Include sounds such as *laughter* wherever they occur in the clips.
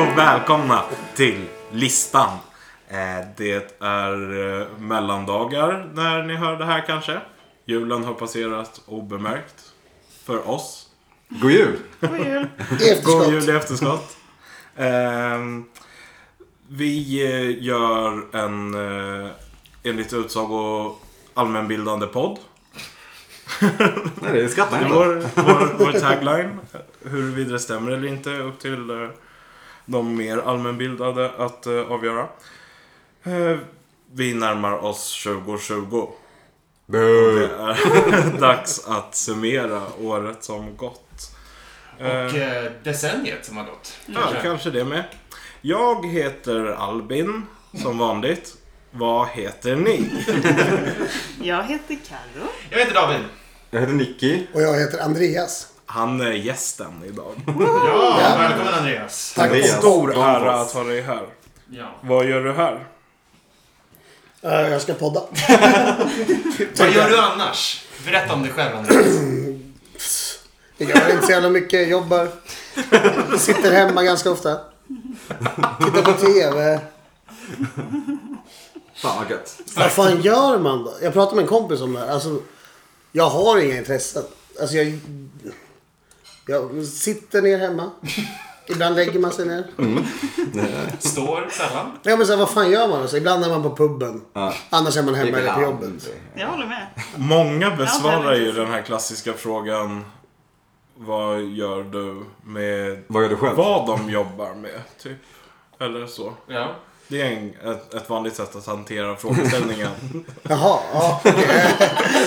och välkomna till listan. Eh, Det är eh, mellandagar när ni hör det här kanske. Julen har passerat obemärkt för oss. God jul! I God efterskott. jul i efterskott. Ehm, Vi eh, gör en eh, enligt utsago allmänbildande podd. Nej, det är Det är skatten. vår, vår, vår tagline. Huruvida det stämmer eller inte upp till eh, de mer allmänbildade att eh, avgöra. Eh, Vi närmar oss 2020. Det Boo. är *laughs* dags att summera året som gått. Och eh, decenniet som har gått. Ja, kanske det med. Jag heter Albin, som vanligt. Vad heter ni? Jag heter Carro. Jag heter David. Jag heter Nicky. Och jag heter Andreas. Han är gästen idag. Ja, välkommen Andreas. Tack. Andreas. Stor Bonfors. ära att ha dig här. Ja. Vad gör du här? Eh, Jag ska podda. Vad gör du annars? Berätta om dig själv Andreas. Jag gör inte så jävla mycket. Jag jobbar. Sitter hemma ganska ofta. Tittar på TV. Fan vad gött. Vad fan gör man då? Jag pratade med en kompis om det här. Alltså, jag har inga intressen. Alltså, jag, jag sitter ner hemma. Ibland lägger man sig ner. Står sällan. Nej, men så här, vad fan gör man? Alltså, ibland är man på puben. Ja. Annars är man hemma eller på Ibland. jobbet. Jag håller med. Många besvarar ju precis. den här klassiska frågan Vad gör du med Vad gör du själv? vad de jobbar med? Typ. Eller så. Ja. Det är en, ett, ett vanligt sätt att hantera frågeställningen. Jaha, ja.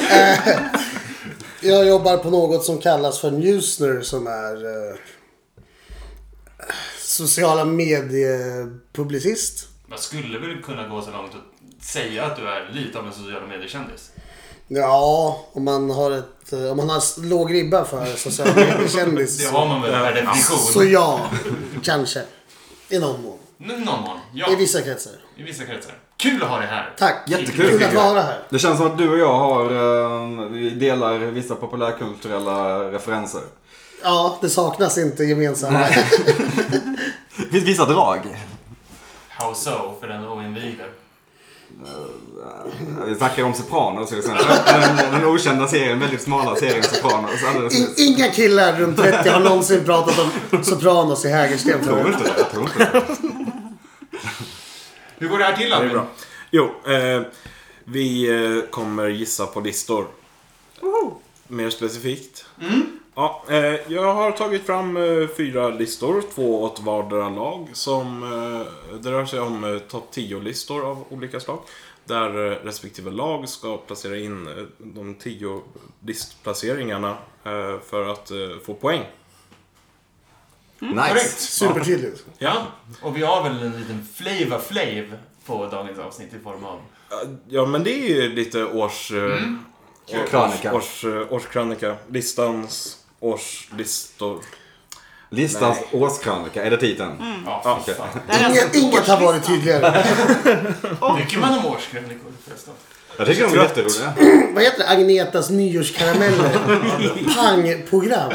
Eh, eh, Jag jobbar på något som kallas för Newsner som är eh, sociala mediepublicist. Man skulle väl kunna gå så långt att säga att du är lite av en sociala mediekändis. Ja, om man har ett, eh, om man har s- låg ribba för sociala mediekändis. Det har man väl per Så definition. ja, kanske. I någon mån. N- Någon gång. Ja, I vissa kretsar. i vissa kretsar. Kul att ha dig här. Tack. Jättekul, Kul att tycker jag. vara här. Det känns som att du och jag har, eh, vi delar vissa populärkulturella referenser. Ja, det saknas inte gemensamma. Det finns vissa drag. How so, för den oinvigde. Eh, Vi snackar om Sopranos till exempel. Den, den okända serien, väldigt smala serien Sopranos. Alltså, Alldeles In, nyss. inga killar runt 30 har någonsin pratat om Sopranos i Hägersten Jag tror förut. inte det. Jag tror inte det. Hur går det här till Det är Albin? bra. Mm. Jo, eh, vi eh, kommer gissa på listor. Mer specifikt. Ja, eh, jag har tagit fram eh, fyra listor, två åt vardera lag. Som, eh, det rör sig om eh, topp 10-listor av olika slag. Där eh, respektive lag ska placera in eh, de 10 listplaceringarna eh, för att eh, få poäng. Nice. Korrekt. Supertydligt. Ja, Och vi har väl en liten flavor flav på dagens avsnitt i form av ja men det är ju lite års... eh, Års, Krönika. års, eh, årskrönika. Listans årslistor. Listans årskrönika, är det titeln? Ja, fy fan. Det här är Inget, alltså inget har varit årslistan. tydligare. Tycker man om årskrönikor förresten? Jag tycker de är jätteroliga. Vad heter det? Agnetas nyårskarameller. Pangprogram.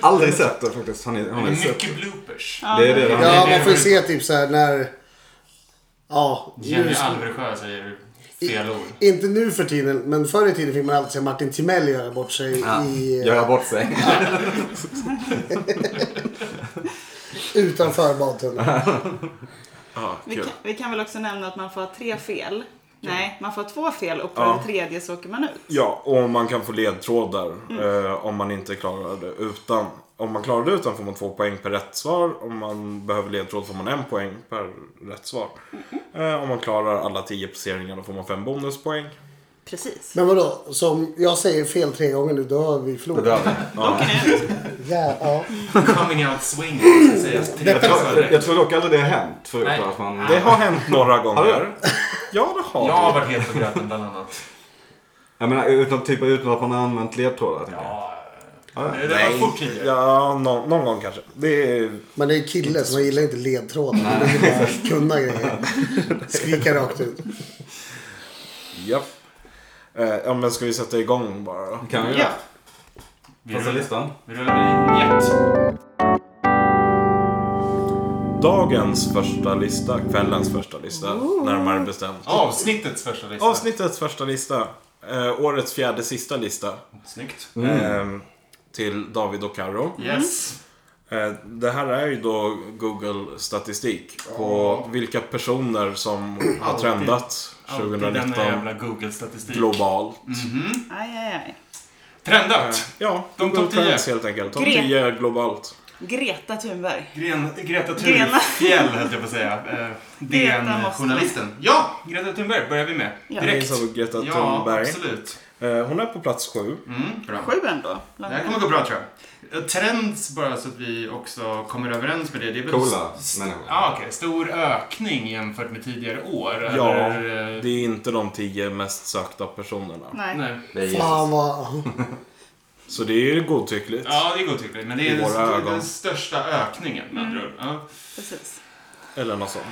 Aldrig sett det faktiskt. Har ni, har Det ni är sett? mycket bloopers. Det är det det handlar Ja, man får ju se typ så här när... Ja, Jenny nu, Alvesjö säger fel ord. inte nu för tiden, men förr i tiden fick man alltid se Martin Timell göra bort sig i, Göra bort sig. utanför badtunnan. Ja, Vi Ah, kul. kan, vi kan väl också nämna att man får ha tre fel. Nej, man får ha två fel och på Ja. den tredje så åker man ut. Ja, och man kan få ledtrådar eh, om man inte klarar det utan. Om man klarar det utan får man två poäng per rätt svar. Om man behöver ledtråd får man en poäng per rätt svar. Eh, om man klarar alla tio placeringar då får man fem bonuspoäng. Precis. Men vadå, som jag säger fel tre gånger nu, då har vi Det förlorat. dör vi. Då åker ni ut. Ja, ja. Coming out swinging, ska sägas tre Jag tror, gånger. jag tror dock aldrig Alltså, det har hänt förut. Nej. Att man, Det har hänt några gånger. det? Ja, det har Jag har det. varit helt på gröten bland annat. Jag menar utan, typ, utan att man har använt ledtrådar. tänker jag. Ja, det det var fort tidigare. Ja, nå- någon gång kanske. Det är Men det är kille så man gillar inte ledtrådar. Man vill bara kunna grejer. Skrika rakt ut. Japp. Eh, ja men ska vi sätta igång bara då? Kan vi Ja. det? Vi Passa rullar- listan. vi rullar med en Dagens första lista, kvällens första lista, närmare bestämt. Avsnittets första lista. Avsnittets första lista, eh, årets fjärde sista lista. Snyggt. Eh, till David och Karo. Yes. Eh, Det här är ju då Google statistik på vilka personer som har Alltid. trendat Alltid denna 2019 jävla Mm. Google-statistik. globalt. Eh, Aj, aj, aj. Trendat! Ja, De Google topp tio. Trends helt enkelt. De Gre- 10 globalt. Greta Thunberg. Gren, Greta Grena. Thunfjäll höll jag på att säga. Eh, Greta måste man. DN-journalisten. Ja! Greta Thunberg börjar vi med. Ja. Det är Direkt. som Greta Ja, Thunberg. absolut. Eh, Hon är på plats sju. Mm, bra. Sju ändå. Det här kommer gå bra tror jag. Eh, Trends, bara så att vi också kommer överens med det. det är väl Coola st- människor. Ja, okej. Stor ökning jämfört med tidigare år. Ja, eller, eh, det är inte de 10 mest sökta personerna. Nej. Nej. Det är Jesus. Fan vad... Så det är ju godtyckligt. Ja, det är godtyckligt. Men det I är den, våra st- ögon. den största ökningen med andra Mm. ord. ja. Precis. Eller något sånt.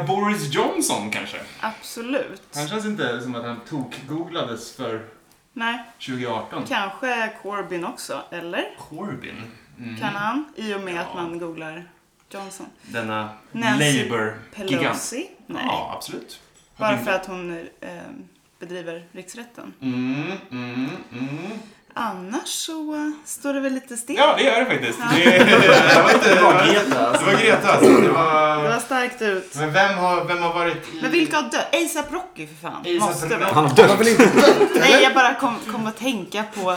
Eh, Boris Johnson kanske? Absolut. Han känns inte som att han tok-googlades för Nej. 2018. Kanske Corbyn också, eller? Corbyn. Mm. Kan han? I och med att man googlar Johnson. Denna Nancy Labour-gigant. Pelosi? Nej. Ja, absolut. Bara för att hon eh, bedriver riksrätten. Mm, mm, mm. Annars så eh, står det väl lite still. Ja, det gör det faktiskt. Det, det var inte... Det var Greta. Det var Greta alltså. Det Det var var... starkt ut. Men vem har, vem har varit i... Men vilka har dött? ASAP Rocky för fan. A$AP Måste Rocky. väl. Han har dött. Varför inte Nej, jag bara kom, kom att tänka på...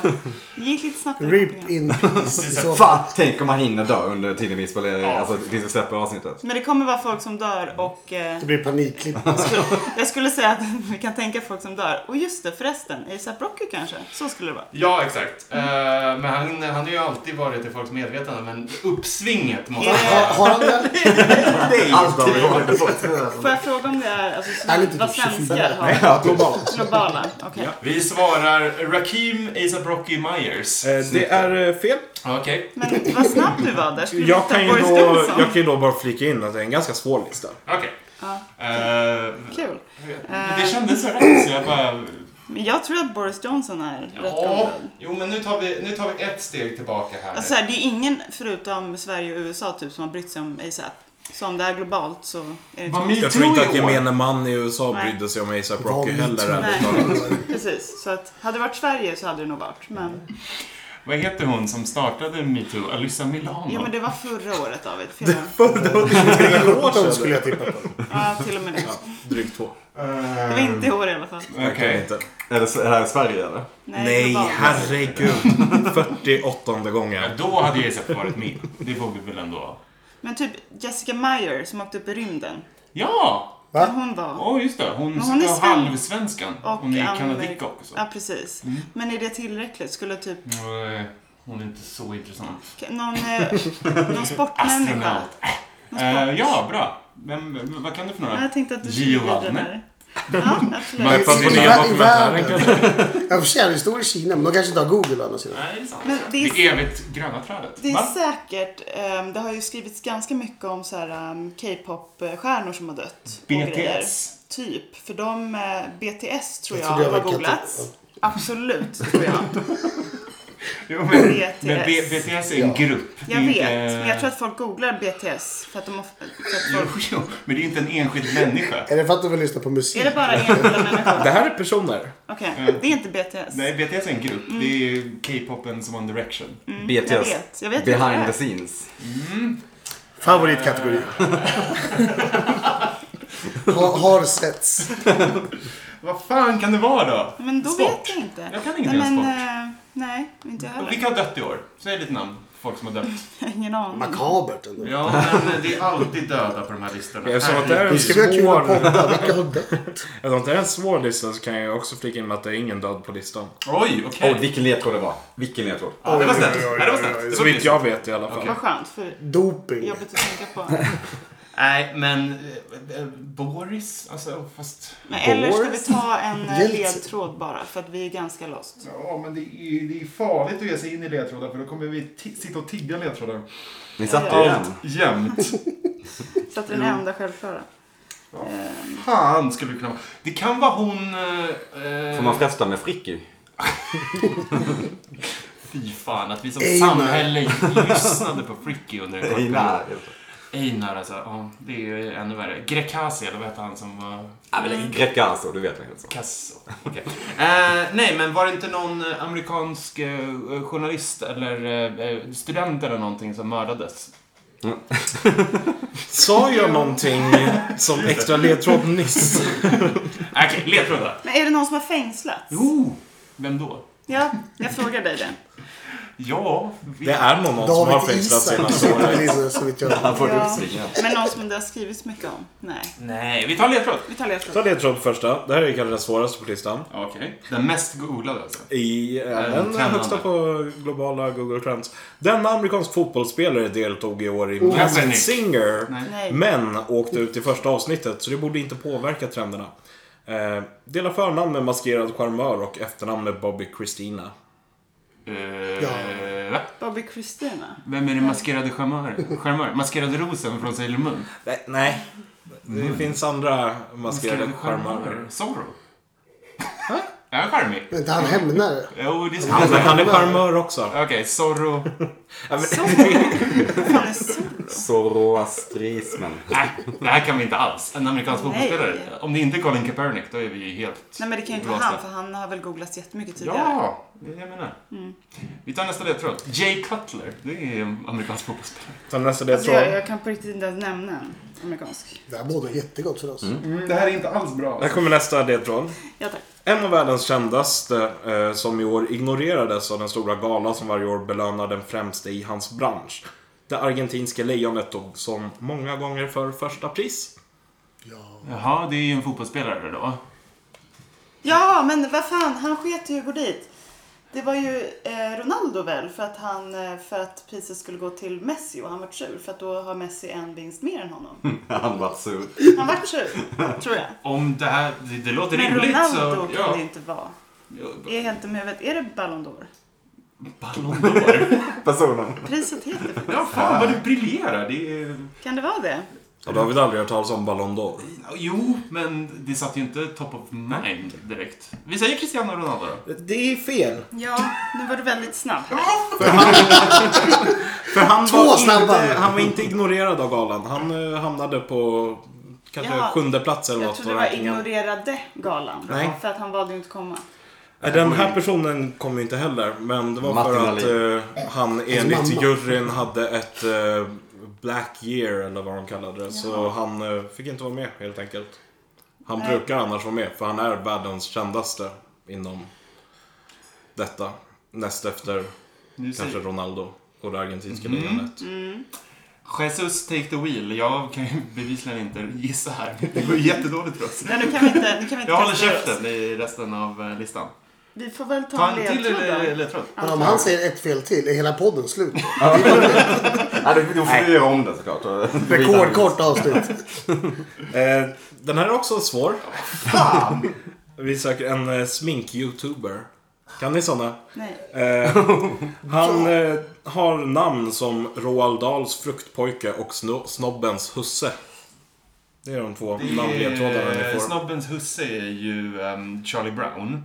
Det gick lite snabbt. RIP in peace i *laughs* så fall. Fan, tänk om han hinner dö under tiden vi spelar, alltså tills vi släpper avsnittet. Men det kommer vara folk som dör och... Eh, Det blir panikklipp. *laughs* jag skulle säga att *laughs* vi kan tänka folk som dör. Och just det, förresten. ASAP Rocky kanske? Så skulle det vara. Ja, exakt. Eh, men han, han har ju alltid varit i folks medvetande, men uppsvinget måste... Har, har han det? Alltid var det så. Får jag fråga om det är... Alltså, som, Är det inte vad typ 24? svenskar har? Ja, Globala? Okej. Ja. Vi svarar Rakim ASAP Rocky Myers. Eh, Det är eh, fel. Okej. Men vad snabb du var där. Skulle du Jag ta kan, ju Boris då, Johnson? jag kan ju då bara flika in att det är en ganska svår lista. Okej. Ja, Eh. Eh, kul. men det kändes så rätt så jag bara... Men jag tror att Boris Johnson är rätt Ja, gammal. jo men nu tar, vi, nu tar vi ett steg tillbaka här. Alltså så här, det är ingen förutom Sverige och USA typ som har brytt sig om ASAP. Så om det är globalt så är det Vad två. my- Jag tror inte att i år. gemene man i USA Nej. brydde sig om ASAP Vad Rocky vi heller. tror. ärligt Nej. talat. Precis, så att hade det varit Sverige så hade det nog varit. Men, Vad heter hon som startade metoo? Alyssa Milano? jo men det var förra året David. Fel. *laughs* Åton skulle jag tippa på. Ja, till och med det. Drygt två. Det var inte i år i alla fall. Okej. Verkligen inte. Är det, är det här Sverige eller? Nej, Nej, globalt. herregud. *laughs* 48 Ja, gången. Då hade jag ASAP varit med. Det får vi väl ändå... Men typ Jessica Meyer som åkte upp i rymden. Ja! Va? Men Hon var... Åh, just det. Hon, Men hon är var sven- halvsvenskan. Och Hon är Amer- kanadicka också. Mm. Ja, precis. Men är det tillräckligt? Skulle typ Nej, eh, hon är inte så intressant. någon, eh, *laughs* någon sportmänniska... Astronaut. Någon Eh, sport. ja, bra. Vem, vem, vad kan du för Ja, några? Jag tänkte att du Gio skulle bli den Waldner. där. Ja, Man absolut. får på nya dokumentären kanske. Jag får säga, det står i Kina, men de kanske inte har Google å andra sidan. Nej, det är sant. Men det är- det evigt gröna trädet. Det är Va? säkert, ehm, det har ju skrivits ganska mycket om så här ehm, K-pop-stjärnor som har dött. och BTS. grejer. Typ, för de, eh, BTS tror jag, Jag tror det har var katt- googlats. Absolut, *laughs* tror jag. Jo, men, BTS. men B- BTS är en grupp. Det är Jag inte- vet, men jag tror att folk googlar BTS för att de har... För att folk... Jo, *laughs* jo, men det är inte en enskild människa. Är det för att du vill lyssna på Är musik? det bara enskilda Det människor? här är personer. Okej, det är inte BTS. Nej, BTS är en grupp. Mm. Det är ju K-popens One Direction. Mm, Jag BTS. vet, jag vet inte vad det Behind är. the scenes. Favoritkategori. ha, har setts. Vad fan kan det vara då? Men då Sport. vet jag inte. Jag kan ingenting nej, om men, sport. eh, nej, inte jag heller. Vilka har dött i år? Säg lite namn. Folk som har dött. *laughs* Ingen aning. Makabert ändå. Ja, men det är alltid döda på de här listorna. Eftersom att det är en Vi skulle ha kul att svår, podda. Vilka har dött? eftersom att det är en svår lista så kan jag också flika in med att det är ingen död på listan. Oj, Åh, okej. vilken ledtråd det var. Vilken ledtråd. Ja, det var snällt. Ja, det var snällt. Det var Så vitt snällt. jag vet i alla fall. Okej. Vad skönt, för Doping. jobbigt att tänka på. Nej, men eh, eh, Boris, alltså fast... Men eller ska vi Boris? ta en eh, Jeltsin. ledtråd bara för att vi är ganska lost. Ja, men det är, det är farligt att ge sig in i ledtrådar för då kommer vi ti- sitta och tigga ledtrådar. Ni satte ju den. Allt jämt. Så att den enda självklara. Fan skulle det kunna vara. Det kan vara hon... eh, eh, Får man fresta med Fricky? Fy fan, att vi som Einar. samhälle lyssnade på Fricky under en kort Nej, period. nej. Einar alltså. Ja, det är ju ännu värre. Grekasi, eller vad hette han som var... Ja, Mm. men Greca alltså, du vet inte så. Picasso. Okej. Eh, nej, men var det inte någon eh, amerikansk eh, journalist eller eh, student eller någonting som mördades? Sa jag någonting som extra ledtråd nyss? Okej, ledtrådar. Men är det någon som har fängslats? Jo! Vem då? Ja, jag frågar dig det. Ja, vi- Det är någon av oss som har David fängslats Isak senaste året. precis så vitt jag Han får Ja. uppsvinga. Men någon som det har skrivits mycket om? Nej. Nej, vi tar ledtråd. Vi tar ledtråd. Ta ledtråd på första. Det här är kanske den svåraste på listan. Okej. Den mest googlade alltså. I eh, den Trendande. högsta på globala Google Trends. Denna amerikansk fotbollsspelare deltog i år i Masked Kaepernick. Singer. Nej. Nej. Men åkte ut i första avsnittet, så det borde inte påverka trenderna. Eh, dela förnamn med maskerad charmör och efternamn med Bobby Christina. Eh, Ja. va? Bobby Christina. Vem är den maskerade charmören? Charmör? Maskerade rosen från Sailor Moon? Nej, nej. Det finns andra Mm. maskerade charmörer. Zorro? Är han charmig? Men inte han hämnare. Jo, det Han, är sant. Alltså, han är charmör också. Okej, Zorro. Vad fan är Zorro? Zoroastrismen. Nej, det här kan vi inte alls. En amerikansk Nej. fotbollsspelare. Om det inte är Colin Kaepernick, då är vi ju helt... Nej men det kan ju inte vara han för han har väl googlats jättemycket tidigare. Ja, det är det jag menar. Mm. Vi tar nästa ledtråd. Jay Cutler. Det är en amerikansk fotbollsspelare. Sen nästa Alltså, jag, ledtråd. jag kan på riktigt inte ens nämna en amerikansk. Det här bådar jättegott för oss. Mm. Mm, det här är inte alls bra. Här kommer nästa ledtråd. Ja tack. En av världens kändaste eh, som i år ignorerades av den stora gala som varje år belönar den främste i hans bransch. Det argentinska lejonet tog som många gånger för första pris. Ja. Jaha, det är ju en fotbollsspelare då. Ja men vad fan, han sket ju att gå dit. Det var ju eh, Ronaldo väl för att, han, eh, för att priset skulle gå till Messi och han vart sur för att då har Messi en vinst mer än honom. *laughs* *laughs* Han var sur. Han vart sur, tror jag. Om det här... Det, det låter Men rimligt Ronaldo så... Eh. kan Ja. det ju inte vara. Ja, Jag är helt dum i huvudet. Är det Ballon d'Or? Ballon *laughs* d'Or. Personen. Priset heter det. Ja, fan vad du briljerar. Det är... Kan det vara det? Ja, då har vi aldrig hört talas om Ballon d'Or. Jo, men det satt ju inte top of mind direkt. Vi säger Cristiano Ronaldo då. Det är fel. Ja, nu var du väldigt snabb. För han Två var, inte, snabba. han var inte ignorerad av galan. Han eh, hamnade på kanske Jaha. sjunde plats eller Jag något trodde på det var rankingen. ignorerade galan. Nej. För att han valde ju inte att komma. Nej, Den här personen kom ju inte heller, men det var Martin för att eh, han enligt mamma. juryn hade ett eh, black year eller vad de kallade det. Så han eh, fick inte vara med helt enkelt. Han Nej. brukar annars vara med, för han är världens kändaste inom detta. Näst efter Nu säger- kanske Ronaldo och det argentinska lejonet. Jesus take the wheel. Jag kan ju *laughs* bevisligen inte gissa här. Det går ju jättedåligt för oss. Nej, nu kan vi inte, nu kan vi inte Jag håller kasta käften oss. i resten av eh, listan. Vi får väl ta, Ta en en till ledtråd eh, då. ledtråd. Men om han säger ett fel till är hela podden slut. Ja, det- då får vi göra om det såklart. Rekordkort avsnitt. Eh, den här är också svår. *laughs* Vi söker en eh, smink-youtuber. Kan ni såna? Nej. Eh, han eh, har namn som Roald Dahls fruktpojke och Sno- Snobbens husse. Det är de två Det är- namnledtrådarna ni får. eh, Snobbens husse är ju ehm, Charlie Brown.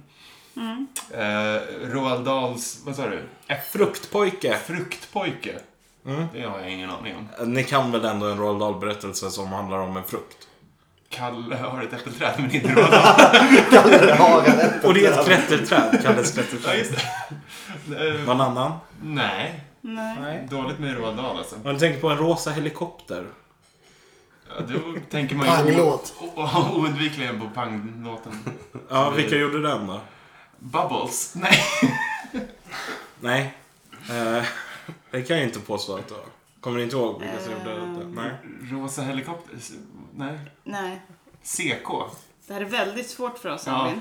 Mm. Eh, Roald Dahls, vad sa du? F- Fruktpojke. fruktpojke. Mm. Det har jag ingen aning om. Eh, Ni kan väl ändå en Roald Dahl-berättelse som handlar om en frukt? Kalle har ett äppelträd men inte Roald Dahl. Och det är ett *laughs* klätterträd. Kalles *laughs* Ja, klätterträd. just det. Eh, Någon annan? nej, Nej. dåligt med Roald Dahl alltså. Om du tänker på en rosa helikopter. Ja, då tänker man ju Panglåt. o- o- oundvikligen på panglåten. Ja, vilka gjorde den då? Bubbles? Nej. Nej. Eh, det kan jag inte påstå att det var. Kommer ni inte ihåg vilka som gjorde det? Ehm. Nej. Rosa helikopter? S- Nej. Nej. CK? Det här är väldigt svårt för oss Ja. Albin.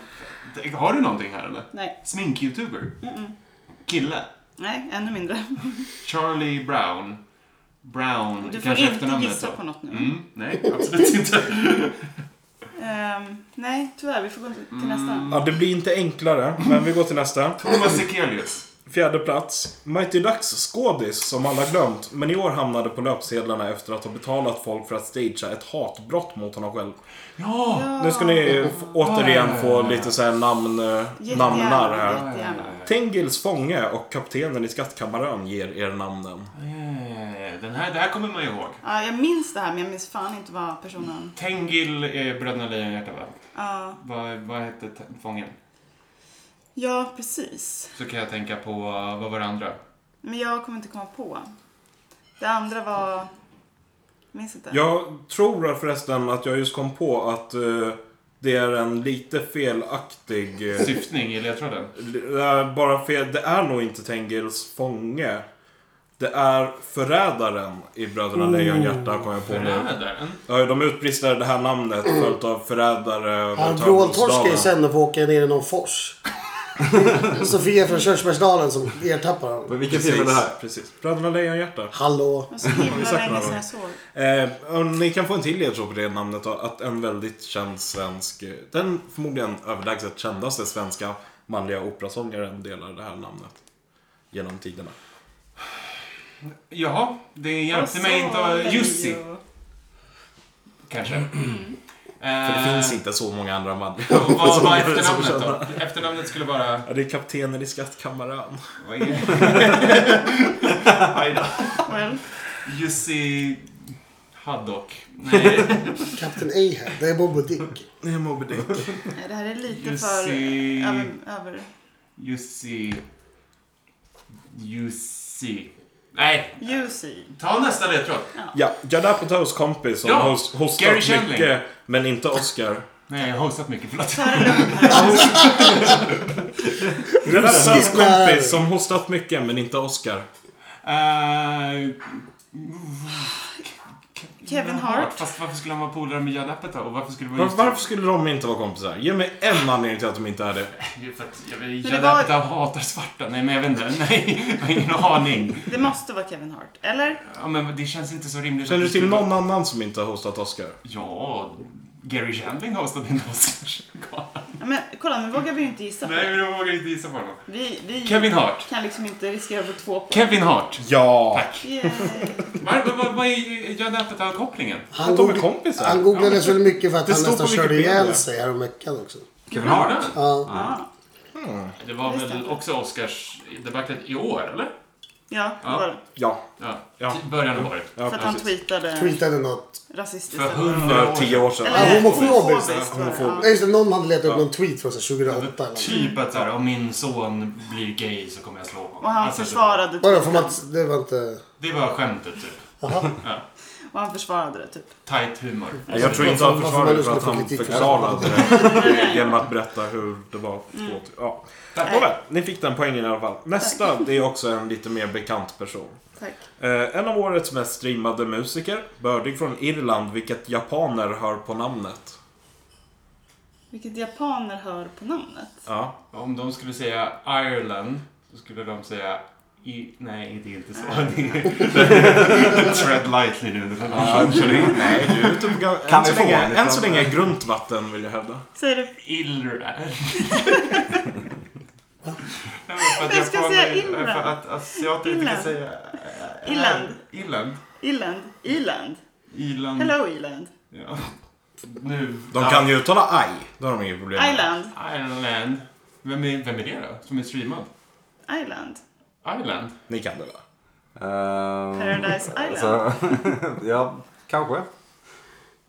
Det- Har du någonting här eller? Nej. Smink-youtuber? Kille? Nej, ännu mindre. Charlie Brown? Brown? Du får kanske inte efternamnet gissa då? på något nu. Mm, nej, absolut inte. Ehm, Mm. nej, tyvärr. Vi får gå till nästa. Ja, det blir inte enklare, men vi går till nästa. Thomas Sekelius? Fjärde plats. Mighty Ducks skådis som alla glömt, men i år hamnade på löpsedlarna efter att ha betalat folk för att stagea ett hatbrott mot honom själv. Ja! Nu ska ni eh, f- återigen få lite så här namn, eh, namnar här. jättegärna. Tengils fånge och kaptenen i skattkammaren ger er namnen. Eh, Den här, det här kommer man ju ihåg. Ja, jag minns det här men jag minns fan inte vad personen... Tengil är Bröderna Lejonhjärta va? Ja, Vad, vad hette te- fången? ja precis. Så kan jag tänka på, eh, vad var det andra? Men jag kommer inte komma på. Det andra var... Jag minns inte. Jag tror förresten att jag just kom på att eh, det är en lite felaktig... eh, Syftning i ledtråden? Det är bara fel. Det är nog inte Tengils fånge. Det är förrädaren i Bröderna Lejonhjärta, kom jag på nu. Förrädaren? Ja, de utbrister det här namnet följt av förrädare över Han Törnrosdalen. vråltorskar ju sen och får åka ner i någon fors. *laughs* Sofia från Körsbärsdalen som ertappar honom. Vilken Precis, film är det här? Precis. Bröderna Lejonhjärta. Hallå. Det var så himla Exakt länge vad det sedan var. jag Eh, såg. och ni kan få en till ledtråd på det namnet då, Att en väldigt känd svensk, eh, den förmodligen överlägset kändaste svenska manliga operasångaren delar det här namnet. Genom tiderna. Jaha, det hjälpte mig inte. att- Jussi, kanske. Eh, För det finns inte så många andra manliga Vad var operasångare som efternamnet kända. då? Efternamnet skulle vara... Ja, det är kaptenen i skattkammaren. Vad är det? Aj då. Well, Jussi Haddock. Nej, Kapten Ahab. Det är Bob och Dick. Nej, Moby Dick. nej, det här är lite för... Jussi... Över, över. Jussi... Jussi... Nej, Jussi. ta nästa ledtråd. *laughs* Ja, Judd Apatows kompis som Ja, hos, hostat Gary mycket, Shandling. men inte Oscar. Nej, jag har hostat mycket. Förlåt. Ta det lugnt här. Judd Apatows Snickare. kompis som hostat mycket, men inte Oscar. Eh, Kevin Hart. Fast varför skulle han vara polare med Judd Apatow? Och varför skulle det vara Var, just... varför skulle de inte vara kompisar? Ge mig en anledning till att de inte är det. Ju För att jag vet, det Judd var- Apatow hatar svarta. Nej, men jag vet inte. Nej, jag har ingen aning. Det måste vara Kevin Hart. Eller? Ja, men det känns inte så rimligt. Känner du att det till skulle vara- någon annan som inte har hostat Oscar? Ja, Gary Shandling hostade en Oscarsgala. Ja, men kolla, nu vågar vi ju inte gissa. *laughs* på Nej, det. men jag vågar inte gissa på honom. Vi, vi Kevin Hart. kan liksom inte riskera att få två poäng. Kevin Hart. Ja! Tack. Yay. Vad vad- vad- vad är Judd Apatow-kopplingen? Han, De är googl- kompisar. han googlades väl mycket för att Det han står nästan på körde Wikipedia. ihjäl sig häromveckan också. Kevin Hart? Ja. Ja. Det var Just väl det. också Oscars-debaclet i år, eller? Ja, det Ja. var det. Ja. Ja, Ja. i början av året. ja För att han precis. tweetade Tweetade något. rasistiskt. För eller- För hundra år tio sedan. år sedan. Ja, Eller homofobiskt. var det. Homofob. Nej, Just det, någon hade letat upp någon tweet från så här 2008 eller något. Typ att såhär, om min son blir gay så kommer jag slå honom. Och han Alltså, försvarade Vadå, typ. får man... Det var inte... Det var skämtet, typ. Och han försvarade det typ. Tight humor. Nej, Jag tror inte han Varför försvarade det man för att skulle han få kritik för förklarade det genom att berätta hur det var. Mm. förstått. Ja. Nåväl, ni fick den poängen i alla fall. Nästa, det är också en lite mer bekant person. Tack. Eh, en av årets mest streamade musiker, bördig från Irland, vilket japaner hör på namnet. Vilket japaner hör på namnet. Ja. Om de skulle säga Ireland, så skulle de säga... I, nej, det är inte så. Tread lightly nu. Nej, du är ute på gam- Kan än, så vi få länge, en än så liten- länge grunt vatten, vill jag hävda. Säger du? Illra. Jag ska säga Irland. För att asiater inte kan Irland. säga... eh, Irland. Irland. Irland? Irland? Irland. Hello Irland? Ja. Nu. De kan ju uttala aj. Det har de inget problem med. Island? Ireland. Vem är, vem är det då? Som är streamad? Island? Ireland? Ni kan det va? Ehm, Paradise Alltså- Island? så- *laughs* ja, kanske.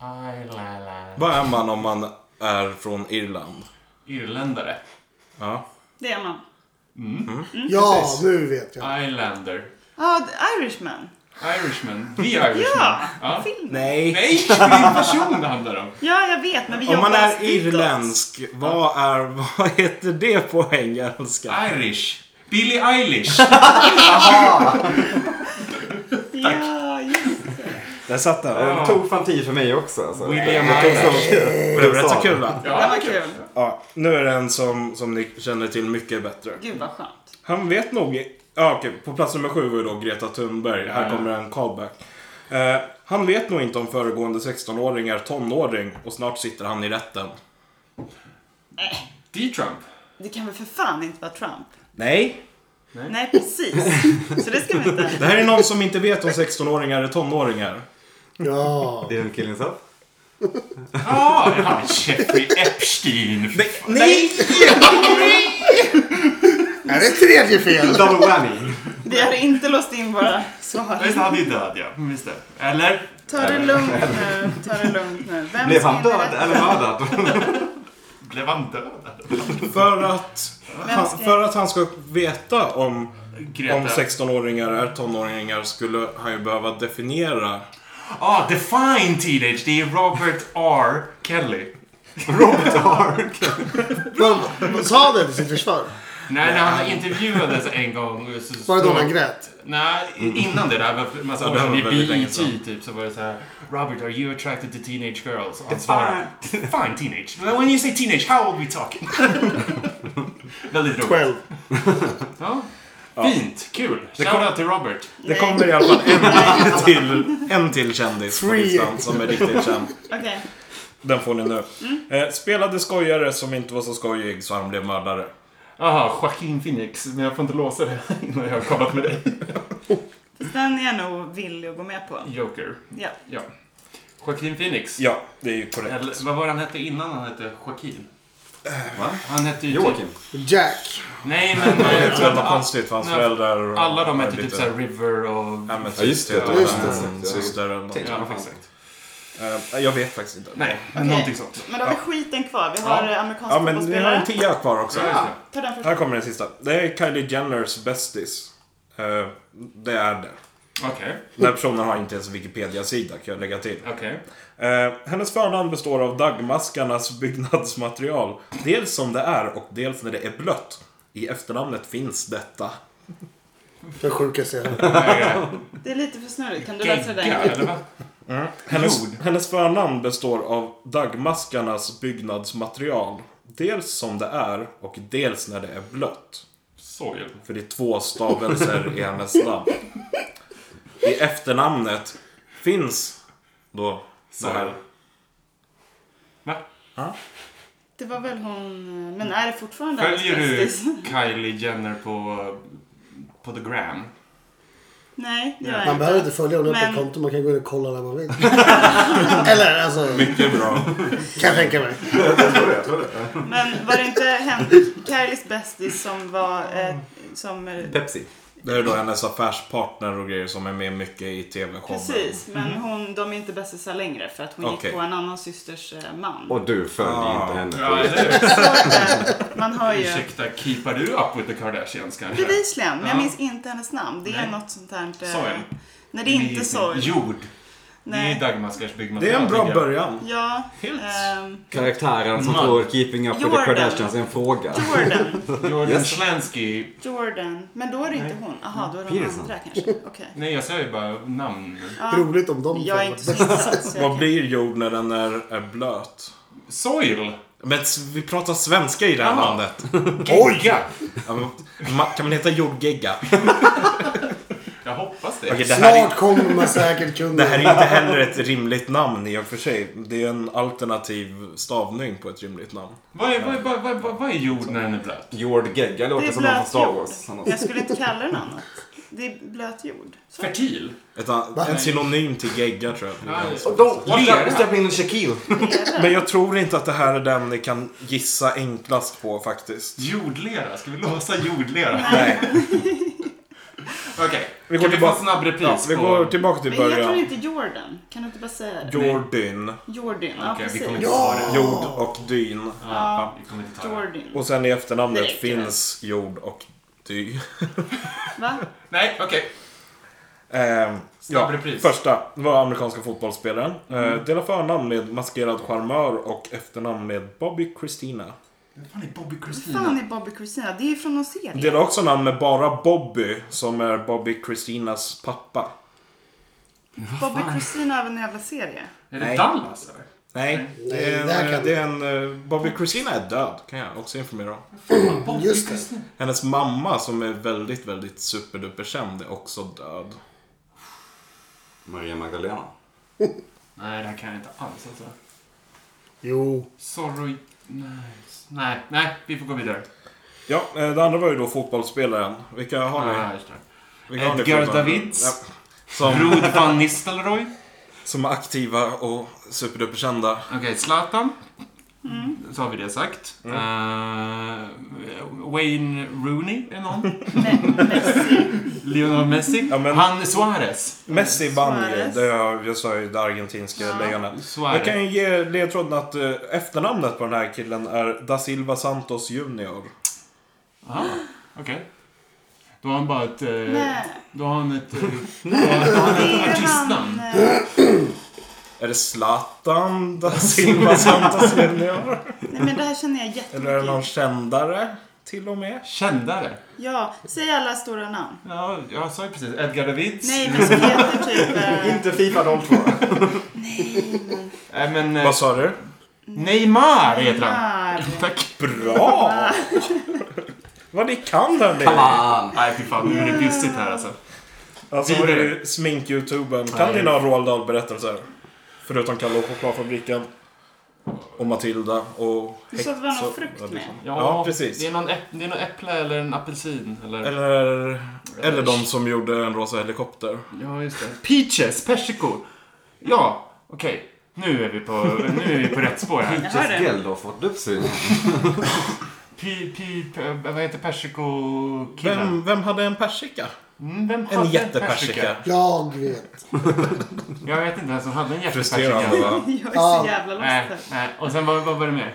Ireland. Vad är man om man är från Irland? Irländare. Ja. Det är man. Ja, nu vet jag. Islander. Ja, The Irishman. Irishman. The Irishman. Ja, ja. Film. Nej. Nej, vilken person det handlar om. Ja, jag vet, men vi Om jobbar man är ditåt. irländsk, vad, är, vad heter det på engelska? Irish. Billie Eilish. Ja, just det. Där satt den. Det tog fan tid för mig också. Alltså. William Jag tog så- Det blev rätt så kul va? Det var kul. Ja, nu är det en som, som ni känner till mycket bättre. Gud vad skönt. Han vet nog... Ja, okej. På plats nummer sju var ju då Greta Thunberg. Här kommer en callback. Eh, han vet nog inte om föregående 16-åring är tonåring och snart sitter han i rätten. D-Trump. Det kan väl för fan inte vara Trump? Nej. Nej. Nej, precis. Så det ska vi inte. Det här är någon som inte vet om 16-åringar är tonåringar. Ja. Det är en killing himself. Ja, Ah, han är Jeffrey Epstein. Nej! Är det tredje fel? Double whammy. Vi har inte låst in våra Ja, Just det, svar. han är död ja. Just det. Eller? Ta det lugnt nu. Ta det lugnt nu. Vem Blev ska han in i död rätt- eller mördad? Blev han död? För att, Vem han, ska- för att han ska veta om, Greta. om 16-åringar är tonåringar skulle han ju behöva definiera. Ah, Define Teenage. Det är Robert R. Kelly. Vad sa det till sitt försvar? Nej, när han intervjuades en gång så... Var det då så- han grät? Nej, innan Mm. det där, för en massa Ja, år det sedan var i väldigt länge sedan. BET typ, så var det så här. Robert, are you attracted to teenage girls? Och han svarade, fine teenage. Well, When you say teenage, how old we talking? *laughs* Väldigt roligt. Själv. Ja. Fint, kul. Shoutout till Robert. Det kommer i alla fall en till, en till kändis på Free. listan som är riktigt känd. Okej. Den får ni nu. Eh, spelade skojare som inte var så skojig så han blev mördare. Aha, Joaquin Phoenix, men jag får inte låsa det innan jag har kollat med dig. Fast Den är jag nog villig att gå med på. *laughs* Joker. Ja. Ja. Joaquin Phoenix. Ja, det är ju korrekt. Eller, vad var det han hette innan han hette Joaquin? Va? Han hette ju *laughs* Joakim. Typ, Jack. nej, men... *laughs* jag Det tror var att konstigt för hans Nej, föräldrar och- alla de hette är typ lite- såhär River och... Ja, men Ja, just det. typ, Just det. en Exakt, ja. Syster eller något. Ja, Ja, exakt. Eh, Jag vet faktiskt inte. Nej, men Okej. någonting sånt. Men då har vi skiten kvar. Vi har Ja. eh, amerikanska Ja, men vi har fotbollsspelare. en tia kvar också. Ja. Ta den först. Här kommer den sista. Det är Kylie Jenners bästis. Eh, Det är det. Okej, Den här personen har inte ens Wikipedia-sida kan jag lägga till. okej. Eh, hennes förnamn består av dagmaskarnas byggnadsmaterial. Dels som det är och dels när det är blött. I efternamnet finns detta. Den sjukaste jag hört. Det är lite för snurrigt. Kan du läsa det Eh, Gegga, där? eller vad? Hennes, hennes förnamn består av dagmaskarnas byggnadsmaterial. Dels som det är och dels när det är blött. Soil. För det är två stavelser i hennes namn. I efternamnet finns då det här. Va? Det var väl hon... Men är det fortfarande Följer du asbestis? Kylie Jenner på, på the gram? *laughs* Nej, det gör jag Man inte. behöver inte följa honom Men- på konto. Man kan gå in och kolla när man *laughs* vill. Eller alltså, Mycket bra. kan jag tänka mig. Men var det inte Hen- Kylies bästis som var... Eh, som, eh, Pepsi. Det är då hennes affärspartner och grejer som är med mycket i TV-showen. precis, men hon, de är inte bästisar längre för att hon Okej. gick på en annan systers eh, man. Och du följer Ah. inte henne. Ja, eller hur? Så, eh, man har ju... *laughs* Ursäkta, keepar du up with the Kardashians kanske? Bevisligen, men jag Ja. minns inte hennes namn. Det är något sånt här... Inte... Sorry. Nej, det är inte sorg. Jord. Nej. Det är Dagmaskars byggmaterial. Det är en bra tycker jag. början. Ja. Helt. ehm, Karaktären som Man. tror Keeping Up With The Jordan. Kardashians är en fråga. Jordan. Jordan Zelensky. Jordan. Men då är det inte hon. Aha, då är det de Peterson. andra kanske. Okej. Nej, jag säger bara namn. Roligt om de Jag är får- inte så insatt. så jag Vad kan- blir jord när den är, är blöt? Soil. Men s- vi pratar svenska i det här Ja. landet. Oj! Ja, men ma- Kan man heta jordgegga? Jag hoppas det. Okej, det, här är, Snart kommer man säkert det kunna. här är inte heller ett rimligt namn i och för sig. Det är en alternativ stavning på ett rimligt namn. Vad, är, vad, är, vad, är, vad är jord när den är blöt? Jord Gegga Det låter är som någon från blöt Star jord. Wars. Han har- Jag skulle inte kalla den annat. Det är blöt jord. Så. Fertil. Ett, an- en synonym till gegga tror jag. Lera. in Shaquille. Men jag tror inte att det här är den ni kan gissa enklast på faktiskt. Jordlera. Ska vi låsa jordlera? *laughs* Nej. *laughs* Okej. Vi Vi går kan vi få tillbaka- en snabb repris Ja, vi på... går tillbaka till Men jag tror början. inte Jordan. Kan du inte bara säga det? Jordyn. Jordan. Ja, Okej, vi precis. kommer inte ta det. Jord och dyn. Ja, vi kommer inte ta det. Jordan. Och sen i efternamnet Det räcker. finns jord och dy. Va? Nej, okej. Ehm, Snabb repris. Första var amerikanska fotbollsspelaren. Eh, delar förnamn med maskerad charmör och efternamn med Bobby Christina. Vad fan är Bobby fan Mm. Christina? är Bobby Christina? Det är ju från någon serie. Delar också namn med bara Bobby, som är Bobby Christinas pappa. Bobby Christina av en jävla serie. Är det Dallas eller? Nej, det är en, det här kan- det är en eh, Bobby Christina är död, kan jag också informera om. Bobby Just det. Christina. Hennes mamma, som är väldigt, väldigt superduper känd, är också död. Maria Magdalena. Nej, det här kan jag inte alls alltså. Jo. Sorry. Nej, nej, nej vi får gå vidare. Ja, eh, det andra var ju då fotbollsspelaren. Vilka har ni? Ah, just det. Vilka har ni Edgar förutom- Davids. Ja. Som, Rod van Nistelrooy. som är aktiva och superduperkända. Okej, Zlatan. Mm. Så har vi det sagt. Mm. Eh, Wayne Rooney är någon. *laughs* Lionel Messi. Ja, men- Han Suarez. Messi vann ju. Mm. Suarez. Det jag, jag sa ju det argentinska Ja. lejonet. Jag Suarez. kan ju ge ledtråden att eh, efternamnet på den här killen är Da Silva Santos Junior. Aha, Ah, okej. Då har han bara ett... eh, Nej. Då har han ett... eh, då har då har han ett artistnamn. eh, Är det Zlatan *laughs* Da Silva Santos Junior? Nej men det här känner jag *laughs* Eller är det någon jättemycket. kändare till och med? Kändare. Ja, säg alla stora namn. Ja, jag sa ju precis Edgar Davids. Nej men som heter *laughs* typ... eh, Inte Fifa 02. Nej, men... eh, Vad sa du? Neymar heter han. *laughs* Neymar. Tack. Bra! Vad ni kan hörni! Fan. Nej, fy fan. Nu är det bjussigt här alltså. Alltså vad är det smink-youtubern. Kan ni några Roald Dahl-berättelser? Förutom Kalle och chokladfabriken. Och Matilda och Du sa att det var någon häxor- frukt Ja, med. Ja, precis. Det är, någon äpp, det är någon äpple eller en apelsin. Eller... Eller, eller de som gjorde en rosa helikopter. Ja, just det. Peaches, persikor. Ja, okej. Nu är vi på, nu är vi på rätt spår här. Jag hör Just det. Geldof åt uppsyn. Pi, pi, p- vad heter persikokillen? Vem, vem hade en persika? Mm, vem hade En jättepersika. Jag vet. Jag vet inte vem som hade en Frustrerande jättepersika. va? *laughs* *laughs* Jag är Ja. så jävla lost Nej, här. nej. Och sen vad, vad var det mer?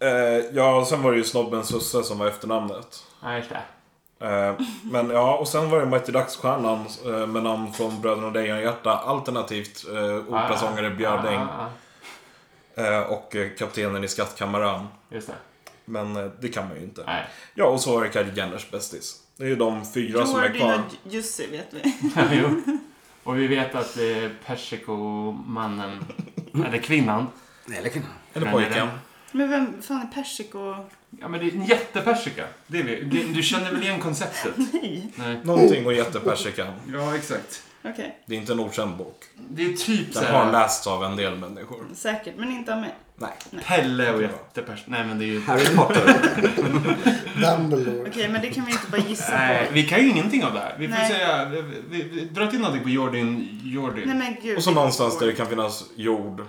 Eh, ja, sen var det ju Snobben Susse som var efternamnet. Nej, just det. Eh, men ja, och sen var det Mighty Ducks-stjärnan eh, med namn från Bröderna Lejonhjärta alternativt eh, operasångare Björling Ah, ah, eh, och eh, kaptenen i Skattkammaren. ah. Just det. Men eh, det kan man ju inte. Nej. *laughs* Ja, och så var det Kylie Jenners bästis. Det är ju de fyra som är Jordi kvar. och Jussi vet vi. jo. Och vi vet att eh, *laughs* persikomannen, eller kvinnan. Eller kvinna. Eller pojken. Men vem fan är persiko? Ja, men det är en jättepersika. Det är vi. Du, du känner väl igen konceptet? Nej. Nej. Någonting och jättepersikan. Ja, exakt. Okej, Det är inte en okänd bok. Det är typ så Den har här, lästs av en del människor. säkert. Men inte av mig. Nej. Pelle och jättepersika. Nej, men det *laughs* är ju... Harry *laughs* Potter. Dumbledore. Okej, men det kan vi inte bara gissa Nej, på. vi kan ju ingenting av det här. Vi får Nej. säga... Vi, vi, vi, dra till någonting på Jordin. Nej Jordin. men gud. Och så någonstans där det det... kan finnas jord,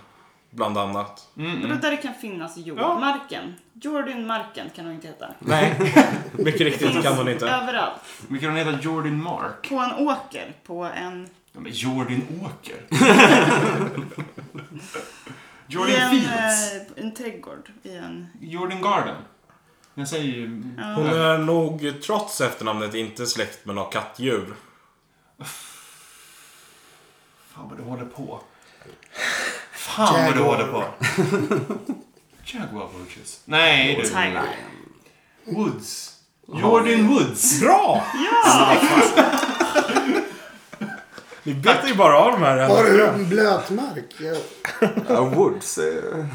bland annat. Mm, Vadå mm. där det kan finnas jord? Ja. Marken? Jordan Marken kan hon inte heta. Nej, *laughs* mycket riktigt kan hon inte. Överallt. Vi kan heta Jordin Mark. På en åker. På en... Ja, men Jordin Åker. I Jordin en, Fields. eh, en trädgård. I en... Jordin Garden. Jag säger ju... Hon är nog, trots efternamnet, inte släkt med något kattdjur. Fan vad du håller på. Fan vad du Jaguar. håller på. Jaguar Vultures. Nej du. Tiger. Woods. Jordan Woods. Bra! Ja! Ni betar ju bara av de här. Har du ämnena. en blötmark? Jag... Ja, Woods. eh, I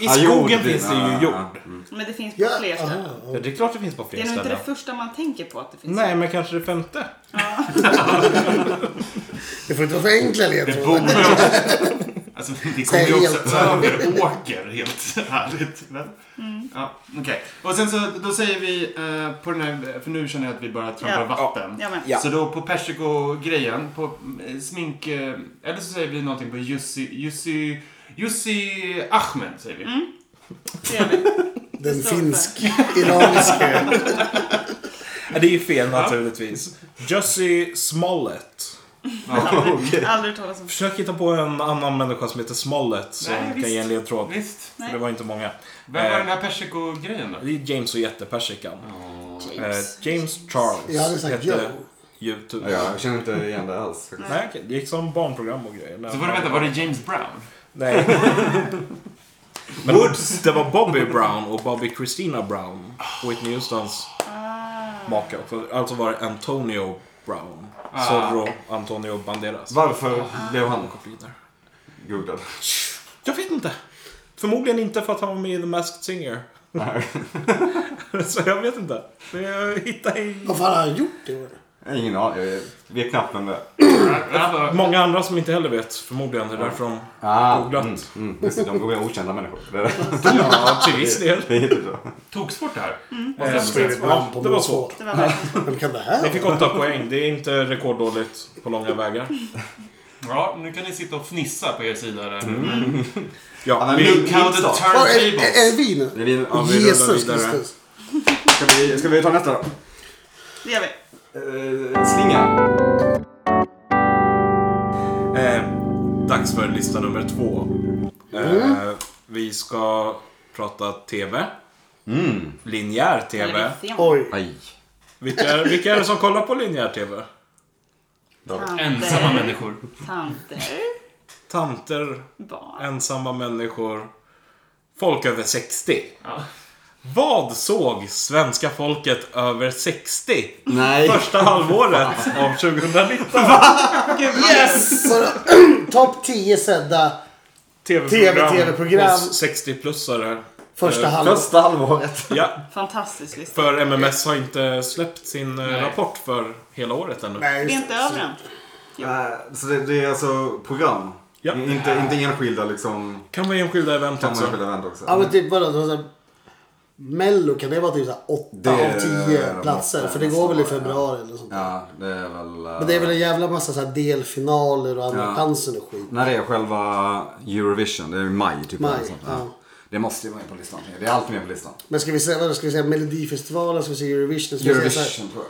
ja, skogen jord, finns det ja, ju ja, jord. mm. Men det finns på Ja, fler ställen. aha. Ja, det är klart det finns på Det fler är nog inte ställen. det första man tänker på att det finns. Nej, men kanske det femte. Det får inte vara för enkla Det ledtrådar. borde också... *laughs* Alltså det kommer ju Helt också över åker helt *laughs* härligt. Men, Mm. ja, okej. Och sen så då säger vi eh, på den här, för nu känner jag att vi bara trampar Ja. vatten. Ja, men. Ja. Så då på persiko-grejen, på eh, smink... eh, Eller så säger vi någonting på Jussi... Jussi... Jussi Ahmed säger vi. Mm. Det gör *laughs* vi. Den Det står finsk-iranska. Ja, det är ju fel naturligtvis. Jussie Smollett. Aldrig, aldrig talas om. Försök hitta på en annan människa som heter Smollett som Nej, kan visst. ge en ledtråd. Visst. För det var inte många. Vem var Eh, den här persiko-grejen då? Det är James och jättepersikan. Eh, James. James Charles Jag hade sagt hette Joe. YouTube. Ja, jag känner inte igen det alls. Nej, okej. det gick som barnprogram och grejer. Så var det, vänta, var det James Brown? Nej. Men Woods. Det var Bobby Brown och Bobby Christina Brown. Whitney Houstons maka också. Alltså var det Antonio Brown. Zorro Antonio Banderas. Varför blev han googlad? Jag vet inte. Förmodligen inte för att han var med i The Masked Singer. Nej. *laughs* Så jag vet inte. Men jag hittade i... Vad fan har han gjort i år? Ingen aning. Jag vet knappt vem det är. Alltså, Många andra som inte heller vet förmodligen. Det är därför de Ah, Googlat. mm, mm. Just det, de går med okända människor. Det är Ja, till viss del. det är jättebra. toksvårt det här. Mm. Eh, namn ja, på det var måfå. svårt. Det var verkligen svårt. Vem kan det Ni här fick åtta poäng. Det är inte rekorddåligt på långa vägar. Ja, nu kan ni sitta och fnissa på er sida där. Ja, Ja, men vi, nu- Look how the Start. vara? Är, är, turntables. är det vi nu? Det är vi- ja, vi rullar Jesus vidare. Kristus. Ska vi, ska vi ta nästa då? Det gör vi. Eh, slinga. eh, dags för lista nummer två. Eh, vi ska prata TV. Mm. Linjär TV. Eller film. Oj. Aj. Vilka är, vilka är det som kollar på linjär TV? Ensamma människor. Tanter. Tanter, Barn. ensamma människor, folk över 60. Ja. Vad såg svenska folket över 60 Nej. första halvåret av 2019? Gud, vad yes! Så, *clears throat* Topp 10 sedda TV-program TV-program. hos 60-plussare. första Eh, halvåret. Första halvåret. Ja, Fantastisk lista. för MMS har inte släppt sin eh, Nej. rapport för hela året ännu. Nej, Vi är just inte det. över än. Eh, Så det, det är alltså program? Ja. In- Inte, inte enskilda liksom. Kan vara enskilda event Kan man också. spela event också? Ja men typ vadå? det var så här- Mello, kan det vara typ 8 Det av 10 är- platser? För det nästan går väl i bara, ja. februari eller sånt. Ja, det är väl... eh, Men det är väl en jävla massa så här delfinaler och Andra Ja. chansen och skit. När det är själva Eurovision, det är i maj typ. Maj, eller sånt. ja. Det måste ju vara med på listan. Det är alltid med på listan. Men ska vi säga, vadå, ska vi säga Melodifestivalen, ska vi säga Eurovision? Ska vi säga så här, Eurovision tror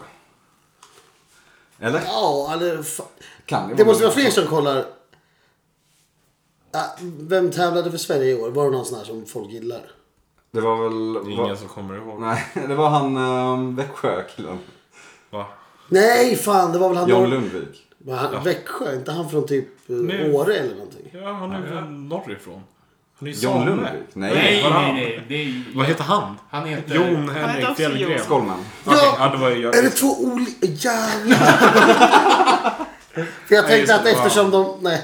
jag. Eller? ja, eller fa- Kan Det måste vara fler som kollar. Ja, vem tävlade för Sverige i år? Var det någon sån här som folk gillar? Det var väl... Ingen som kommer ihåg. Nej, *laughs* det var han um, Växjökillen. Va? Nej, fan det var väl han... John Lundvik. Var han Växjö? Inte han från typ eh, Nej. Åre eller någonting? Ja, han är väl norrifrån? Han är ju John same. Lundvik? Nej. Nej, vad nej, han- nej. Det är, Vad heter han? han heter... Jon heter Henrik också Fjällgren. Jon. Skolman. Okej, ja, det var ju jag. Är det två olika... Jävlar! *laughs* För jag Nej, tänkte just att det, eftersom de... *laughs* Nej.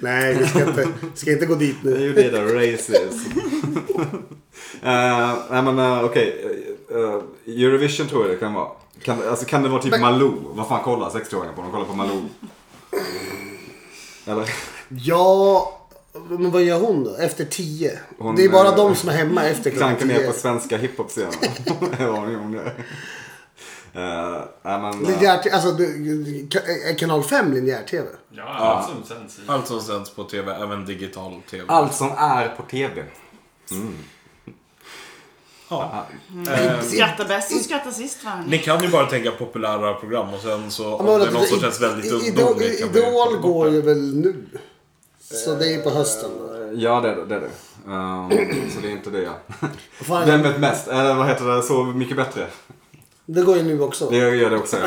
Nej, vi ska inte, ska inte gå dit Det är nu. ju det där racist. *laughs* Eh, nej men eh, okej. eh, Eurovision tror jag det kan vara. Kan, alltså, kan det vara typ Malou? Vad fan kollar 60-åringar på? De kollar på Malou. Eller? Ja... Men vad gör hon då? Efter tio? Hon, det är bara eh, de som är hemma efter klockan Klanka ner tio. på svenska *laughs* hiphop-scenen. ja, det gjorde jag. Eh, nej, men, eh, Linjär, alltså, du- ka- är kanal 5 linjär-tv? Ja, allt som sänds i. Allt som sänds på TV, även digital TV. Allt som är på TV. Ja. Skratta bäst och skratta sist va? hörni? Ni kan ju bara tänka populära program och sen så Ja, om men det är vadå, något som i- känns väldigt i- ungdomligt kan Idol, vi kolla idol bort går det. ju väl nu. Så det är på hösten. då. Eh, Ja, det är det. det, är det. Eh, så det är inte det, *laughs* ja. Fan, Vem vet mest? Eller vad heter det? Så mycket bättre. Det går ju nu också. Det gör det också. ja. *laughs*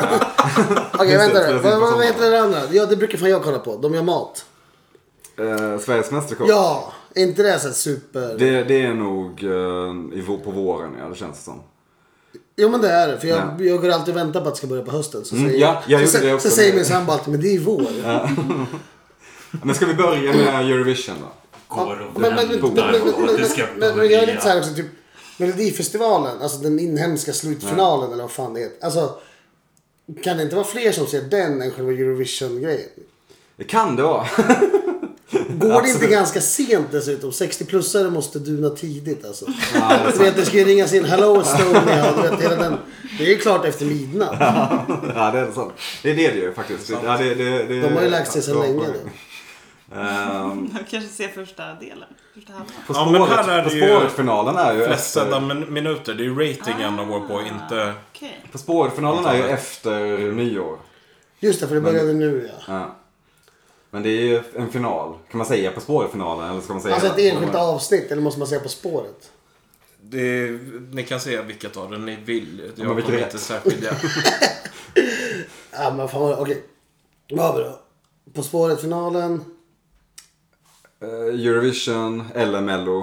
Okej, Just det, vänta. spelas in Vad, på vad sommaren. heter det andra? Ja, det brukar fan jag kolla på. De gör mat. Eh, Sveriges Mästerkock. Ja, är inte det så här super... Det, det är nog eh, i vår, på våren, ja det känns det som. Jo men det är det. För jag, Ja. jag går alltid och väntar på att det ska börja på hösten. Så Mm, säger, ja, jag så, gjorde det så, också. säger min sambo alltid, men det är ju vår. Men ska vi börja med Eurovision då? Går och Men, men, men, men, väntar men, på men, att det ska men, men, men jag är lite så här också, typ Melodifestivalen, alltså den inhemska slutfinalen eller vad fan det heter. Alltså, kan det inte vara fler som ser den än själva Eurovision-grejen? Det kan det vara. Går det inte Absolut. ganska sent dessutom? 60-plussare måste duna tidigt alltså. Ja, det är Du vet, det ska ju ringas in Hello Estonia och du vet, hela den. Det är ju klart efter midnatt. *laughs* ja, det är sant. Det, det är det ju faktiskt. Ja, det, det, det, De har ju lagt sig sedan ja, länge ja. nu. Ehm, De kanske ser första delen. Första halvan. på Ja, spåret, men här är på det ju spåret-finalen är ju Flest efter, sedda min- minuter, det är ju Ah. ratingen de går på, inte... Okej. På spåret-finalen är ju efter nyår. Just det, för det började nu ja. Ja. Men det är ju en final. Kan man säga På spåret-finalen eller ska man säga Eh, Alltså ett hela- enskilt avsnitt, eller måste man säga På spåret? Det, ni kan säga vilket av det ni vill. Jag men vilket kommer är inte särskilja. Ja men fan vad- okej. Vad har vi då? På spåret-finalen. Eh, Eurovision eller Mello.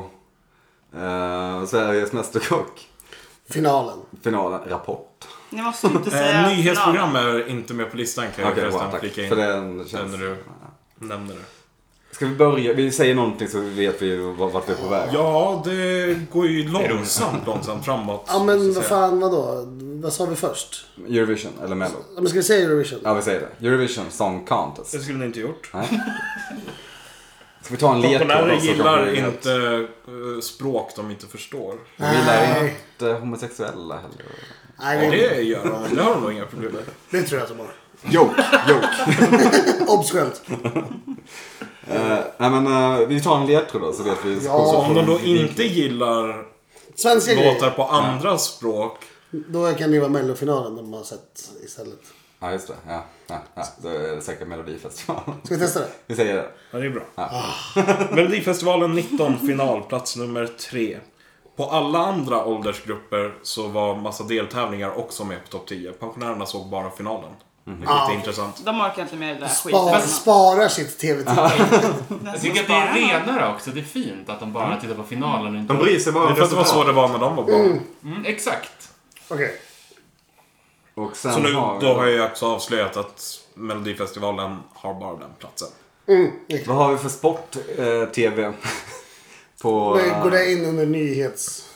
Eh, Sveriges Mästerkock. Finalen. Finalen. Rapport. Ni måste ju inte säga... Eh, nyhetsprogram är inte med på listan kan jag Okej, bra, förresten tack. flika För in. den Sen känns... när du nämner det. Ska vi börja? Vi säger någonting så vet vi vart vart vi är på väg. Ja, det går ju långsamt, långsamt framåt. Ja måste men jag vad säga. fan vadå? vad sa vi först? Eurovision eller Mello. Ja, Men ska vi säga Eurovision? Ja, vi säger det. Eurovision Song Contest. Det skulle ni inte gjort. Ska vi ta en lek? på Pensionärer dem så kanske gillar vi vet. inte eh, språk de inte förstår. Vi gillar inte homosexuella heller. Nej, det, Det gör de. Det har de nog inga problem med. det tror jag att de har. Joke, joke. Obs skämt. *laughs* Eh, nej men eh, vi tar en ledtråd då så vet vi. Ja. Så om de då Mm. inte gillar Svenska låtar grejer. på andra språk. Då kan det ju vara Mellofinalen de har sett istället. Ja just det. Ja, ja, ja. Då är det säkert Melodifestivalen. Ska vi testa det? *laughs* Vi säger det. Ja, det är bra. *laughs* Melodifestivalen 19, finalplats nummer 3. På alla andra åldersgrupper så var massa deltävlingar också med på topp 10. Pensionärerna såg bara finalen. Vilket är Ah. intressant. De orkar inte med det där Spar, skiten. sparar sitt tv-tittande. Jag tycker att det är renare också. Det är fint att de bara Mm. tittar på finalen och inte... De bryr sig bara Det om är för att det var så resultat. det var när de var barn. Mm, exakt. Okej. Och sen Så nu har vi, då har jag också avslöjat att Melodifestivalen har bara den platsen. Vad har vi för sport-tv? *laughs* på... Men Går eh, det in under nyhets...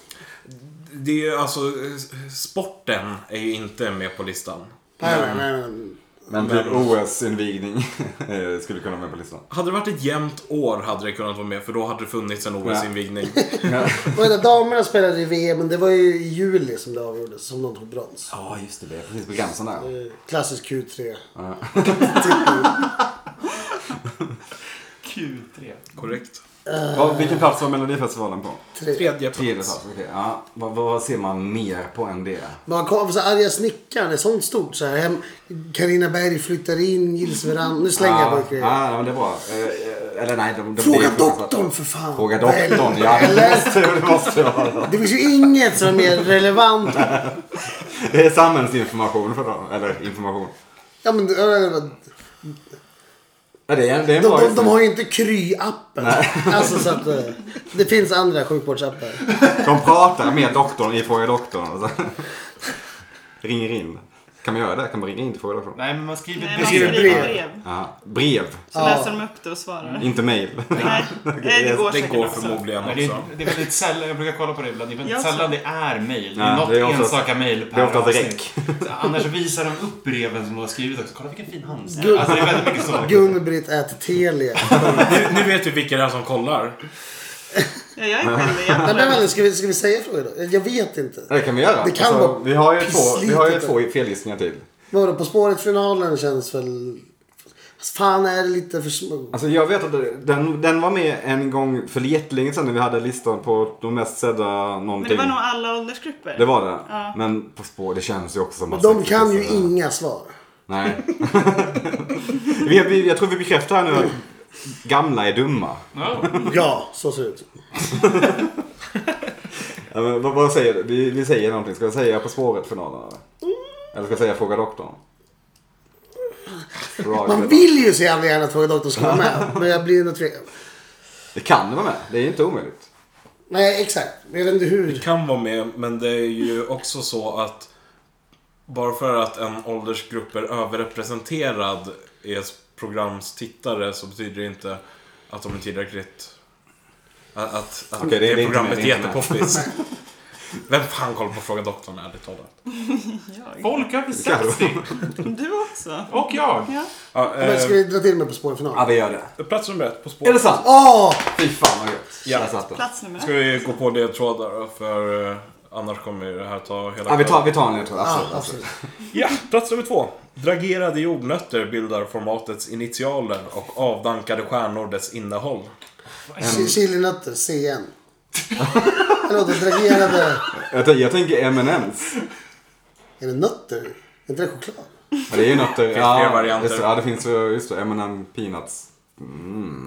Det är ju alltså, eh, sporten är ju inte med på listan. Nej, nej, nej. nej. men typ OS-invigning *laughs* eh, skulle kunna vara med på listan. Hade det varit ett jämnt år hade det kunnat vara med för då hade det funnits en OS-invigning. Och det, damerna spelade i VM, men det var ju i juli som det avgjordes, som de tog brons. Ja just det, det är precis på gränsen där. Eh, Klassisk Q3. Q3. Korrekt. Vad- vilken plats var Melodifestivalen på? Tredje Tredje plats. plats, okej. Ja, vad, vad ser man mer på än det? Man kom, så arga snickaren, det är sånt stort. Så här, hem, Carina Berg flyttar in, Gills Verand. Nu slänger jag Ja, bara grejer. ja, men det är bra. Eh, eh, Eller nej, de, de, det Fråga är fruktansvärt. doktorn för fan. Fråga doktorn, ja. Det Eller? måste, det måste vara. Det finns ju inget som är mer relevant. Det är samhällsinformation för dem. Eller information. Ja, men, eh, de, Ja, det är, det är en bra de, de gissning. har ju inte Kry-appen. Alltså, så att, eh, det finns andra sjukvårdsappar. De pratar med doktorn i Fråga doktorn. Och så. *laughs* Ringer in. Kan man göra det? Kan man ringa in till Fråga doktorn? Nej, men man skriver Nej, brev. man skriver skriver brev. brev. Ja, brev, Så läser de upp det och svarar. inte mail. Nej, nej, det går Det säkert går också. förmodligen Men det, är, också. det är väldigt sällan, jag brukar kolla på det ibland, det är väldigt Jag sällan det är mejl. Det Nej, är något det är oftast- enstaka mejl per det är oftast avsnitt. räck. Så Annars visar de upp breven som de har skrivit också. Kolla vilken fin handstil. Gud. Alltså det är väldigt mycket så. Gun-Britt äter Telia. Nu, nu vet vi vilka det är som kollar. Ja, jag är skyldig. Nej, Jag *laughs* men, kollar. vänta, ska, vi, ska vi säga fråga då? Jag vet inte. Det kan vi göra. Alltså, Det kan vara vi har ju två, vi har ju pisslitet. två felgissningar till. Vadå, På spåret-finalen känns väl... Fast Fan är det lite för små. Alltså jag vet att den, den var med en gång för jättelänge sedan när vi hade listan på de mest sedda Men någonting. det var nog alla åldersgrupper. Det var det. Men På spår, det känns ju också som att... De kan ju inte. inga svar. Nej. *laughs* vi, vi, jag tror vi bekräftar här nu att gamla är dumma. Ja. Ja, så ser det ut. Ja, men vad, vad säger du? Vi, vi säger någonting. Ska vi säga På spåret-finalen? eller? Eller ska vi säga Fråga doktorn? Fråga Man doktorn. vill ju så jävla gärna att Fråga doktorn ska vara med. Men jag blir ändå tveksam. Det kan vara med. Det är inte omöjligt. Nej, exakt. Jag vet inte hur. Kan vara med, men det är ju också så att bara för att en åldersgrupp är överrepresenterad i ett programs tittare så betyder det inte att de är tillräckligt... Att, att, att Okej, det är det, inte programmet med, är det är inte med. jättepoppis. Vem fan kollar på Fråga Doktorn, ärligt talat? Folk över 60. Du också. Och jag. Ja. Ja, Men ska eh, vi dra till med På Ja, spåret-finalen? vi gör det. plats nummer ett, På Är det spåret. sant? Åh! Fy fan vad gött. Ja. Jag satt den. Plats nummer Ska ett. vi gå på ledtrådar då? för eh, annars kommer ju det här ta hela Ja, vi tar, kvällen. vi tar en ledtråd. Ja, Absolut. absolut. absolut. Ja, plats nummer två. Dragerade jordnötter bildar formatets initialer och avdankade stjärnor dess innehåll. Chi- Chilinötter, CN. Eller det dragerade... Jag, tänk- jag tänker M&M's. Är det nötter? Är inte det choklad? Ja, det är ju något... Finns fler varianter. Just, det. ja, det finns ju... Just det, M&M Peanuts.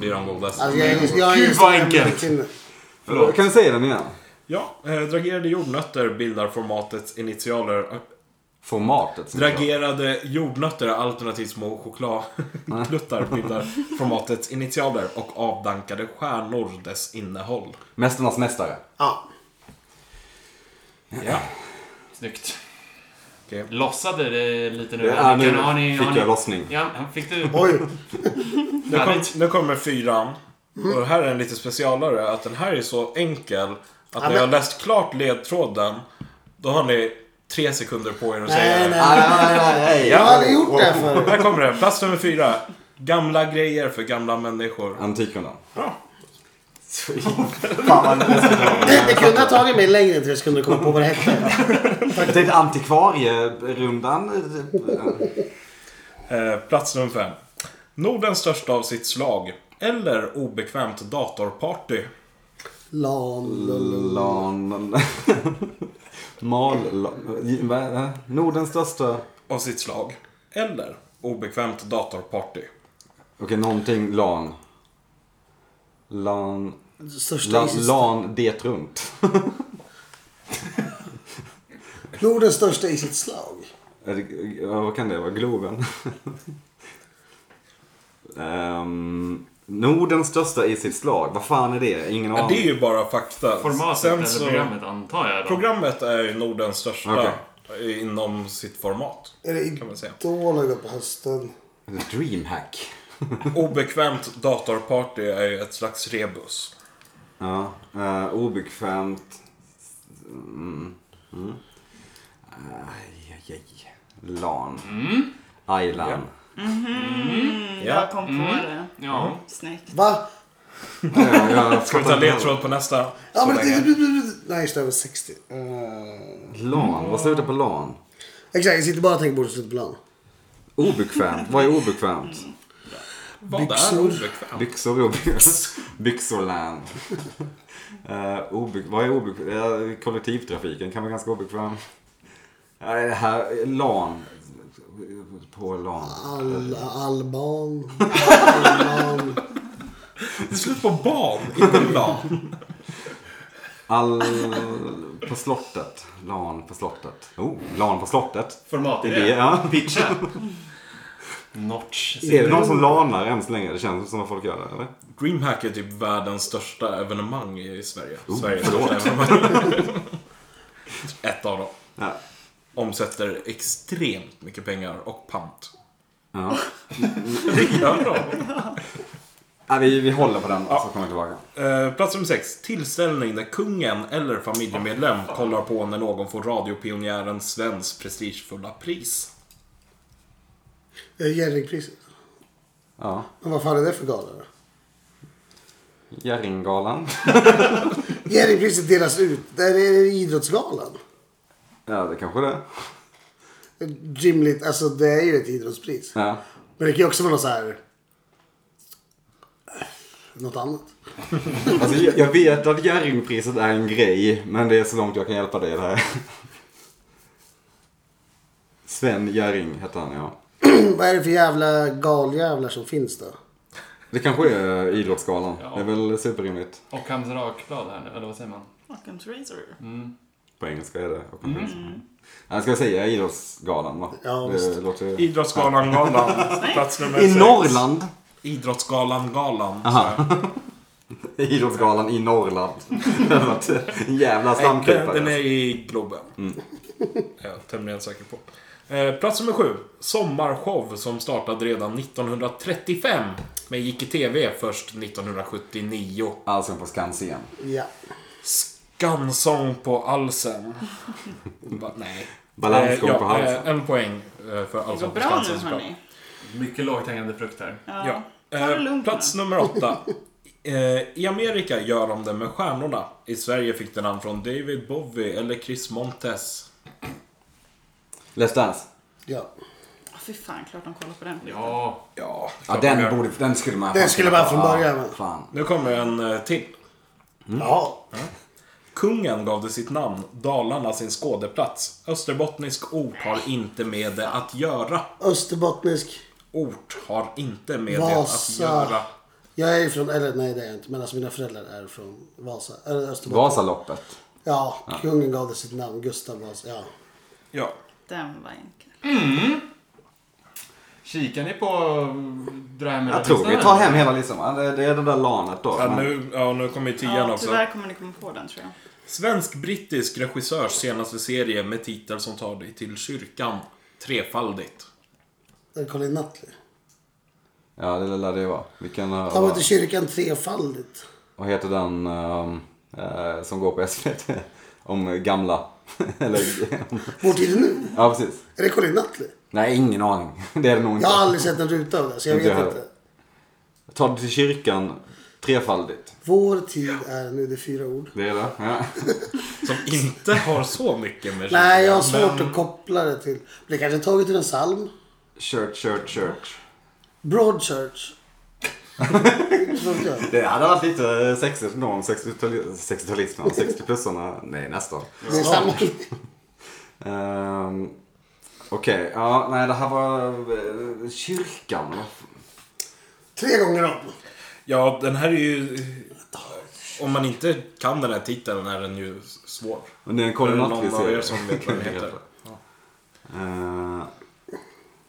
Det är de godaste. Alltså, jag, är- jag är Gud, vad jag är- enkelt. Förlåt. Kan vi säga den igen? Ja, eh, dragerade jordnötter bildar formatets initialer. Formatet. som Dragerade jordnötter alternativt små chokladkluttar bildar formatets initialer och avdankade stjärnor dess innehåll. jag- Mästarnas mästare. Ja. Ja. Snyggt. Okej. Lossade det lite nu? Det är nu Kan- har ni- har fick ni- jag lossning. Ja, fick du? Oj. Nu, kom, Härligt. nu kommer fyran. Och här är en lite specialare. Att den här är så enkel. Att när men- jag har läst klart ledtråden. Då har ni tre sekunder på er att säga Nej, nej, det. nej. nej, nej, nej. Jag har aldrig gjort det förr. Här kommer det. Plats nummer fyra. Gamla grejer för gamla människor. Antikorna. Bra. Fan vad läskigt. Det, det kunde ha tagit mig längre till jag skulle komma på vad det hette. Jag tänkte antikvarierundan. Eh, plats nummer fem. Nordens största av sitt slag. Eller obekvämt datorparty. Lan. Lan... Mal... lan- vad- Nordens största... Av sitt slag. Eller obekvämt datorparty. Okej, någonting lan. Lan... Största Lan, isis. lan det runt. Nordens största i sitt slag. Är det- ja, Vad kan det *laughs* vara? Globen? Ehm, Nordens största i sitt slag. Vad fan är det? Ingen Ja, det är aning. ju bara fakta. Formatet Sen eller så- programmet antar jag då. Programmet är ju Nordens största inom sitt format. Är det Kan man säga. Idol har gått på hösten? Dreamhack. Obekvämt datorparty är ju ett slags rebus. Ja, eh, obekvämt. Mm. Mm. Aj, aj, aj. Lan. Mm. Island. Jag kom på det. Mm. Ja. Snyggt. Va? Ja, jag Ska vi ta fattar inte. ledtråd på nästa? Ja, så men det, länge? nej, just det, över 60. Eh, Lan. Vad slutar på lan? exakt, jag sitter bara och tänker på det som slutar på lan. Obekvämt. Vad är obekvämt? Vad är byxor. obekvämt? Byxor är obekvämt. Byxorland. Uh, obe, vad är obekvämt? Uh, kollektivtrafiken kan vara ganska obekväm. Eh, det här, lan. På lan. Al, Alban. Alban. *laughs* Det är slut på barn, inte lan. All... På slottet. Lan på slottet. Oh, lan på slottet. Format Det är det, ja. *laughs* *laughs* Pitcha. Notch. Är det någon som lanar än så länge? Det känns som att folk gör det, eller? Dreamhack är typ världens största evenemang i Sverige. Oh, Sveriges förlåt. största evenemang. *laughs* Ett av dem. Ja. Omsätter extremt mycket pengar och pant. ja. Det gör de. Nej, vi, vi håller på den och så kommer vi tillbaka. Eh, Plats nummer sex. Tillställning där kungen eller familjemedlem kollar på när någon får radiopionjären Svens prestigefulla pris. Eh, Jerringpriset. Ja. Men vad fan är det för gala då? Jerringgalan. Jerringpriset delas ut. Där är det idrottsgalan. Ja, det kanske det är. Gymligt, alltså det är ju ett idrottspris. Ja. Men det kan ju också vara något så här... Något annat. *clears throat* Alltså, jag jag vet att Jerringpriset är en grej, men det är så långt jag kan hjälpa dig i det här. Sven Jerring hette han, ja. Vad är det för jävla galjävlar som finns då? Det kanske är Idrottsgalan. Ja. Det är väl superrimligt. Och Hamza Rakblad här nu, eller vad säger man? Occam's razor. På engelska är det. Och på svenska. Jag ska säga Idrottsgalan va? Ja, det visst. låter... I, Idrottsgalan Galan. Plats nummer sex. Norrland! Idrottsgalan Galan. Idrottsgalan i Norrland. *laughs* Det hade varit en jävla alltså. Nej, Den, stamklippare. den är i Globen. Jag är tämligen säker på. Eh, plats nummer sju. Sommarshow som startade redan 1935. Men gick i TV först 1979. Allsång på Skansen. Ja. Skansång på Alsen. Va, nej. Balansgång ja, på halsen. eh, En poäng eh, för Det går Allsång på bra Skansen. nu såklart. hörni. Mycket lågt hängande frukt här. Ja. Eh, Ta det lugnt plats nu. nummer åtta. Eh, I Amerika gör de det med stjärnorna. I Sverige fick den namn från David Bowie eller Chris Montes. Let's Dance. ja. Ah, Fy fan, klart de kollar på den skiten. Ja. Ja, Ja, den, borde, den skulle man... Den skulle man från början, Ja, va? fan. Nu kommer en eh, till. Mm. Ja. Kungen gav det sitt namn, Dalarna sin skådeplats. Österbottnisk ort har inte med det att göra. Österbottnisk. Ort har inte med Vasa. det att göra. Jag är ju från, eller nej det är jag inte, men alltså mina föräldrar är från Vasa. Eller Österbotten. Vasaloppet. Ja, kungen gav det sitt namn, Gustav Vasa. Ja. Ja. Den var enkel. Kikar ni på det här med Jag tror vi listan, tar eller? hem hela listan va? Det, det är det där lanet då. Ja, Men- nu, ja, nu kommer ju tian Ja, också. tyvärr kommer ni komma på den tror jag. Svensk-brittisk regissörs senaste serie med titel som tar dig till kyrkan. Trefaldigt. Är det Colin Nutley? Ja, det lär det ju vara. Vilken... eh, Han var till kyrkan trefaldigt. Vad heter den ehm, eh, som går på SVT? *laughs* om gamla. *laughs* Eller, Vår tid är nu. ja, precis. Är det Colin Nutley? Nej, ingen aning. *laughs* Det är det nog inte. Jag har aldrig sett en ruta av det, så jag Inte vet jag heller. inte. Ta det till kyrkan trefaldigt. Vår tid är nu, det är fyra ord. Det är det. Ja. *laughs* Som inte har så mycket med Nej, jag har kyrkan, svårt men- att koppla det till. Det kanske är taget ur en psalm. Church, church, church. *laughs* Broadchurch. Förstår jag. Det hade varit lite eh, sexigt ändå om 60-tali- *laughs* 60-talisterna, 60-plussarna. Nej, nästan. Det är samma. Ehm, Okej, ja, nej det här var eh, kyrkan. Vad f- Tre gånger om. Ja, den här är ju... Om man inte kan den här titeln är den ju svår. Men det är en Är det Colin någon Nutley av er serie. som vet *laughs* vad den *laughs* heter? Eh,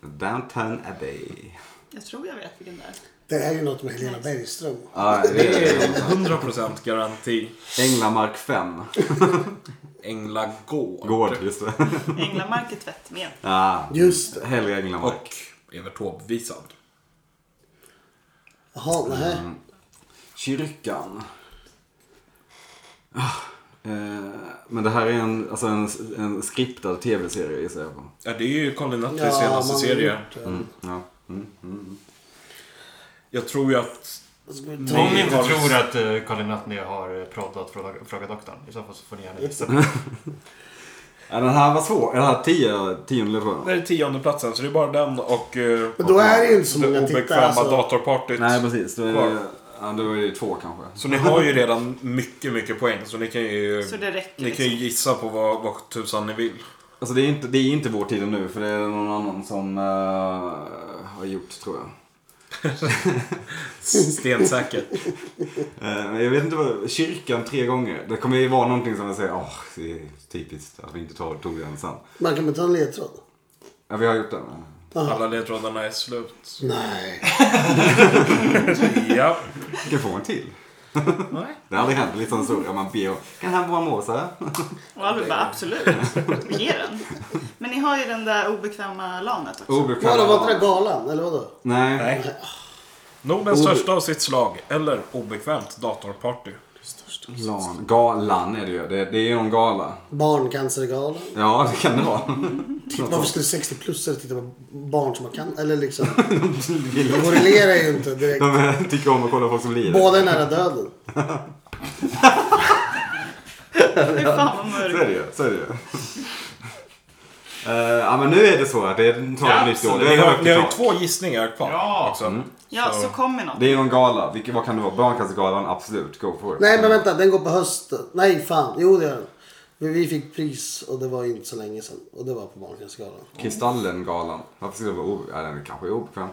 Downton Abbey. Jag tror jag vet vilken det är. Det här är ju något med Helena Bergström. Ja, Det det är är 100% garanti. Änglamark 5. Änglagård. Gård, just det. Änglamark är tvättmen. Ja, Just det. Hellre Änglamark. Och Evert Taube-visad. Jaha, Mm. nej. Kyrkan. Ah, eh, Men det här är en, alltså en, en skriptad tv-serie gissar jag på. Ja, det är ju Colin Nutleys Ja, senaste man har serie. gjort det. Ja. Jag tror ju att... Om ni Ni inte har- tror att eh, Colin Nutley har pratat Fråga, fråga doktorn. I så fall så får ni gärna gissa. Ja, Den här var svår. Den här tio, tionde tror Det jag. är tionde platsen så det är bara den och... eh, Men då är det ju inte så det många tittare. obekväma Alltså. datorpartyt. Nej precis. Då är det, ja, då är det två kanske. Så ni har ju redan mycket, mycket poäng. Så ni kan ju... Så det räcker. Ni kan ju Liksom. gissa på vad, vad tusan ni *laughs* vill. Alltså det är inte, det är inte vår tid nu för det är någon annan som eh, har gjort tror jag. Stensäkert. Eh, men jag vet inte vad, kyrkan tre gånger. Det kommer ju vara någonting som jag säger, åh, det är typiskt att vi inte tar, tog den sen. Man kan väl ta en ledtråd? Ja, vi har gjort den. Alla ledtrådarna är slut. Nej. Ja. Vi kan få en till. Nej. Det har aldrig hänt, lite sån historia. Man ber om, kan han vara måsa? Och Albert bara absolut, ge den. Men ni har ju den där obekväma lanet också. Obekväm. Vadå, var inte det galan? Eller vadå? Nej. Nej. Nordens Obe- största av sitt slag. Eller obekvämt datorparty. Lan. Galan är det ju. Det, det är ju en gala. Barncancergalan? Ja, det kan det vara. *laughs* Varför skulle 60-plussare titta på barn som har cancer? Eller liksom. *laughs* Det korrelerar ju inte direkt. De tycker om att kolla på folk som lider. Båda är nära döden. Fy fan vad Så är mörkt. det ju. Så är det ju. Eh, ja, men nu är det så att det är- tar Ja, ett nytt år. absolut. Det Ni är har, högt ni i har ju tak. två gissningar kvar. Ja. också. Ja, så kommer något. Det är ju en gala. Vilket, vad kan det vara? Barncancergalan? Absolut. Go for it. Nej men vänta, den går på hösten. Nej fan, jo det gör den. Men Vi fick pris och det var ju inte så länge sedan. Och det var på Barncancergalan. Kristallengalan. Varför skulle det vara o... Ja, den kanske är obekväm.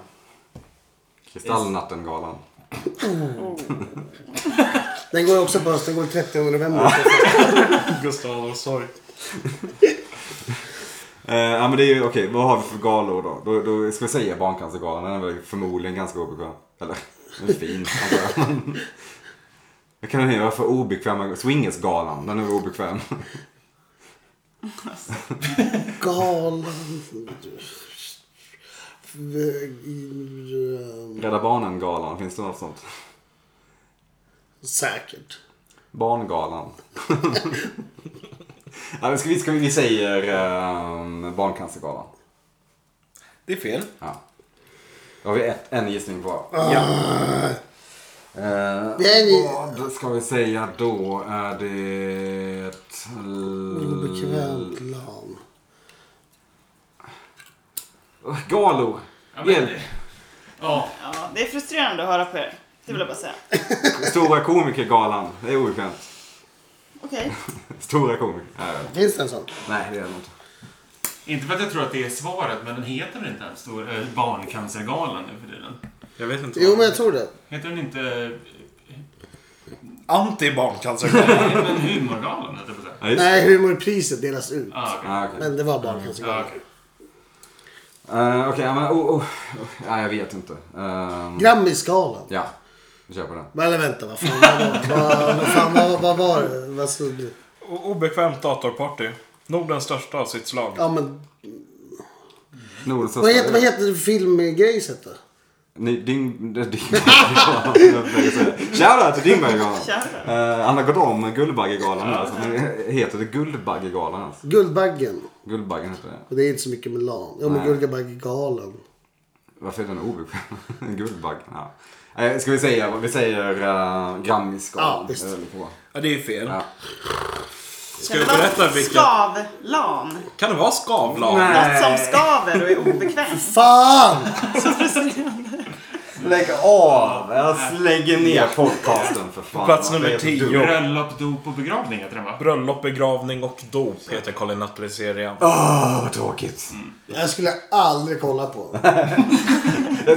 Kristallnattengalan. Den går ju också på hösten, den går 30 november. Gustav Adolfsson. Eh, ja men det är ju, okej vad har vi för galor då? Då, då ska vi säga Barncancergalan, den är väl förmodligen ganska obekväm. Eller, *laughs* den är fin antar jag. *laughs* Vad kan den heta för obekväma, Swingersgalan, den är väl obekväm. *laughs* Galan. Rädda Barnen-galan, finns det något sånt? Säkert. *laughs* Barngalan. ja, men ska vi, ska vi, vi säger eh, Barncancergalan. Det är fel. Ja. Då har vi ett, en gissning kvar. Ja. Eh, Det är ni- Vad ska vi säga då? Är det... Obekvämt lam. Galor! Ja, men- Hjälp! Ja. Ja, det är frustrerande att höra på er. Det vill jag bara säga. Stora komikergalan. Det är obekvämt. Okej. Stora komiker. Eh, Finns det en sån? Nej, det är det inte. Inte för att jag tror att det är svaret, men den heter väl inte ens stor, eh, Barncancergalan nu för tiden? Jag vet inte. Jo men jag tror det. Heter den inte... eh, *laughs* Anti-barncancer. Nej, eh, men Humorgalan heter det på Ja, just det. Nej, humorpriset delas ut. ah, okej. Ah, okej. Men det var Ah, Barncancergalan. okej. Eh, Okej, ja, men... Oh, oh, oh. Ja, jag vet inte. Ehm, Grammisgalan. ja, vi kör på den. Men eller vänta, vad fan vad var det? Vad, vad, fan, vad, vad var det? Vad stod det? Obekvämt datorparty. Nordens största av sitt slag. Ja men Nordens vad heter, vad största- heter filmgrejset då? Ni, ding, ding, Shoutout till Dingbaggegalan. Shoutout. Eh, han har gått om Guldbaggegalan nu. Alltså. Men Heter det Guldbaggegalan? Alltså? Guldbaggen. Guldbaggen heter det. Och det är inte så mycket Milan. Ja, men Nej. Guldbaggegalan. Varför är den obekväm? En Guldbagge? Ja. Eh, Ska vi säga, vi säger uh, Grammisgalan. Ja, visst. eller på. Ja, det är fel. Ja. Ska jag berätta vilket? Skavlan. Kan det vara Skavlan? Nej. Något som skaver och är obekvämt. *laughs* Fan! Lägg av! Jag slänger ner podcasten för fan. Plats nummer Det är så 10. dumt. Bröllop, dop och begravning heter den va? Bröllop, begravning och dop heter Colin Nutley serien. Åh, vad tråkigt. Jag skulle aldrig kolla på.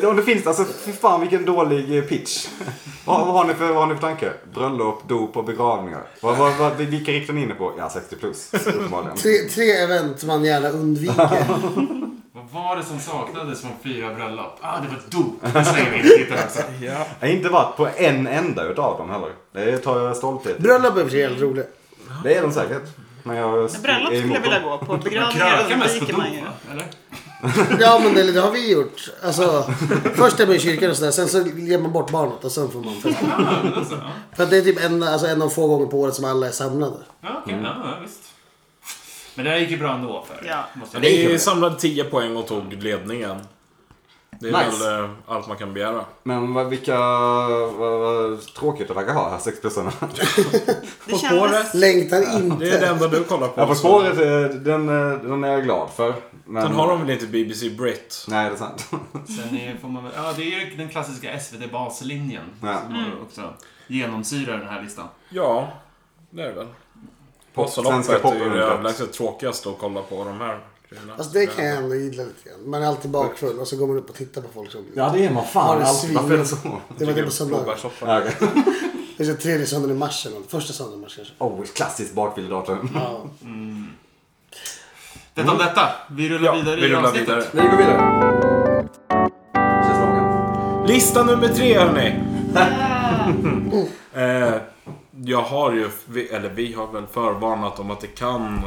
Om det finns, alltså fy fan vilken dålig eh, pitch. *laughs* vad, vad, har ni för, vad har ni för tanke? Bröllop, dop och begravningar. Vad, vad, vad, vilka riktar ni in er på? Ja, 60 plus *laughs* uppenbarligen. Tre, tre event man gärna undviker. *laughs* Vad var det som saknades från fyra bröllop? Ah, det var dop. Det slänger vi in i titeln också. Ja. Jag har inte varit på en enda utav dem heller. Det tar jag stolthet i. Bröllop är för sig helt roligt. Det är de säkert. Men jag Bröllop skulle jag vilja gå på. Man Begravningar krökar mest på undviker dop man ju. va? Eller? Ja, men det, det har vi gjort. Alltså, först är man i kyrkan och sådär. Sen så ger man bort barnet och sen får man festa. Ja, men alltså, ja. För att det är typ en, alltså, en av få gånger på året som alla är samlade. Ja, Mm. okej. Ja, ja, visst. Men det här gick ju bra ändå för er, Ja. måste jag säga. Vi samlade 10 poäng och tog ledningen. Det är Nice. väl eh, allt man kan begära. Men vad, vilka... Vad, vad tråkigt det verkar ha här, *laughs* 60 plussarna. Det På kändes... spåret. Längtar inte. Det är det enda du kollar på. Ja, På spåret, eh, den, eh, den är jag glad för. Men... Sen har de väl inte BBC Brit? Nej, det är sant. Sen är, får man väl, ja, det är ju den klassiska SVT-baslinjen Ja. som Mm. har också genomsyrar den här listan. Ja, det är det väl. Pop- Vasaloppet svenska är ju det popundret. överlägset tråkigaste att kolla på de här grejerna. Alltså det kan jag ändå gilla lite grann. Man är alltid bakfull och så går man upp och tittar på folk som... Ja, det är man Har fan det alltid. Varför är det så? Det var det på söndagen. Blåbärssoppa. Ja, okej. Det är så tredje söndagen i mars eller något. Första söndagen i mars kanske. *laughs* Oh, klassiskt bakfylledatum. *laughs* Ja. Detta om detta. Vi rullar Mm. Ja, vidare vi i rullar avsnittet. vidare. Vi går vidare. Känns lagen. Lista nummer tre *laughs* hörni. *laughs* eh, jag har ju, vi- eller vi har väl förvarnat om att det kan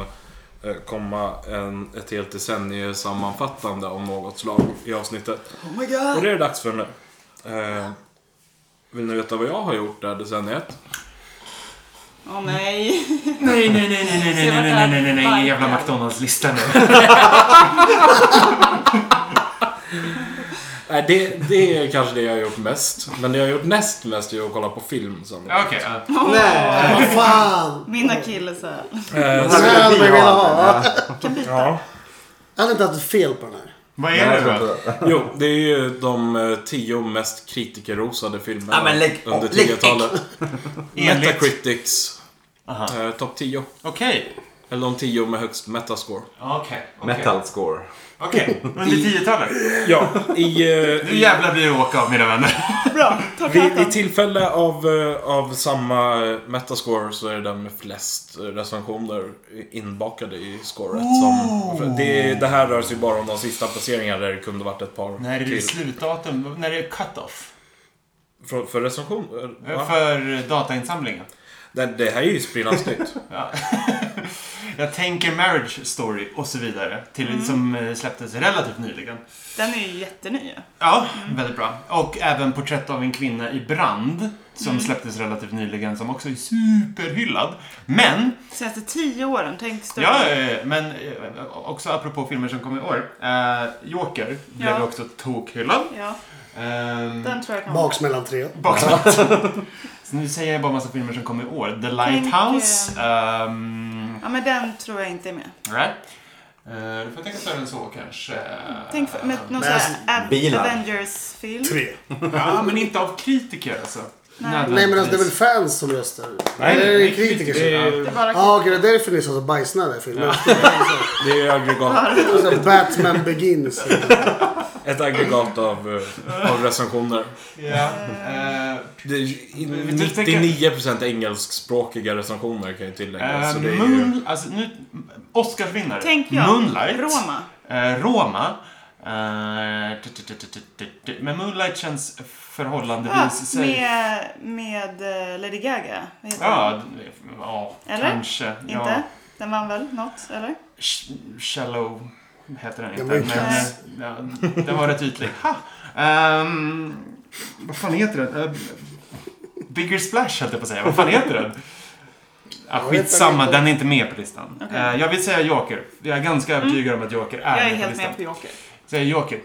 eh, komma en, ett helt decennium sammanfattande om något slag i avsnittet. Oh my Och god. det är det dags för nu. Eh, vill ni veta vad jag har gjort det här decenniet? Åh nej. Nej, nej, nej, nej, nej, nej, vart nej, det här nej, nej, nej, nej, barkar. jävla McDonalds-lista nu. Nej, Eh, det, det är kanske det jag har gjort mest. Men det jag har gjort näst mest är att kolla på film. Sen. *laughs* Ja, Okej, ja. Nej! Vad fan! Mina killesöl. Det Det här hade man ju velat ha. Kan byta. Ja. Jag hade inte haft fel på den här. Vad är det då? Jo, det är ju de eh, tio mest kritikerrosade filmerna Ja, men lägg- under lägg- 10-talet. *laughs* Enligt- Metacritics. Eh, Topp 10. Okej. Eller de 10 med högst metascore. Okej. okej. Metal score. Okej, under 10-talet. Ja, i, eh, *laughs* Nu jävlar blir det åka av mina vänner. Bra, ta vid, vid kartan. tillfälle av, eh, av samma eh, metascore så är det den med flest eh, recensioner inbakade i scoret. Som, för det, det här rör sig bara om de sista placeringarna där det kunde varit ett par När är det till. slutdatum? När är det cut-off? För, för recension? eh, va? För datainsamlingen? Det, det här är ju sprillans nytt. Ja. Jag tänker Marriage Story och så vidare. Till, Som eh, släpptes relativt nyligen. Den är ju jätteny. Ja, väldigt bra. Och även Porträtt av en kvinna i brand. Som släpptes relativt nyligen. Som också är superhyllad. Men, Senaste tio åren, tänk större. ja, eh, men eh, också apropå filmer som kom i år. Eh, Joker blev Ja. också tokhyllad. Ja, Ehm, den tror jag kan Baksmällan tre. *laughs* Baksmält. Så nu säger jag bara massa filmer som kom i år. The Lighthouse. ehm, Ja, men den tror jag inte är med. right. Eh, du får tänka större än så kanske. Tänk för, med någon Men sån alltså, här Av- bilar. Avengers-film. Tre. Ja, men inte av kritiker alltså. Nej. Nej men alltså det är väl fans som röstar? Nej, det är det det är kritiker som... Det Ja är, Det bara ah, okej det är därför ni är så bajsnödiga i filmen. det är aggregat, Och så Batman Begins. ett aggregat av, eh, av recensioner. Ja. eh, Det är Men du tänker- 99% engelskspråkiga recensioner kan ju tilläggas. eh, så det är ju... Moon, alltså nu, Oscarsvinnare. Tänk jag. Moonlight. Roma. eh, Roma. Eh, tut, tut, tut, tut, tut, tut. Men Moonlight känns förhållandevis Ja, safe. med, med eh, Lady Gaga. Vad heter den? Ja, d- ja Eller? kanske. Ja. Inte? Den vann väl något, eller? Sh- Shallow heter den Den var inte. ju men, kass. eh, ja, den var rätt ytlig. Ha! Ehm, vad fan heter den? Eh, Bigger Splash höll jag på att säga. Vad fan heter den? Ah, skitsamma, den är inte med på listan. Okej. Mm. Eh, jag vill säga Joker. Jag är ganska övertygad om att Joker är, Jag är med på helt listan. med på Joker. Säg Joker.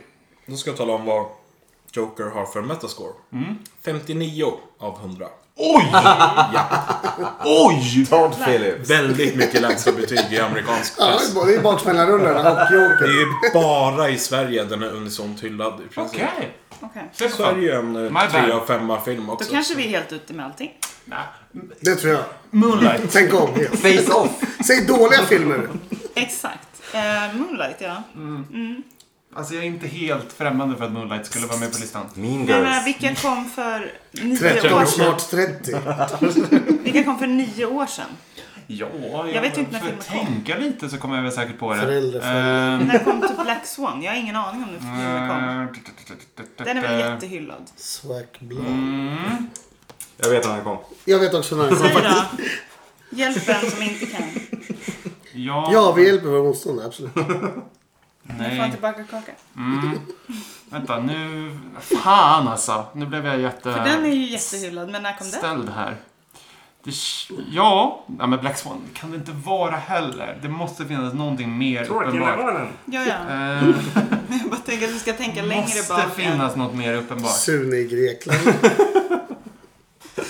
Då ska jag tala om vad Joker har för metascore. Mm. 59 av 100. Oj! Ja, Oj! Todd Phillips. väldigt mycket lägsta betyg i amerikansk Ja, det press. är både i baksmällarrullarna och Det Joker. är bara i Sverige den är unisont hyllad i princip. Okej. Okej. Se på fan. Sverige är en My eh, tre bad. av femma film Då också. kanske vi är helt ute med allting. Nej. Det tror jag. Moonlight. Tänk om helt. Face off! Säg dåliga filmer. Exakt. Eh, Moonlight, ja. Mm. Alltså jag är inte helt främmande för att Moonlight skulle vara med på listan. Mean Men Jag menar, Girls. vilka kom för nio 30 år och sedan? snart 30. Vilka kom för nio år sedan? Ja, Jag vet ju inte när får filmen kom. tänka lite så kommer jag väl säkert på det. Förälder, Ehm, eh, När kom till Black Swan? Jag har ingen aning om när Mm. filmen kom. Den är väl jättehyllad? Swack Blood. Mm. Jag vet när den kom. Jag vet också när den Säg kom. *laughs* då. Hjälp en som inte kan. Ja. Ja, vi hjälper våra motståndare. Absolut. Nu får han Nej. tillbaka kakan. Mm. Vänta, nu... Fan alltså. Nu blev jag jätte... För den är ju jättehyllad, men när kom den? Ställd här. Det... Ja. ja, men Black Swan kan det inte vara heller. Det måste finnas någonting mer uppenbart. Tråkig Ja, ja. Ehm, Jag bara tänker att vi ska tänka längre måste bak. än- finnas något mer uppenbart. Sune i Grekland.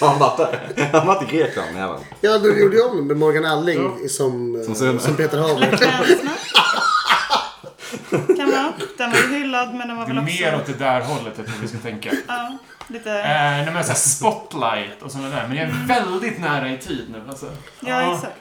Har *laughs* han varit där? Han har varit i Grekland, jäveln. Ja, du gjorde ju om den med Morgan Alling som, eh, Sune. som Peter Haber. Black Landsman. Kan vara. Den var ju hyllad, men den var Det väl är också... mer åt det där hållet jag tror vi ska tänka. Ja, Eh, lite... nej, men så här spotlight och sådana där. Men jag Mm. är väldigt nära i tid nu. Alltså. Ja, exakt.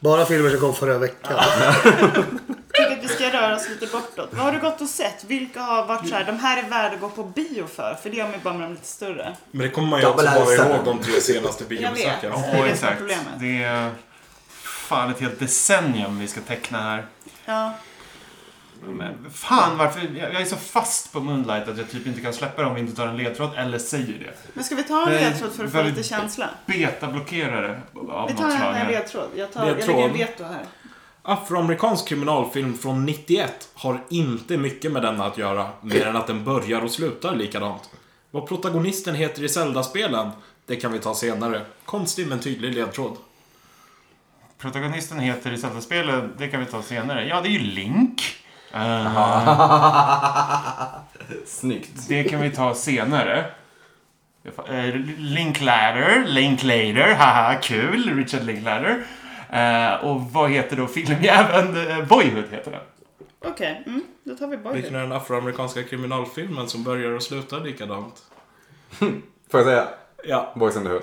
Bara filmer som kom förra veckan. Jag tycker att vi ska röra oss lite bortåt. Vad har du gått och sett? Vilka har varit så här, de här är värda att gå på bio för? För det gör man ju bara med de lite större. Men det kommer man ju också Double bara Alsa. ihåg de tre senaste Jag vet. biobesökarna. Ja. Ja, det exakt. problemet. Det är fan ett helt decennium vi ska teckna här. Ja, Men fan varför, jag jag är så fast på Moonlight att jag typ inte kan släppa det om vi inte tar en ledtråd eller säger det. men ska vi ta en Nej, ledtråd för att få väldigt- lite känsla? Betablockerare av Vi något slag. tar en här här. ledtråd. Jag, tar, jag Ledtråd. lägger en veto här. Afroamerikansk kriminalfilm från 91 har inte mycket med denna att göra, mer än att den börjar och slutar likadant. Vad protagonisten heter i Zelda-spelen, det kan vi ta senare. Konstig men tydlig ledtråd. Protagonisten heter i Zelda-spelet, det kan vi ta senare. Ja, det är ju Link. Eh, Snyggt. det kan vi ta senare. Jag fa- eh, Linklater, Linklater, haha kul, Richard Linklater. Eh, och vad heter då filmjäveln? Eh, Boyhood heter den. Okej, mm, då tar vi Vilken Boyhood. är den afroamerikanska kriminalfilmen som börjar och slutar likadant? Får jag säga? Ja, Boys in the Hood.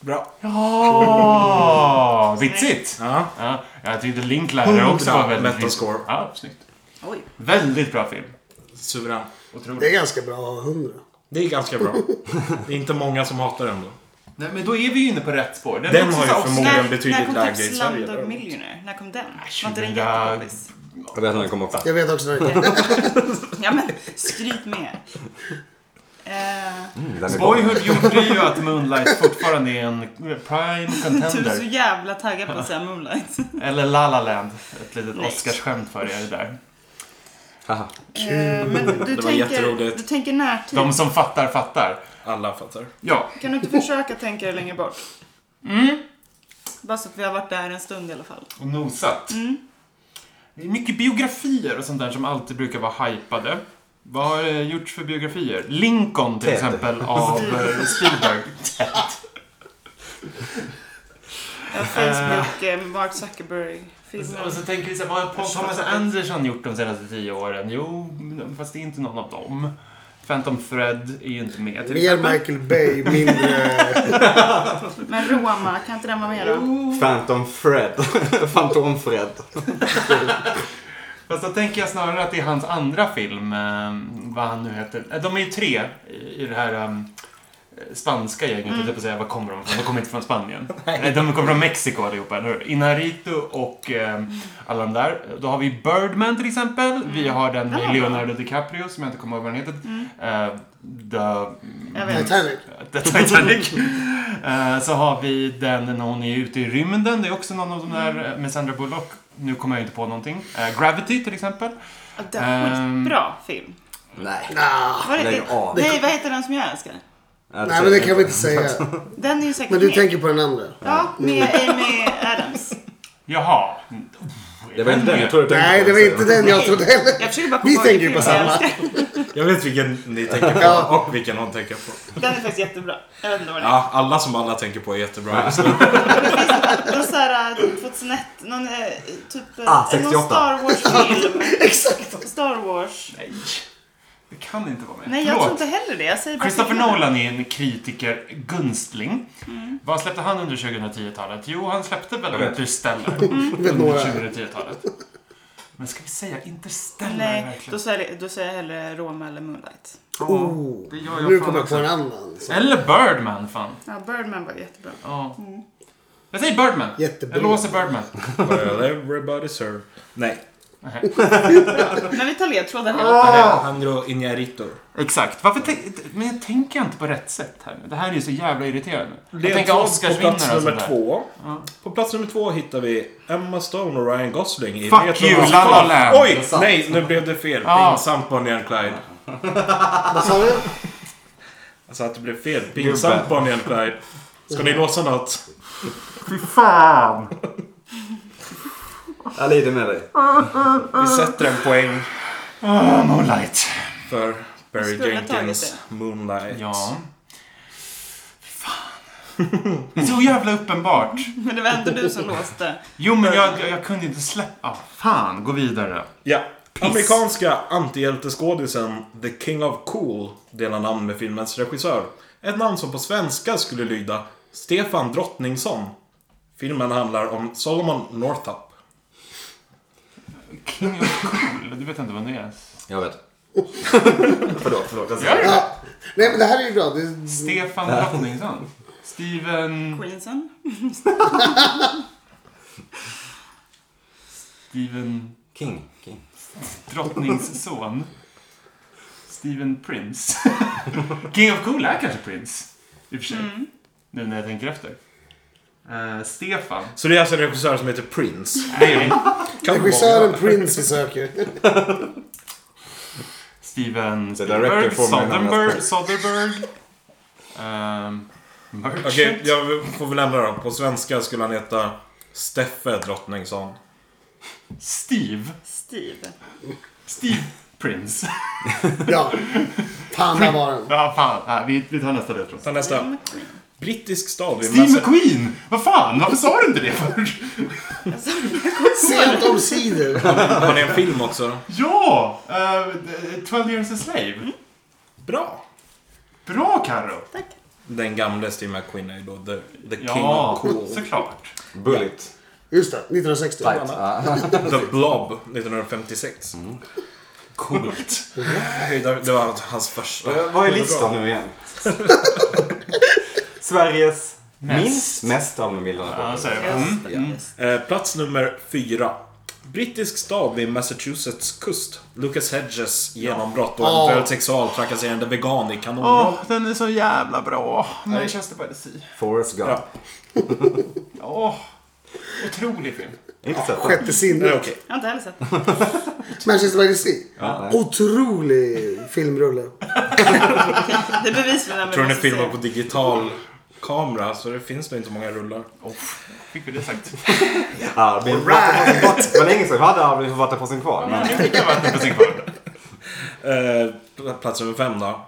bra. Ja, vitsigt! Ja. Ja, jag tyckte Linklater också var väldigt Metascore. vitsigt. Ja, snyggt. Oj. Väldigt bra film. Suverän. Otroligt. Det är ganska bra, 100. Det är ganska bra. Det är inte många som hatar den då. Nej, men då är vi ju inne på rätt spår. Den, Den är också har ju så här förmodligen- Oscar- Alltså, När, den betydligt när kom lägre i Tax Sverige Slumdog däremot. Millionaire? När kom den? Var inte den 2000 jättepoppis? Jag vet när den kom också. Jag vet också när den kom. *laughs* Ja men, skryt med. Eh, Mm, den är bra. Boyhood gjorde ju att Moonlight fortfarande är en prime *laughs* du är så contender. jävla taggad på att *laughs* säga Moonlight. Eller La La Land. Ett litet Nej. Oscarsskämt för er där. Haha. Eh, men du, var tänker, jätteroligt. du tänker närtid. De som fattar, fattar. Alla fattar. Ja. Kan du inte försöka tänka dig längre bort? Mm. Bara så att vi har varit där en stund i alla fall. Och nosat. Det är mycket biografier och sånt där som alltid brukar vara hypade. Vad har eh, gjorts för biografier? Lincoln till Ted. exempel av eh, Spielberg. Ted. Eh, Facebook, eh, Mark Zuckerberg-filmer. Och så tänker vi så här, vad har Paul Thomas Anderson gjort de senaste tio åren? Jo, fast det är inte någon av dem. Phantom Thread är ju inte med till Mer Michael Bay, mindre... Men Roma, kan inte den vara med då? *laughs* Phantom Fred. *laughs* Fantom Fred. Fast då tänker jag snarare att det är hans andra film, eh, vad han nu heter. Eh, De är ju tre i i det här eh, spanska gänget, mm. jag på säga. Var kommer de ifrån? De kommer inte från Spanien. Nej. De kommer från Mexiko allihopa, eller hur? Inarito och eh, alla de där. Då har vi Birdman till exempel. Vi har den Den var med bra. Leonardo DiCaprio, som jag inte kommer ihåg vad den heter. Eh, the... Jag vet. Titanic. The Titanic. Eh, så har vi den när hon är ute i rymden. Det är också någon av de där eh, med Sandra Bullock. Nu kommer jag inte på någonting. Eh, Gravity till exempel. Ja, Det är en skitbra film. Nej. Ah, Var det, Lägg av. nej, vad heter den som jag älskar? nej, men det kan vi inte säga. Den är ju säkert Men du med. tänker på den andra? Ja, med Amy Adams. Jaha. Det var inte den jag trodde du tänkte Nej, på. det var inte den jag trodde heller. Jag försöker bara Vi komma tänker ihåg ju på vilken jag samma. älskar. Jag vet vilken ni tänker på Ja. och vilken hon tänker på. Den är faktiskt jättebra. Jag vet inte vad den är. Ja, alla som alla tänker på är jättebra just nu. Någon så här eh, 2001, någon eh, typ... eh, Ah, Någon 68. Star Wars-film. *laughs* Exakt. Star Wars. Nej. Det kan inte vara med. Nej, jag Förlåt. tror inte heller det. Mm. Jag säger bara Christopher filmen. Nolan är en kritiker-gunstling. Vad släppte han under 2010-talet? Jo, han släppte Jag väl vet. Interstellar Vet under några. 2010-talet. Men ska vi säga Interstellar Nej, då verkligen? säger, jag- då säger jag hellre Roma eller Moonlight. Ja, Oh, det gör jag nu fan kommer jag på också. en annan. Så. Eller Birdman, fan. Ja, Birdman var jättebra. Ja. Mm. Jag säger Birdman. Jättebra. Jag låser Birdman. Well, everybody serve. Nej. Men vi tar ledtråden här. Ah! Alejandro Iñárritu. Exakt. Varför tänk- men jag tänker inte på rätt sätt här nu. Det här är ju så jävla irriterande. Jag Ledtråd tänker Oscarsvinnare på och plats sånt nummer där. två. På plats nummer två hittar vi Emma Stone och Ryan Gosling i Fuck Metro- you, La La Land. Ah. Oj! Nej, nu blev det fel. Ja. Pinsamt Bonnie and Clyde. Vad sa du? Alltså att det blev fel. Pinsamt Bonnie and Clyde. Ska ni låsa något? Fy fan! Jag lider med dig. Vi sätter en poäng Ah, Moonlight. för Barry Skulle ha tagit Jenkins Moonlight. Ja. Fan. *laughs* Det är så jävla uppenbart. Men det var ändå du som låste. Jo, men jag, jag, jag kunde inte släppa... Ah, fan, gå vidare. Ja. Amerikanska antihjälteskådisen The King of Cool delar namn med filmens regissör. Ett namn som på svenska skulle lyda Stefan Drottningsson. Filmen handlar om Solomon Northup. King of cool. Du vet inte vem det är? Jag *laughs* vet. förlåt, förlåt. Jag Gör säger. du det? Nej, men det här är ju bra. Det, Stefan Drottningsson? Steven... Queensen. Steven King. King. Drottningsson? Steven Prince? *laughs* King of cool är kanske Prince. I och för sig. Nu när jag tänker efter. Eh, Stefan. Så det är alltså en regissör som heter Prince. Nej. Kan regissören Prince vi söker. Steven The director Spielberg, får mig nämnas Soderbergh, på. Soderbergh. Um, Merchant. Okej, jag får väl ändra då. På svenska skulle han heta Steffe Drottningsson. Steve. Steve. Steve Prince. *laughs* Ja. Panda var den. Ja, fan. Nej, vi, vi tar nästa ledtråd. Ta nästa. Brittisk stad vid Steve Massa- McQueen! Vad fan, varför sa du inte det först? *laughs* Sent omsider. Har ni en film också? Ja! eh, 12 years a slave. Bra! Bra, Carro! Den gamle Steve McQueen är ju då the, the king Ja, of cool. såklart. Bullet. Just det, 1960. Fight. Ja. The Blob 1956. Mm. Coolt. Höjdare- Det var alltså hans första. Eh, Vad är listan nu igen? Sveriges Mest. minst mest allmänbildade Ja, folk. så är det. Mm. Eh, plats nummer fyra. Brittisk stad vid Massachusetts kust. Lucas Hedges genombrott och Ja. eventuell sexualtrakasserande vegan i kanonrån. Åh, den är så jävla bra. Manchester by the Sea. Forrest Gump. Ja. Åh, otrolig film. Inte sett den. Sjätte sinnet. Eh, Okej. Jag har inte heller sett den. Manchester by the Sea. Ja, nej. Otrolig filmrulle. Det är bevis för den. Jag tror den är filmad på digital kamera så det finns nog inte många rullar. Fick vi det sagt? Albin. Det var länge sedan vi hade Albin för vatten på sin kvar. Men Nu fick *laughs* jag vatten på sin kvar. Eh, plats nummer fem då.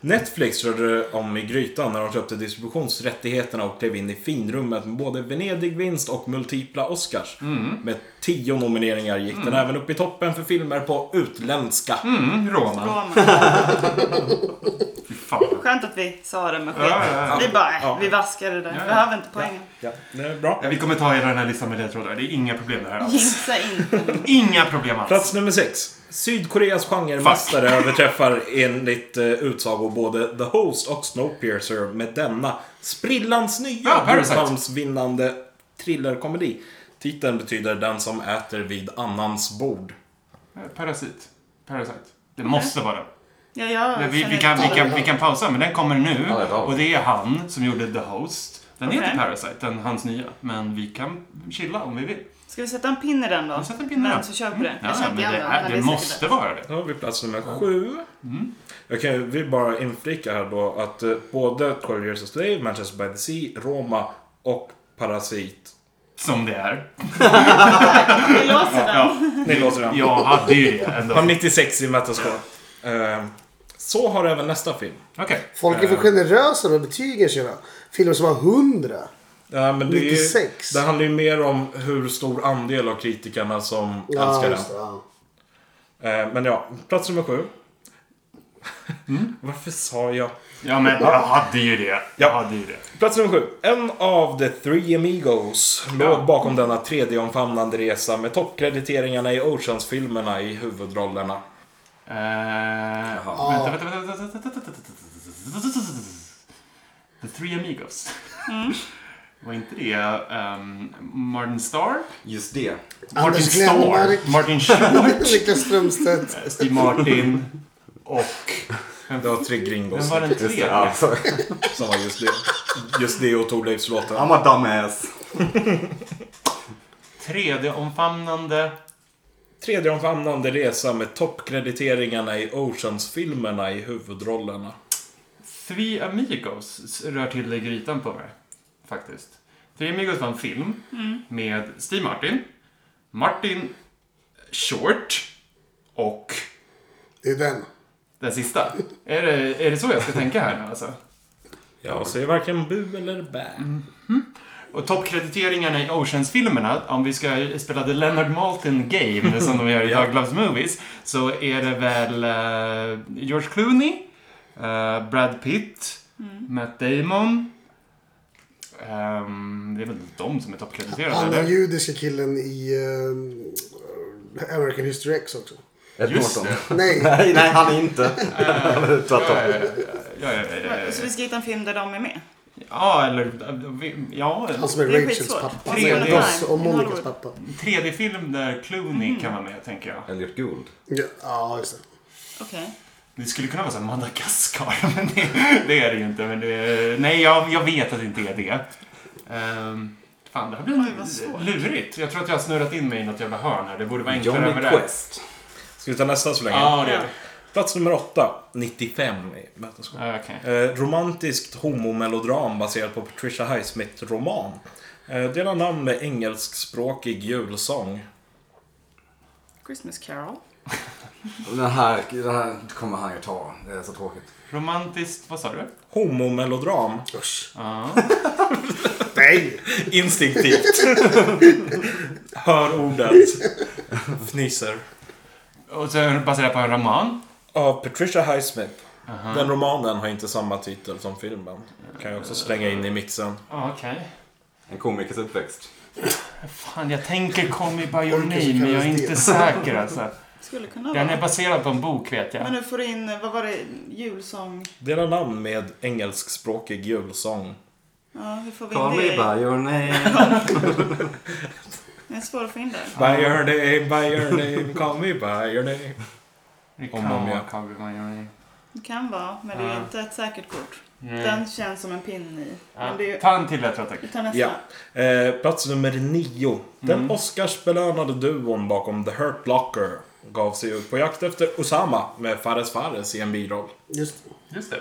Netflix rörde om i grytan när de köpte distributionsrättigheterna och klev in i finrummet med både Venedigvinst och multipla Oscars. Med tio nomineringar gick den även upp i toppen för filmer på utländska. Mm, Roma. Fy fan. Skönt att vi sa det med Ja, skit. ja, ja. Vi bara, Ja. eh, vi vaskar det där. Ja, ja. Behöver inte poängen. Ja, det är bra. Ja, vi kommer ta hela den här listan med ledtrådar. Det är inga problem det här *laughs* alls. Gissa inte. Inga problem alls. Plats nummer sex. Sydkoreas genremästare överträffar enligt eh, utsago både The Host och Snowpiercer med denna sprillans Ja, nya Ah, Parasite. Guldpalmsvinnande thrillerkomedi. Titeln betyder den som äter vid annans bord. Parasit. Parasite. Det måste vara den. Ja, jag Men Vi, känner vi, kan, vi, inte. kan, vi kan pausa, men den kommer nu. Ja, det är bra. Och det är han som gjorde The Host. Den heter Okej. Parasite, den, hans nya. Men vi kan chilla om vi vill. Ska vi sätta en pin i den då? Jag sätter en pinne Men där. så kör vi på det. Mm. Ja, Jag kör men inte det, andra, men är, det det är säkert måste det. vara det. Då har vi plats nummer sju. Mm. Jag kan vi bara inflika här då att eh, både 12 Years a Slave, Manchester by the Sea, Roma och Parasit. Som det är. Vi låser den. Mm. Ja, Ni låter den. jag hade ju det ändå. Har Okej. 96 i Metascore. Eh, Så har även nästa film. Folk är för generösa med betygen känner jag. Filmer som har 100. Ja, men det, är ju, 96. det handlar ju mer om hur stor andel av kritikerna som älskar den. just det, ja. Eh, Men ja, plats nummer sju. *laughs* Varför sa jag? Ja, men jag hade ju det. Jag Ja. hade ju det. Plats nummer sju. En av the three amigos låg bakom denna 3D-omfamnande resa med toppkrediteringarna i Oceans-filmerna i huvudrollerna. Eh, vänta, vänta, vänta, vänta, vänta, vänta, vänta. The Three Amigos. Mm. *laughs* Var inte det ehm, Martin Starr? Just det. Martin Anders Glenmark. Starr? Martin *laughs* Short? Niklas Strömstedt. Steve Martin? Och... Det var tre Vem gringos var den Just det. tredje? *laughs* Ja, sorry. som var just det. Just det och Torleifslåten. I'm a dumbass. 3D-omfamnande... 3D-omfamnande resa med toppkrediteringarna i Oceans-filmerna i huvudrollerna. Three Amigos rör till dig grytan på mig. Faktiskt. Three Amigos var en film med Steve Martin, Martin Short och Det är den. den sista. är, det, är det så jag ska tänka här nu alltså? Jag ser varken bu eller bä. Och toppkrediteringarna i Oceans-filmerna, om vi ska spela The Leonard Maltin Game som de gör i Doug Loves Movies, så är det väl eh, George Clooney, eh, Brad Pitt, Matt Damon. Ehm, det är väl de som är toppkrediterade, Han den *laughs* eller? judiska killen i eh, American History X också. Ed Just Norton. Nej, Nej, nej, han är inte. Eller Eh, Ja, Tvärtom. ja, ja, ja, ja, ja. Så vi ska hitta en film där de är med. Ja, eller... eh, Ja, eller- han som är Det är Rachels skitsvårt. pappa. Tre Nej, delar. Ross och I Monikas Hollywood. pappa. 3D-film där Clooney kan vara med, tänker jag. Elliot Gould. Ja, Ja, just det. Okej. Det skulle kunna vara så här Madagaskar, *laughs* men det, det är det ju inte. Men det, nej, jag, jag vet att det inte är det. Ehm, fan, det här blir Oj, vad svårt. lurigt. Jag tror att jag har snurrat in mig i något jävla hörn här. Det borde vara enklare Johnny med det här. Quest. Ska vi ta nästa så länge? Ja, det är det. Plats nummer åtta. 95 i Metascore. Ja, okej. Eh, romantiskt homomelodram baserat på Patricia Highsmith-roman. Eh, delar namn med engelskspråkig julsång. Christmas Carol. Den här, den här kommer han ju ta. Det är så tråkigt. Romantiskt, vad sa du? Homomelodram. Usch. Ja. Nej! Instinktivt. Hör ordet. Fnyser. Och så baserat på en roman. Av Patricia Highsmith. Den romanen har inte samma titel som filmen. Kan jag också slänga in i mixen. Ja, okej. En komikers uppväxt. Fan, jag tänker Call Me By Your Orkar så Name, men jag är kallas inte det. säker alltså. Skulle kunna Den är vara. baserad på en bok, vet Men jag. nu får du in, vad var det, julsång? Delar namn med engelskspråkig julsång. Ja, hur får vi Call in me det? by your name. Det är svårt att få in det. By your name, by your name, call me by your name. Det Om kan och om vara jag- Call Me By Your Name. Det kan vara, men det är Ja. inte ett säkert kort. Nej. Den känns som en pinne i. Ja. Men det är ju... Ta en till jag tror jag, tack. Vi tar nästa. Ja. Eh, plats nummer nio. Den Oscarsbelönade duon bakom The Hurt Locker gav sig ut på jakt efter Osama med Fares Fares i en biroll. Just det. Just det.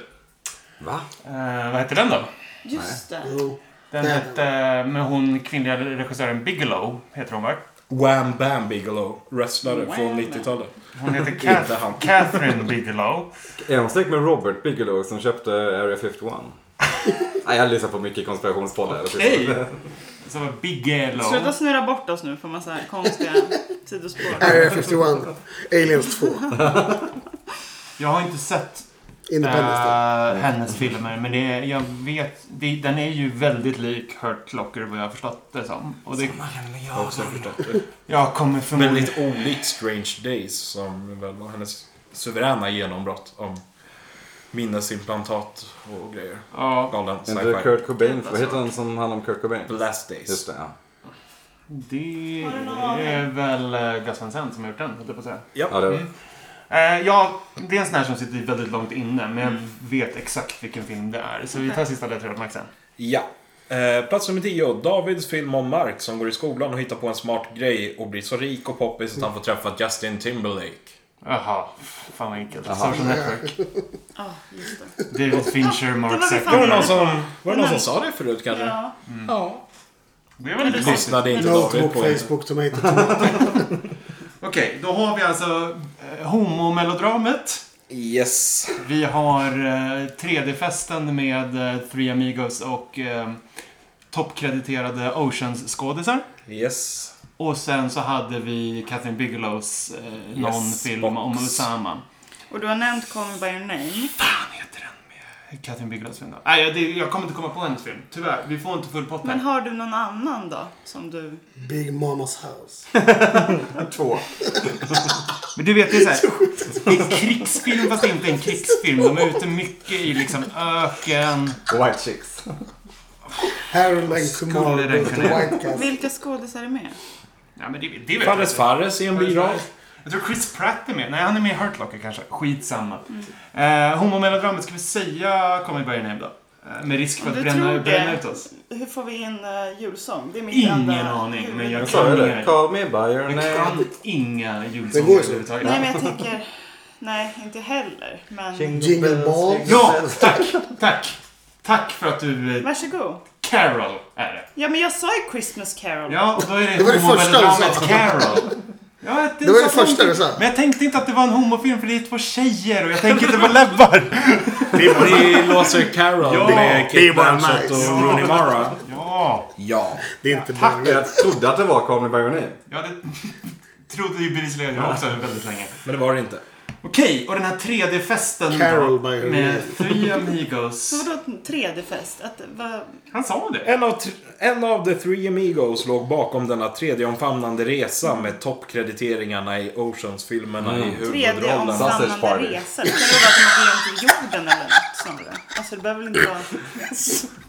Va? Eh, vad heter den då? Just det. Jo. Den Nej. hette, med hon kvinnliga regissören Bigelow, heter hon va? Wham Bam Bigelow, wrestlare Wham. från 90-talet. *laughs* Hon heter Inte han. Kath- Catherine Bigelow. Är hon släkt med Robert Bigelow som köpte Area 51? *laughs* Nej, jag lyssnar på mycket konspirationspoddar. Okej! Så var Bigelow. Sluta snurra bort oss nu för massa *laughs* konstiga sidospår. Area 51. Aliens 2. Jag har inte sett Independence Day. eh, hennes filmer, men det, är- jag vet, det, den är ju väldigt lik Hurt Locker vad jag har förstått det som. Och det, Jag har också förstått det. jag kommer Men förmodligen... lite olikt Strange Days som väl var hennes suveräna genombrott om minnesimplantat och grejer. Ja, Galen Inte sci-fi. Kurt Cobain, vad heter den som handlar om Kurt Cobain? Blast Just Days. det, ja. det Har du någon aning? är väl eh, Gus Van Sant som har gjort den, höll jag på att säga. ja det var. Eh, ja, det är en sån här som sitter Mm. väldigt långt inne, men jag vet exakt vilken film det är. Så vi tar sista ledtråden på Max sen. Ja. Eh, Eh, plats nummer 10. Davids film om Mark som går i skolan och hittar på en smart grej och blir så rik och poppis att han får träffa Justin Timberlake. Jaha, fan vad enkelt. Social Network. Ja, just det. David Fincher, det Mark var vi Var det någon Zuckerberg. som, var det någon som sa det förut kanske? Ja. Ja. Det var lite konstigt. Lyssnade inte David Notebook, på det. Facebook, Tomato, Tomato. Okej, då har vi alltså eh, homomelodramet. Yes. Vi har eh, 3D-festen med eh, Three Amigos och eh, toppkrediterade Oceans-skådisar. Yes. Och sen så hade vi Catherine Bigelows eh, någon Yes, film box. om Osama. Och du har nämnt Call Me By Your Name. Fan heter den med Catherine Bigelows film då? Nej, jag, det, jag kommer inte komma på hennes film. Tyvärr, vi får inte full pott Men här. har du någon annan då? Som du... Big Mamas House. Två. Men du vet, det är såhär. Det är krigsfilm fast inte en krigsfilm. De är ute mycket i liksom öken. White chicks. Harold and Kumar Skulle den go to kunna- White Castle. Vilka skådisar är med? Ja, men det, det vet Fares Fares i en biroll. Jag tror Chris Pratt är med. Nej, han är med i Hurt Locker kanske. Skitsamma. Eh, homomelodramet, ska vi säga Come and Bury Name då? Eh, med risk för Om att du tror bränna, det. bränna ut oss. Hur får vi in eh, julsång? Det är mitt Ingen enda aning, men jag huvud- kan inga. Call me by your Jag kan inga julsånger Det går ju så. överhuvudtaget. Nej, men jag tänker... Nej, inte heller. Men Jingle balls. Ja, tack, tack. Tack för att du... eh, varsågod. Carol är det. Ja, men jag sa ju Christmas Carol. Ja, och då är det, Det var det första du homomelodramet sa. Carol. Ja, Det var sa det första någonting. du sa. Men jag tänkte inte att det var en homofilm för det är två tjejer och jag tänker inte på *laughs* läbbar. Vi, vi låser Carol Ja. med Det Kate är bara Blanchett nice. och Rooney Mara. Ja, Ja. Det är inte bara... Jag trodde att det var Call me by your name. ja det *laughs* trodde ju bevisligen jag också väldigt länge. Men det var det inte. Okej, och den här 3D-festen Carol då, by her name. med Three Amigos. Så vadå 3D-fest? Att, vad, Han sa det. En av, tr- en av the three amigos låg bakom denna tredje omfamnande resa med toppkrediteringarna i Oceans-filmerna i Tredje huvudrollen. Sausage omfamnande party. resa. Det kan ju vara att de åker runt i jorden eller något snarare. Alltså det behöver väl inte vara...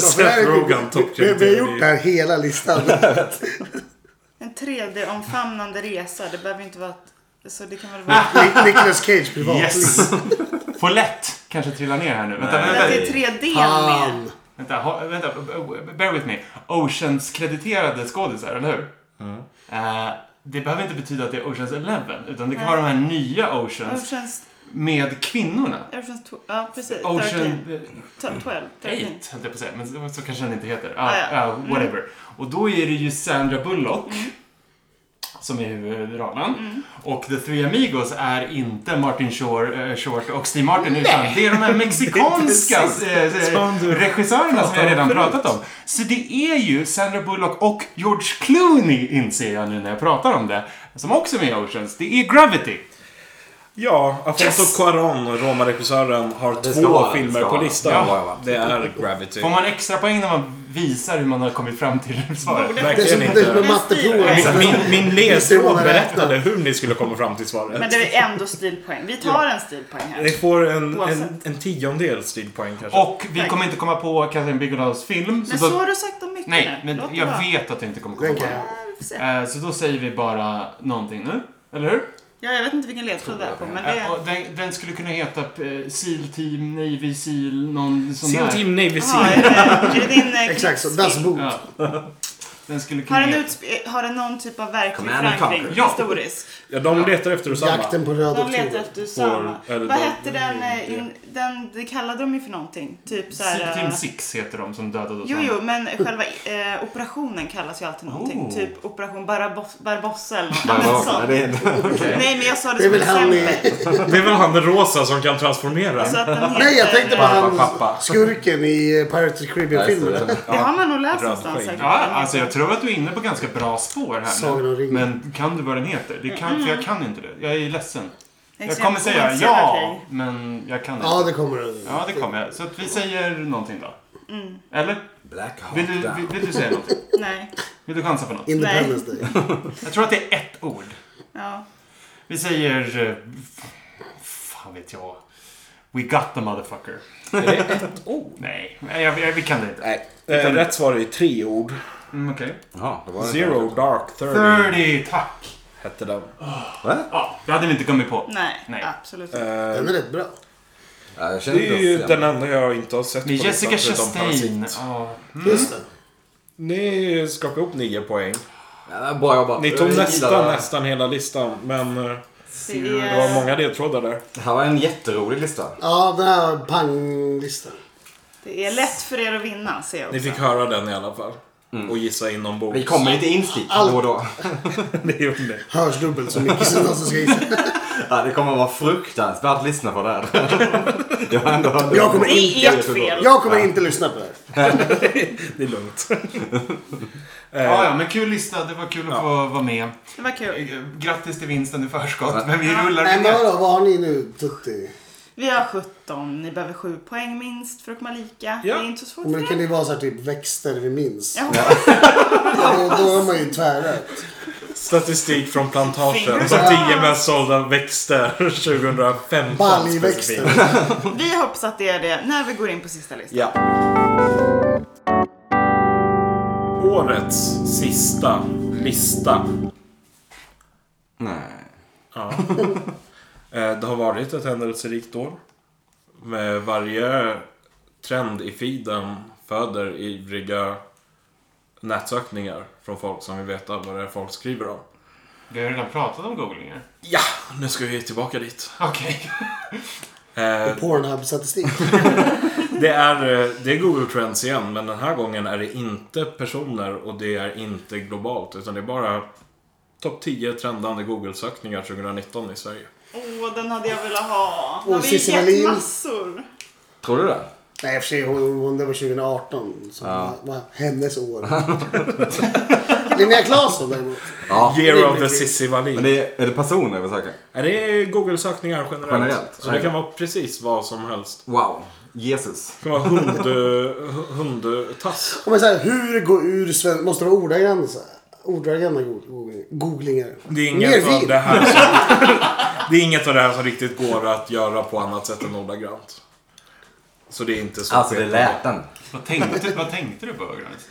Seth Rogen *laughs* Vi, vi har gjort det toppkrediterade här hela *laughs* listan. En 3D-omfamnande resa. Det behöver inte vara att... Så det kan väl vara... Ah, Nic- Nicolas Cage privat. yes! Får lätt kanske trillar ner här nu. Vänta, Nej. Men vänta. att det är 3D med. Fan. Vänta, ha, vänta, bear with me. Oceans-krediterade skådisar, eller hur? Mm. Eh, det behöver inte betyda att det är Oceans 11, utan det kan vara de här nya Oceans Oceans... med kvinnorna. Oceans... tw- Ja, precis. Ocean 13. T- 12. 8, 13. höll jag på att säga, men så- så kanske den inte heter. Ah, Ah, ja. Mm. ah, whatever. Och då är det ju Sandra Bullock, som är huvudrollen. Och The Three Amigos är inte Martin Shore, eh, Short och Steve Martin, utan det är de här *laughs* mexikanska eh, eh, regissörerna som jag redan pratat om. Så det är ju Sandra Bullock och George Clooney, inser jag nu när jag pratar om det, som också är med i Oceans. Det är Gravity. Ja, Afonso Yes! Cuarón, romaregissören, har Det ska två vara, det filmer ska på vara. listan. Ja, ja, ja. Det är Gravity. Får man extra poäng när man visar hur man har kommit fram till *laughs* svaret? Det är som Verkligen det är som inte. med matteprovet. Liksom Exakt. Min, min Visst är ledtråd man berättade hur ni skulle komma fram till svaret. Men det är ändå stilpoäng. Vi tar en stilpoäng Ni här. får en, en, Oavsett. en tiondel stilpoäng kanske. Och vi kommer inte komma på Catherine Bigelows film. Men då- så har du sagt om mycket Nej, nu. men Låt det jag vara. vet att jag inte kommer komma Den på kan jag. det. Ja, vi får se. Eh, Så då säger vi bara någonting nu. Eller hur? Ja, jag vet inte vilken ledtråd det är på, men det... Eh, och Den, den skulle kunna heta eh, SEAL Team, Navy SEAL, någon sån Seal där. Team Navy Jaha, Seal. är det, är det din eh, *laughs* Exakt så. krigsfilm? Das Boot. Ja. Den skulle kunna Har den, heta... utsp- har den någon typ av verklig Command and förankring? Conquer. Ja. Historisk? Ja, de letar efter Usama. Jakten på röda De letar tråden. efter Usama. Or- eller Vad de- hette den, eh, in, Mm, den? Det kallade de ju för någonting. Typ så SEAL här... Team eh, 6 heter de som dödade oss. Jo, jo, men själva eh, operationen kallas ju alltid någonting. Oh. Typ operation Barabos- Barbossa eller något annat Barbarer. sånt. Nej, det är inte- Nej, men jag sa det, Det är som väl han i- exempel. Det är väl han den rosa som kan transformera? Så att den heter, Nej, jag tänkte på Pappa, pappa. han skurken i eh, Pirates of the Caribbean-filmen. Nej, Det har man nog läst Röd någonstans skägg. säkert. Ja, alltså jag tror att du är inne på ganska bra spår här Sagan om nu. ringen. Men kan du vad den heter? Det kan, för jag kan inte det. Jag är ledsen. Jag Exakt, kommer säga Exakt, ja, okej. men jag kan inte. Ja, det kommer den. Ja, det kommer jag. Så att vi säger någonting då. Eller? Black Hawk Vill du, vill, Down. vill du säga någonting? Nej. Vill du chansa på något? Independence Day. Jag tror att det är ett ord. Ja. Vi säger... eh, f- Fan vet jag. We got the motherfucker. Är det ett ord? Nej, nej, jag, jag, vi kan det inte. Nej. Eh, rätt svar är tre ord. Mm, Okej. Jaha, det var det. Zero Dark Thirty 30, tack! hette den. Va? Ja, det hade vi inte kommit på. Nej, Nej. absolut inte. Eh, Den är rätt bra. Ja, jag känner Det är ju doft, den ja. enda jag inte har sett Med listan Jessica förutom Chastain. Parasit. Ja. Just det. Ni skakade ihop nio poäng. Ja, Bra jobbat. Ni tog Jag nästan, gillar- nästan hela listan, men eh, Det det var är, många ledtrådar där. Det här var en jätterolig lista. Ja, den här panglistan. det är lätt för er att vinna, ser jag Ni också. fick höra den i alla fall. Och gissa inombords. Mm. Vi kommer lite instick Allt. då och då. *laughs* Det gjorde ni. Hörs dubbelt så mycket som någon som ska *laughs* gissa. Ja, det kommer vara fruktansvärt att lyssna på det här. *laughs* Jag har ändå hört det. Jag kommer Det inte... är ert fel. Jag kommer inte lyssna på det här. Det är lugnt. Ja, ja, men kul lista. Det var kul att få vara med. Det var kul. Grattis till vinsten i förskott, men vi rullar Nej, men vidare. vadå, vad har ni nu? Tutti? Vi har 17. Ni behöver 7 poäng minst för att komma lika. Ja. Det är inte så svårt Men det för kan er. ju vara så här typ växter vi minns. Ja. Då, då är man ju tvärrätt. Statistik från plantagen. Fingers De crossed. tio mest sålda växter *laughs* 2015 specifikt. Baljväxter. Vi hoppas att det är det när vi går in på sista listan. Ja. Årets sista lista. Nej. Ja. Eh, Det har varit ett händelserikt år. Med varje trend i feeden föder ivriga nätsökningar från folk som vill veta vad det är folk skriver om. Vi har redan pratat om googlingar. Ja, nu ska vi tillbaka dit. Okej. Eh, Pornhub-statistik. Det är, eh, det är Google Trends igen, men den här gången är det inte personer och det är inte globalt. Utan det är bara topp 10 trendande Google-sökningar 2019 i Sverige. Åh, den hade jag velat ha. Den Och har vi Cissi Wallin. gett massor. Tror du det? Nej, i och för sig, hon, hon, det var 2018. Så Ja. var, var hennes år. *laughs* Linnea Claesson däremot. Ja. Year of the Cissi Wallin. Men det är, är det personer vi söker? Nej, Det är Google-sökningar generellt. Generellt, Så det kan vara precis vad som helst. Wow. Jesus. Det kan vara hund, eh, hundtass. Om man säger hur går ur svensk... Måste det vara ordagranna så här? Ordagranna googling- googlingar. Det är Mer inget av vin. det här som... Det är inget av det här som riktigt går att göra på annat sätt än ordagrant. Så det är inte så. Alltså, det lät den. *laughs* Vad tänkte, vad tänkte du på Örgrans?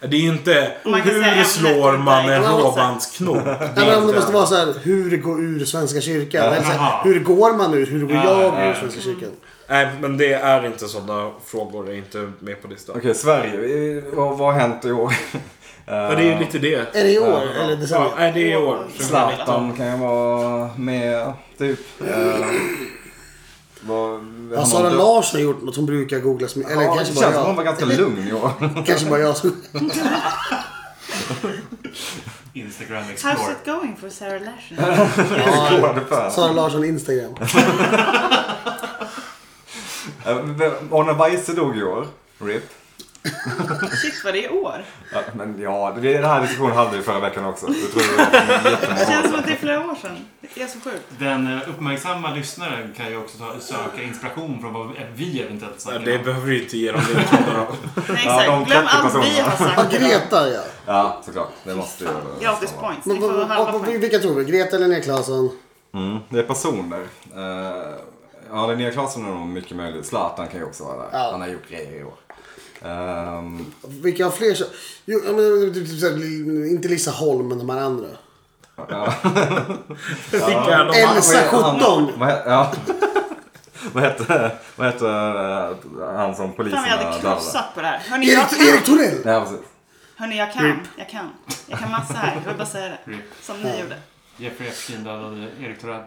Det är ju inte Man kan säga hur ämnet slår man en på något sätt. råbandsknop? Nej, men det inte- måste vara så här, hur går ur Svenska kyrkan? Eller så Jaha. här, hur går man ur? Hur går Ja, jag ur ja. Svenska kyrkan? Nej, men det är inte sådana frågor. Det är inte med på listan. Okej, Sverige. Eh, Vad, vad har hänt i år? Men det är ju lite det. Är det i år? Ja, eller Ja, decennium? nej, det är i år. Zlatan kan ju vara med, typ. Eh, vad, Har Sara Larsson gjort något? Hon brukar googla så mycket. Eller Ja, det kanske känns bara som hon var jag. ganska lugn i år. *laughs* Kanske bara jag som... Instagram How's Explorer. it going for Sarah Larsson? Går det för? Sara Larsson *laughs* Instagram. Eh, vem- Arne Weise dog i år. RIP. Shit vad det är år. Ja, men ja, det, den här diskussionen hade vi förra veckan också. Det tror jag var Det jättemånga år känns som sedan. att det är flera år sedan. Det är så sjukt. Den eh, uppmärksamma lyssnaren kan ju också ta, söka inspiration från vad vi eventuellt Ja, snackar Det om. behöver vi inte ge dem ledtrådar om. Nej Ja, exakt. de Glöm 30 allt vi personerna. har Ja, sagt idag. Greta ja. Ja, såklart. Det måste ju... Gratis points. Ni Men, vad- får halva vad- vad- poäng. vilka tror vi? Greta eller Linnea Claesson? Mm, det är personer. Uh, ja, Linnea Claesson är nog mycket möjligt. Zlatan kan ju också vara där. Ja. Han har gjort grejer i år. Ehm, Vilka har fler så... Jo, ja, men, typ så här, inte Lisa Holm men de här andra. ja. Vilka är de? Elsa 17! Vad he- ja. *laughs* Vad hette, vad hette eh, han som Fan poliserna vi hade dödade? krossat på det här. Hörni jag Erik, Erik kan. Torell! Nej, precis. Hörni jag kan. Jag kan. Jag kan massa här. Jag vill bara säga det. Som ni gjorde. Jeffrey Epstein dödade Erik Torell.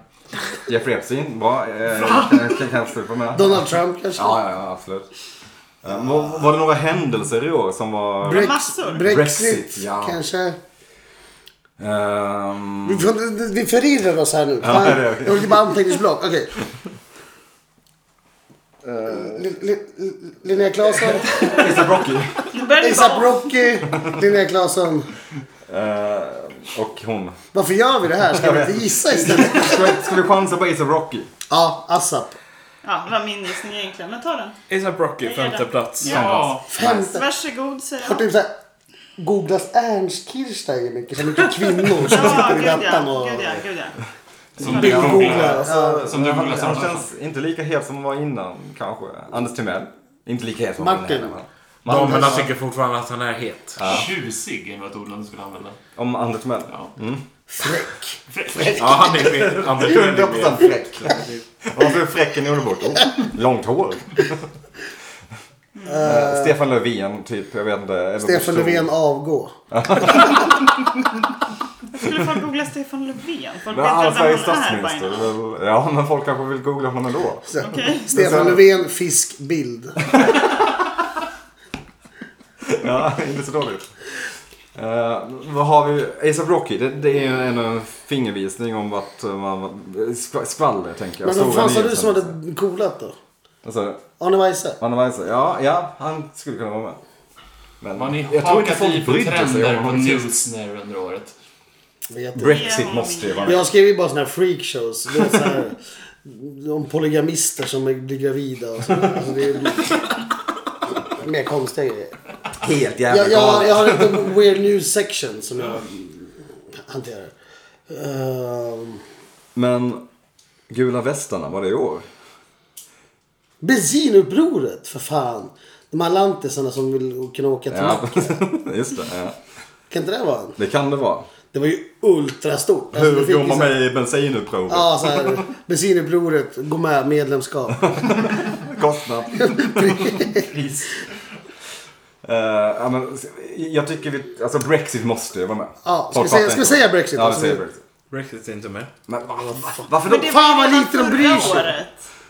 Jeffrey Epstein var... Eh, kan- kan kanske stå på med. Donald Trump kanske? Ja, ja, ja absolut. Eh, var, var det några händelser i år som var... Brex- Massor. Brexit, Brexit, ja. kanske? Ehm, Vi, får- vi förvirrar oss här nu. Fan, det är okej. Jag har bara anteckningsblock. Okej. Eh. Li- Li- Li- Linnea Claesson, Mr. Rocky. Nu *laughs* börjar det ASAP bara... Rocky, Linnea Claesson. Eh, och hon. Varför gör vi det här? Ska vi inte gissa istället? Ska, ska vi chansa på Ace of Rocky? Ja, ASAP. Ja, det var min gissning egentligen. Men ta den. ASAP Rocky, femte plats. Ja! Femte. Varsågod säger Har jag. typ såhär, googlas Ernst Kirchsteiger mycket? Så mycket kvinnor som Ja, sitter i gud datan ja. och Gud ja, gud ja. Som du bildgooglar. googlar. Alltså, Som du han, googlar han Sara Larsson. känns inte lika het som han var innan kanske. Anders Timell. Inte lika het som Martin. han var innan. Martin. Damerna tycker fortfarande att han är het. Tjusig är nog ett ord du skulle använda. Om Anders Timell? Ja. Mm. Fräck. Ja, han är med. Anders är med. 100% fräck. Varför är fräck en underbart ord? Långt hår. Eh, Stefan Löfven, typ. Jag vet inte. eller Stefan person. Löfven avgå. Jag skulle få googla Stefan Löfven. Folk Men vet han inte är vem han är by statsminister. now. väl- Ja, men folk kanske vill googla honom ändå. Så. Okej. Stefan Löfven fiskbild. Ja, *laughs* inte så dåligt. Eh, vad har vi? Ace of Rocky, det, det är ju en, en fingervisning om vart man... skv- Skvaller, tänker jag. Men vad Stora fan sa du nyheter. som hade coolat då? Alltså, Arne Weise? Anna Weise. Ja, ja, han skulle kunna vara med. Men Har ni jag tror inte hakat i folk på brydde sig om trender på honom. Typ Newsner under året? Vet inte. Brexit måste ju vara med. Jag skriver ju bara såna här freakshows. Det är så här, om polygamister som blir gravida och så. Alltså det är mer konstiga grejer. Helt Jag, jävla jag, galet. jag har en weird news section som jag hanterar. Ehm, Men Gula västarna, var det i år? bensinupproret, för fan. De här lantisarna som vill kunna åka till Ja, mack. *laughs* Mm. just det. Ja. Kan inte det vara en? Det kan det vara. Det var ju ultrastort. Alltså, det Hur fick går man liksom- med i bensinupproret? Ja, så här, bensinupproret, gå med, medlemskap. Kostnad. *laughs* Pris. Eh, ja, men, jag tycker vi, alltså Brexit måste ju vara med. Ja, ska Folk vi säga- fattar ska inte. vi säga Brexit? Ja, vi Alltså, säger vi- Brexit. Brexit är inte med. Men va, va, varför då? Men det var Fan, vad redan lite de förra bryr sig. året,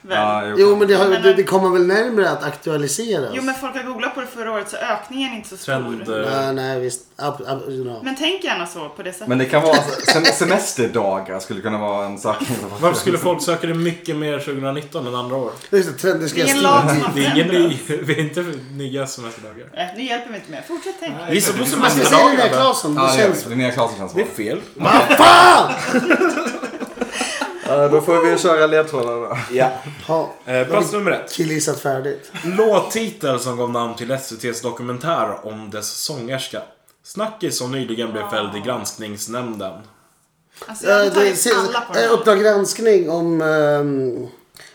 väl? Ja, jo, Jo, men det, har, Men- det, det kommer väl närmare att aktualiseras? Jo men folk har googlat på det förra året så ökningen är inte så stor. Trend... eh, Nej, nej, visst. Ab, ab, you know. Men tänk gärna så på det sättet. Men det kan vara sem- semesterdagar skulle kunna vara en sak. Varför skulle folk söka det mycket mer 2019 än andra år? Just det, trend, det ska Det är jag ingen skriva. lag som har Det är ingen ny... *laughs* förändrats. Vi är inte nya semesterdagar. Nej, nu hjälper vi inte mer. Fortsätt tänk. Vi är så på Ska vi säga Linnea semesterdagar. Claesson? Ja, Det det gör vi. känns... Linnea Claesson känns Det bra. är fel. Eh, Då får vi köra ledtrådarna då. Ja. Ja, Eh, plats nummer ett. killgissat färdigt. Låttitel som gav namn till SVTs dokumentär om dess sångerska. Snackis som nyligen blev fälld i granskningsnämnden. Alltså jag har Eh, det tagit ser- alla på den eh, här. Uppdrag granskning om... ehm,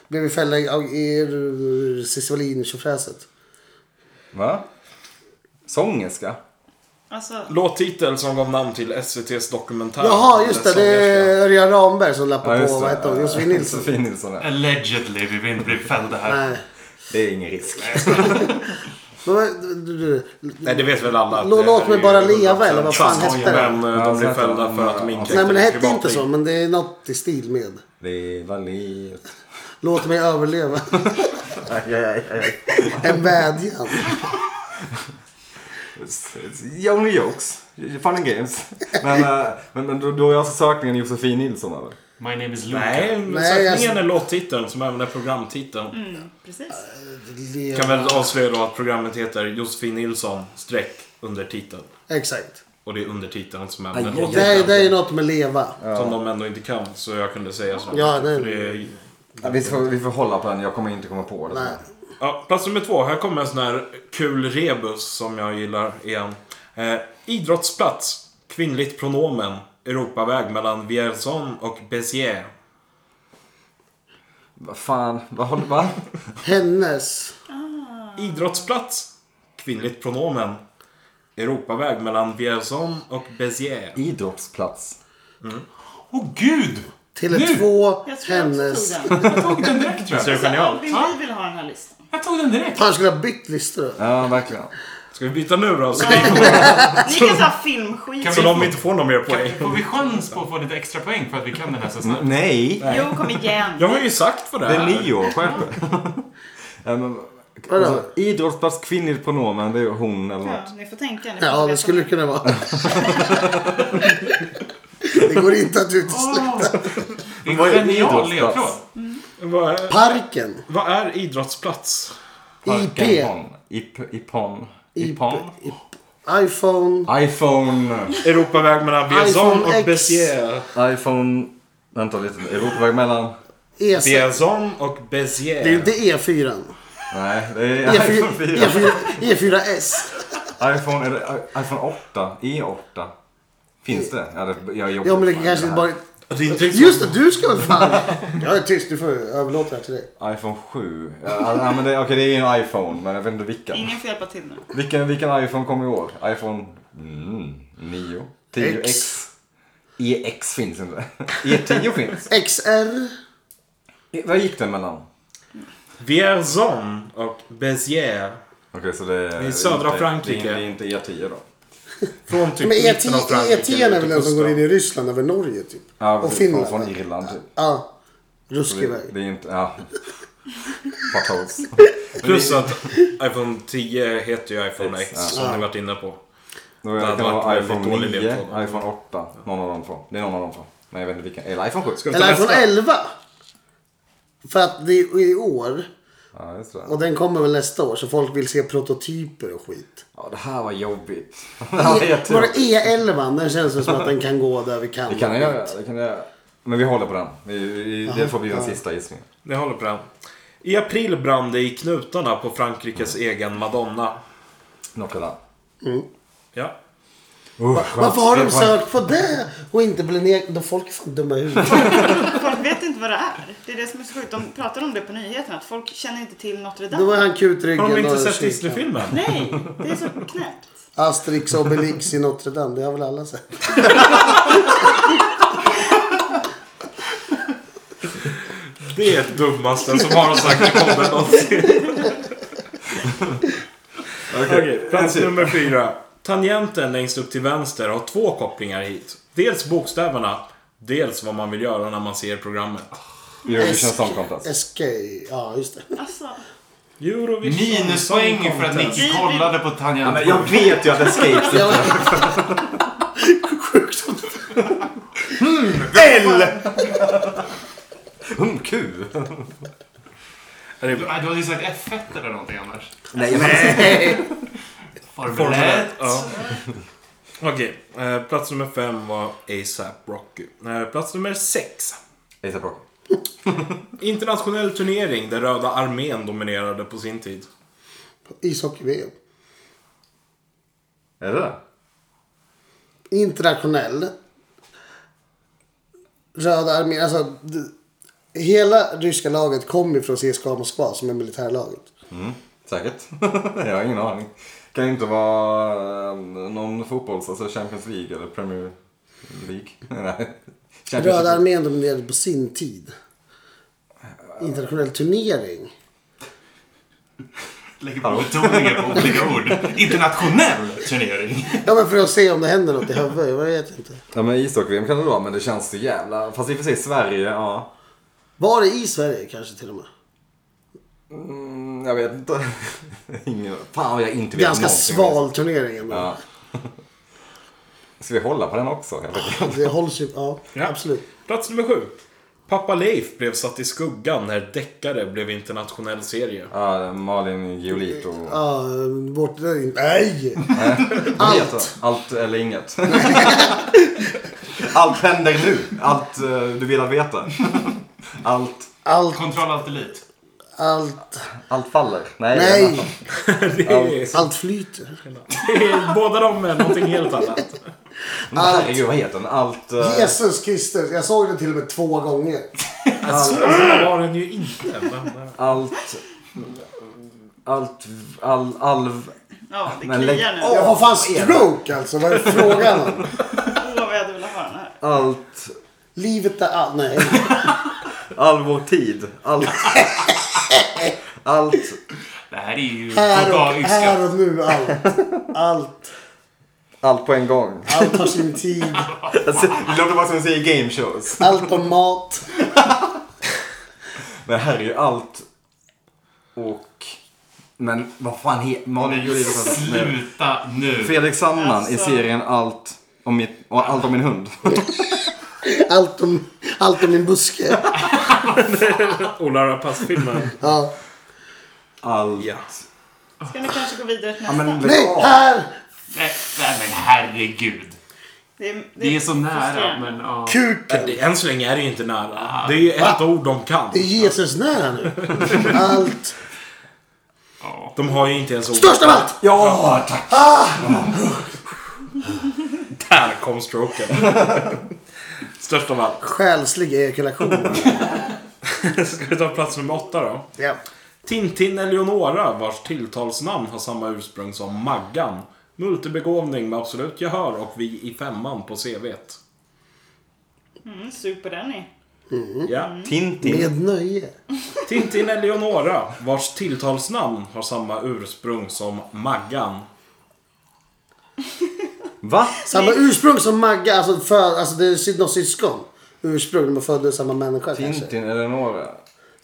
blev vi fällda i- av er Cissi Wallin-tjofräset. Va? Sångerska? Alltså, Låttitel som gav namn till SVTs dokumentär Jaha, om just det. dess Det sångerska. är Örjan Ramberg som lappar på. det. Vad heter hon? Josefin Nilsson. Josefin Nilsson, ja. Allegedly, vi vill inte bli fällda här. Nej. Det är ingen risk. Men, vad- du, du, du. Nej, det vet väl alla. att Låt- det låt mig är bara ju leva, eller vad 100% fan hette det? Men eh, Ja, de blev så fällda hette för de. att de inkräktade Nej, men det på hette inte privatliv. så. Men det är något i stil med. Leva livet. Låt mig överleva. en vädjan. Ja, Only jokes. Fun and games. Men, eh, men, men då, då är alltså sökningen Josefin Nilsson eller? My name is Luca. Nej, men Nej, jag- sökningen är låttiteln som även är programtiteln. Mm. precis. Kan väl avslöja då att programmet heter Josefin Nilsson, streck, undertiteln. Exakt. Och det är undertiteln som Aj, även aj, är aj. Det är, det låttiteln. är något med leva. Som de ändå inte kan, så jag kunde säga så. Ja, det- För det är Ja, vi, får, vi får hålla på den. Jag kommer inte komma på det. Nej. Ja, plats nummer två. Här kommer en sån här kul rebus som jag gillar igen. Eh, idrottsplats. Kvinnligt pronomen. Europaväg mellan Vierzon och Béziers. Vad fan? Vad håller va? Hennes. Idrottsplats. Kvinnligt pronomen. Europaväg mellan Vierzon och Béziers. Idrottsplats. Åh gud! Tele2. Jag tror jag Hennes. också *laughs* tog den. Jag tog den direkt *laughs* tror Så det är jag. genialt. Vill vi vill ha den här listan? Jag tog den direkt. Fan, jag skulle ha bytt listor då. Ja, verkligen. Alltså, Ska vi byta nu då? Så, Ni kan ta filmskit. Kan så vi- de inte får någon mer poäng. Får vi chans på att få lite extra poäng för att vi kan den här så snabbt? Nej! Jo, kom igen. Jag har ju sagt vad det Det är är. nio år, skärp er. *laughs* Ja, men, Vadå? alltså, Idrottsplats, kvinnligt pronomen, det är ju hon eller Ja, något. ni får tänka. Ni får Ja, veta. det skulle det kunna vara. Det går inte att utesluta. *laughs* Åh! Det Vad är är en genial idrottsplats? ledtråd. Vad är, Parken. vad är idrottsplats? IP. Parkenpon. Ip, ipon. IP. Ipon. iPhone. iPhone. Europaväg mellan Vierzon iPhone och X. Béziers. iPhone. Vänta lite. Europaväg mellan. E6. Vierzon och E- Det är Béziers. inte E E4. Nej, E det är iPhone 4. E4, E4S. iPhone, är det, iPhone 8. E8. Finns det? Ja, det jag jobbar Ja, men det med kanske här. bara... Det är inte liksom- Just det, du ska väl fan... Jag är tyst, du får överlåta det här till dig. iPhone 7. Ja, ja, men det, okej, det är en iPhone, men jag vet inte vilken. Ingen får hjälpa till nu. Vilken, vilken iPhone kom i år? iPhone mm, 9? 10 X. X. EX finns inte. *laughs* E10 finns. XR. Vad gick den mellan? Vierzon och Béziers. Okej, så det är... I södra inte- Frankrike. Det är, inte- det är inte E10 då. Från typ Men E mitten av Frankrike. E10 är ut väl till den som kusten. går in i Ryssland över Norge typ? Ja, och precis, Finland? Från, från va? Irland typ. Ja. Så Ruskig Det, väg. det är inte... Ja. Potholes. Plus att iPhone 10 heter ju iPhone X, som ni varit inne på. Då är Det det hade kan varit vara väldigt iPhone dålig 9, ledtråd. iPhone 8. Någon av de två. Det är någon av de två. Nej, jag vet inte vilken. Eller iPhone 7. Ska vi ta Eller från nästa? 11. För att det är i år. Ja, just det. Och den kommer väl nästa år. Så folk vill se prototyper *laughs* och skit. E- Ja, det här var jobbigt. *laughs* Det här var Var det jättejobbigt. E11? Den känns ju som att den kan gå där vi kan. Det kan jag göra. Det kan jag göra. Men vi håller på den. Vi, vi, det får bli den sista gissningen. Ni håller på den. I april brann det i knutarna på Frankrikes egen Madonna. Noccola. Ja. Usch, Varför har de sökt på det och inte blir ner... De folk är fan dumma *laughs* i huvudet. Folk vet inte vad det är. Det är det som är så sjukt. De pratar om det på nyheterna. Att folk känner inte till Notre Då var Dame. han kutryggen Har de inte och sett kyrkan. Disney-filmen? Nej, det är så knäppt. Asterix och Obelix i Notre Dame. Det har väl alla sett. Det är det dummaste som har sagt i podden någonsin. *laughs* Okej, plats nummer fyra. Tangenten längst upp till vänster har två kopplingar hit. Dels bokstäverna, dels vad man vill göra när man ser programmet. Eurovision Song Contest. SK. Ja, just det. Alltså, Eurovision Minuspoäng för att Contest. Nicky kollade på tangentbordet. Jag vet ju att Escape Jag var... Sjukt om Hmm. L! Mm, Q. Är det- Nej, Du hade ju sagt F1 eller någonting annars. *laughs* Nej, jag *laughs* Formel Formel 1. ett, ja. Okej, eh, plats nummer fem var ASAP Rocky. Eh, plats nummer sex. ASAP Rocky. Internationell turnering där Röda armén dominerade på sin tid. Ishockey-VM. Är det det? Internationell. Röda armén. Alltså, det- hela ryska laget kom ju från CSKA Moskva som är militärlaget. Mm, Säkert. *laughs* jag har ingen aning. Kan ju inte vara eh, någon fotbolls, alltså Champions League eller Premier League. *laughs* Nej. Champions Röda League. armén dominerade på sin tid. Internationell turnering. Lägger på betoningen på olika ord. Internationell turnering. Ja men för att se om det händer något i huvudet. Jag vet inte. Ja men ishockey-VM kan det vara men det känns så jävla... Fast i och för sig Sverige, ja. Var det i Sverige kanske till och med? Mm, jag vet inte. *laughs* ingen... Fan vad jag inte vet Ganska någonting. sval turnering ändå. Ja. Ska vi hålla på den också? helt *laughs* enkelt? *laughs* Det hålls ju. Ja, Ja. absolut. Plats nummer sju. Pappa Leif blev satt i skuggan när deckare blev internationell serie. Ja, Malin Eh, Giolito. Ja, vårt... Nej! Allt. Allt eller inget. *laughs* Allt händer nu. Allt eh, du vill att veta. *laughs* Allt. Allt, Kontroll allt elit. allt, Allt faller. Nej. nej. Det är, Allt flyter. det är, båda de är någonting helt annat. Men Herregud, vad heter den? Allt... eh, Jesus Kristus, jag såg den till och med två gånger. Så var den ju inte. Men, Allt... Allt... All... all ja, det Men lägg kliar nu. Åh, Jag får fan stroke alltså. Vad är frågan om? vad jag hade velat ha den här. allt... Livet är allt. Nej. All vår tid. Allt... Allt... Det här är ju Här och, total yxskaft. här och nu allt. Allt. Allt på en gång. Allt har sin tid. Alltså, Det låter bara som att säga game shows. Allt om mat. Men här är ju allt... Och... Men vad fan heter... Malin Giolito. Sluta nu. Fredrik Sandman i Alltså. serien Allt om, mitt, och allt om min hund. Allt om, allt om min buske. Ola Rapace-filmen. Ja. Allt. Ja. Ska ni kanske gå vidare till Ja, nästa? men lägg Nej, av. här! Nej, nej men herregud. det, är, Det är så nära frustrerande. men ja. Kuken. Det, än så länge är det ju inte nära. Det är ju ett ord de kan. Det är Jesus nära nu. Allt. De har ju inte ens ord. Störst av allt! Ja, tack. Där kom stroken. Störst av *laughs* allt. Själslig ejakulation. Ska vi ta plats nummer åtta då? Ja. Tintin Eleonora, vars tilltalsnamn har samma ursprung som Maggan. Multibegåvning med absolut gehör och vi i femman på CVt. Mm, super Danny. Ja. Tintin. Med nöje. Tintin Eleonora, vars tilltalsnamn har samma ursprung som Maggan. Va? Samma ursprung som Magga, alltså, för, alltså det är syd- något syskon. Ursprung, de är födda ur samma människa kanske. Tintin Eleonora.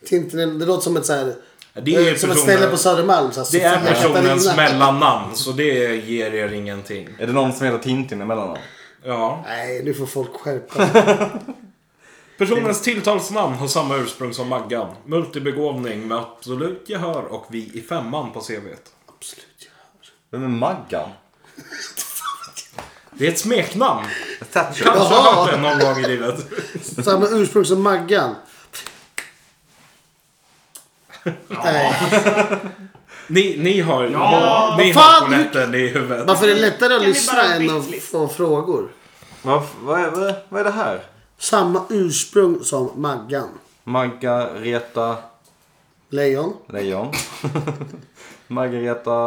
Tintin, det låter som ett så här, Det är eh, som personen- ett ställe på Södermalm. Så här, Det är Sofia personens Katarina. mellannamn, så det ger er ingenting. Är det någon som heter Tintin emellan dem? Ja. Nej, nu får folk skärpa sig. Personens tilltalsnamn har samma ursprung som Maggan. Multibegåvning med absolut gehör och vi i femman på CVt. Absolut. Vem är Maggan? Det är ett smeknamn. Thatcher. Kanske Jaha. har hört det någon gång i livet. Samma ursprung som Maggan. Nej. Ni, ni har, Ja, ni vad har fan, polletten i huvudet. Varför är det lättare att Kan vi bara lyssna ha en än att bitlist? få frågor? Vad, vad, är- vad, är- vad är det här? Samma ursprung som Maggan. Margareta Lejon. Lejon. *laughs* Margareta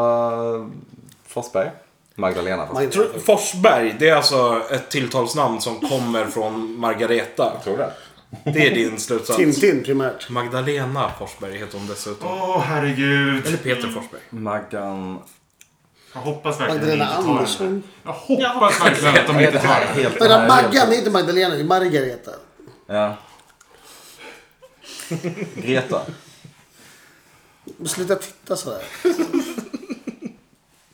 Forsberg. Magdalena Forsberg. Mag- Tro- Forsberg, det är alltså ett tilltalsnamn som kommer från Margareta. Tror du det? Det är din slutsats. Tintin primärt. Magdalena Forsberg heter hon dessutom. Åh, herregud. Eller Peter Forsberg. Maggan... Jag hoppas verkligen att ni Magdalena inte tar den. Andersson. Jag hoppas verkligen att de Vad är det inte tar här? den. Helt Men här är Maggan helt- är inte Magdalena, det är Margareta. Ja. Greta. Sluta titta sådär.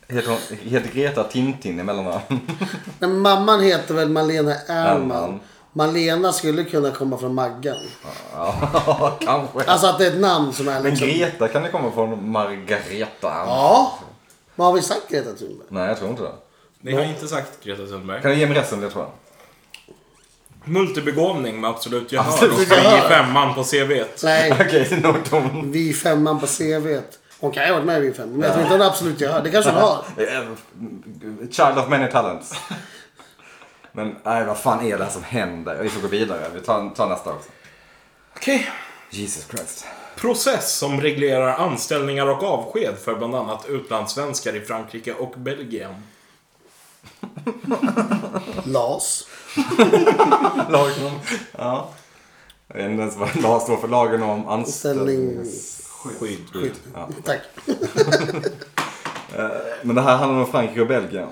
Heter, hon, heter Greta Tintin emellan dem? Nej, men mamman heter väl Malena Ernman. Ernman. Malena skulle kunna komma från Maggan. *laughs* Ja, kanske. Alltså att det är ett namn som är Men liksom... Greta kan det komma från Margareta. Ja. Vad har vi sagt Greta Thunberg? Nej, jag tror inte det. Ni har inte sagt Greta Sundberg. Kan du ge mig resten? Det tror jag. Multibegåvning med absolut gehör. Absolut och vi gehör. i femman på CVt. *laughs* Nej, Okej, okay, nog de. vi femman på CVt. Hon kan ju ha varit med i vi femman, men jag tror inte hon absolut gör. Det kanske *laughs* hon har. Eh, Child of many talents. Men nej, vad fan är det här som händer? Vi får gå vidare. Vi tar, tar nästa också. Okej. Jesus Christ. Process som reglerar anställningar och avsked för bland annat utlandssvenskar i Frankrike och Belgien. LAS. Lagen om... Ja. Jag vet inte ens vad LAS står för. Lagen om anställnings... Skydd. Ja. Tack. Men det här handlar om Frankrike och Belgien.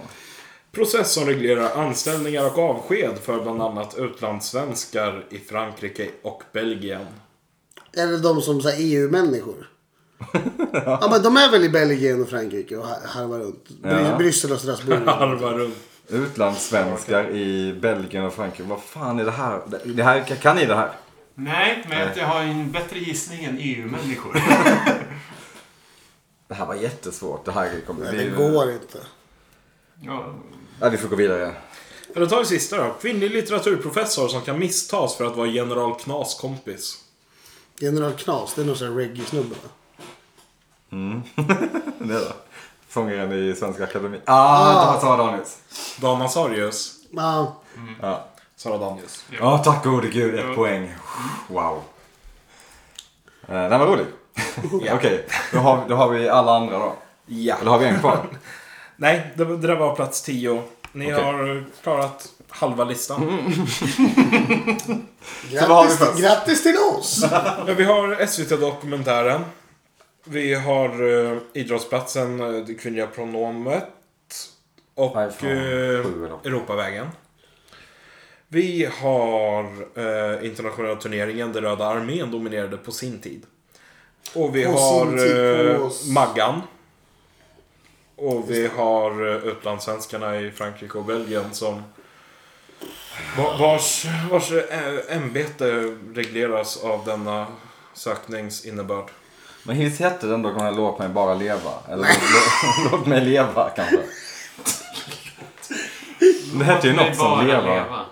Process som reglerar anställningar och avsked för bland annat utlandssvenskar i Frankrike och Belgien. Är det de som säger *laughs* EU-människor? Ja men de är väl i Belgien och Frankrike och har- harvar runt. Bry- *laughs* Ja. Bryssel och Mm. *laughs* Strasbourg. Harvar runt. Utlandssvenskar i Belgien och Frankrike. Vad fan är det här? Det här kan ni det här? Nej, men jag har en bättre gissning än *laughs* EU-människor. Det här var jättesvårt. Det här kommer... Det går inte. Ja. Ja, vi får gå vidare. Ja, Då tar vi sista då. Kvinnlig litteraturprofessor som kan misstas för att vara general Knas kompis. General Knas, det är någon sån här reggae-snubbe va? Det är det. Sångaren i Svenska Akademin. Ah, det var Sara Danius. Dan Azarius. Ja, Ja, Sara Danius. Ja, tack gode gud. Ett Ja. poäng. Wow. Eh, Den var rolig. Okej, då, har, då har vi alla andra då. Ja. Eller har vi en kvar? Nej, det, var- det där var plats 10. Ni Okej. Mm. har klarat halva listan. Så vad har vi grattis, först? till, grattis till *laughs* oss! Ja, vi har SVT-dokumentären. Vi har eh, idrottsplatsen, eh, det kvinnliga pronomet. Och Nej, fan. eh, Sju eller åtta. Europavägen. Vi har eh, internationella turneringen, där Röda armén dominerade på sin tid. Och vi På sin har tid, på eh, oss. Maggan. Och vi har eh, utlandssvenskarna i Frankrike och Belgien som va- vars, vars eh, ämbete regleras av denna söknings innebörd. Men hur hette den då? Kommer jag låt mig bara leva? Eller låt, *laughs* låt mig leva kanske? Det hette ju något som leva.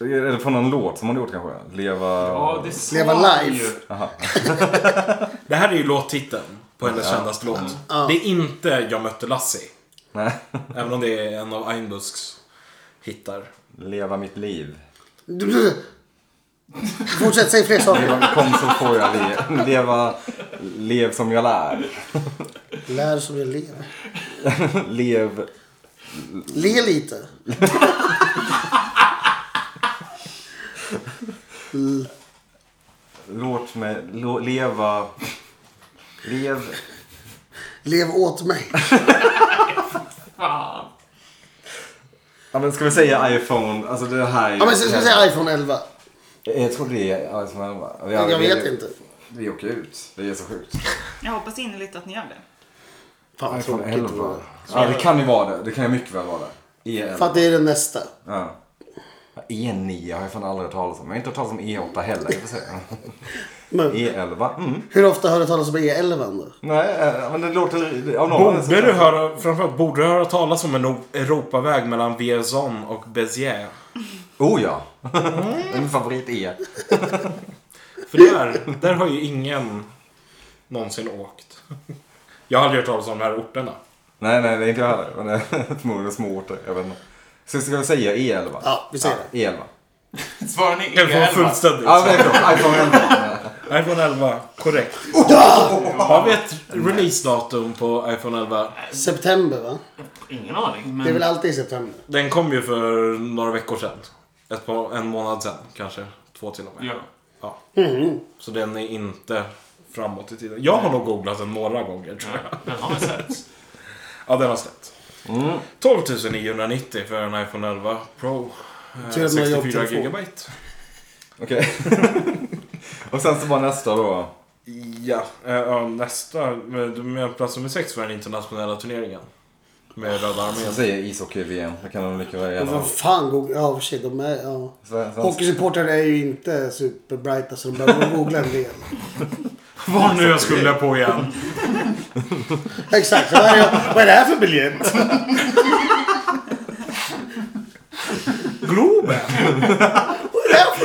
Är det från någon låt som hon gjort kanske? Leva... Ja, det sa Leva vi life. ju. Det här är ju låttiteln på hennes kändaste låt. Det är inte Jag mötte Lassie. Nej. *laughs* Även om det är en av Einbusks hittar. Leva mitt liv. Du- du- Fortsätt, säg fler saker. Leva, kom så får jag le. leva. Lev som jag lär. Lär som jag lever. Lev. Le lite. Låt mig lo, leva... Lev... Lev åt mig. Fan. Ja, men ska vi säga iPhone? Alltså det här är Ja, men ska ska jag säga iPhone 11? Jag tror det är iPhone 11. Vi- Jag vi- vet inte. Vi åker ut. Det är så sjukt. Jag hoppas innerligt att ni gör det. Fan vad iPhone tråkigt det 11. var. Ja, det kan ju vara det. Det kan ju mycket väl vara det. E11. För att det är den nästa. Ja. E9 har jag fan aldrig hört talas om. Jag har inte hört talas om E8 heller. Jag får säga. *laughs* Men E11. Mm. hur ofta hör du talas om E11 då? Nej, eh, men det låter... Av någon Borde du höra, framförallt borde du höra talas om en O- Europaväg mellan Vierzon och Béziers? Oh ja! *laughs* Min favorit E. är... För där, där har ju ingen någonsin åkt. Jag har aldrig hört talas om de här orterna. Nej, nej, det är inte jag heller. Men det är *laughs* förmodligen små orter. Jag vet inte. Så ska vi säga E E11? Ja, vi säger det. E11. Svarar ni Kan vi få E11? fullständigt? E Ja, men det är klart. iPhone 11. iPhone 11, *laughs* korrekt. Har vi ett releasedatum på iPhone 11? September va? Ingen aning. Det är Men väl alltid i september? Den kom ju för några veckor sedan. Ett par, en månad sedan kanske. Två till och med. ja. Ja. Så den är inte framåt i tiden. Jag har nog googlat den några gånger tror jag. Den har väl sett. Ja, den har släppts. 12 990 för en iPhone 11 Pro. Eh, Till och 64 med jobbtelefon. gigabyte. Okej. *laughs* Och sen så var nästa då. Ja, eh, ja, nästa. men Du menar plats nummer 6 för den internationella turneringen? Med Röda Jag armén. säger ishockey-VM. Det kan de lika väl Men göra. vad fan googla? Ja, för sig, de är... Ja. Sen- sen- Hockeysupportrar är ju inte superbrighta så de behöver googla en del. *laughs* Vad nu jag skulle på igen. Exakt, vad är, det, vad är det här för biljett? Globen! *laughs*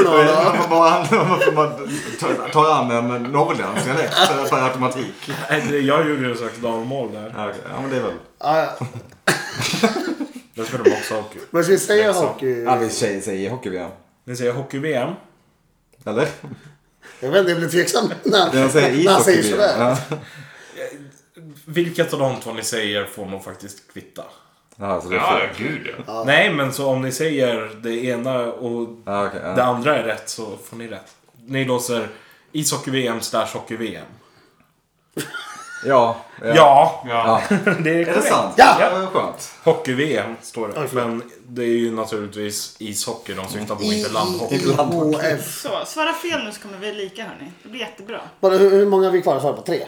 Vad är det här för någon då? *laughs* Varför bara- varför man tar- tar an en norrländsk dialekt per automatik? Nej, det- Jag gjorde ju en slags dalmål där. Ja, okej. ja men det är väl. Ja, Där spelar de också hockey. vad ska vi säga Exakt. hockey? Ja vi säger, säger hockey-VM. Ni säger hockey-VM. Eller? Jag vet inte, jag blir tveksam när, Jag säger när han säger ishockey-VM. sådär. Ja. Vilket av de två ni säger får nog faktiskt kvitta. Ja, så det är Ja, fel. gud ja. Nej, men så om ni säger det ena och Ja, okej. det ja. andra är rätt så får ni rätt. Ni låser ishockey-VM slash hockey-VM. Ja. Ja, Ja. *laughs* det är Är det korrekt. sant? Ja! vad Skönt. Hockey-VM står det. Oj, förlåt. Men det är ju naturligtvis ishockey de syftar på, inte landhockey. IHF. Så, svara fel nu så kommer vi lika hörni. Det blir jättebra. Bara, hur, hur många har vi kvar? Svara på tre.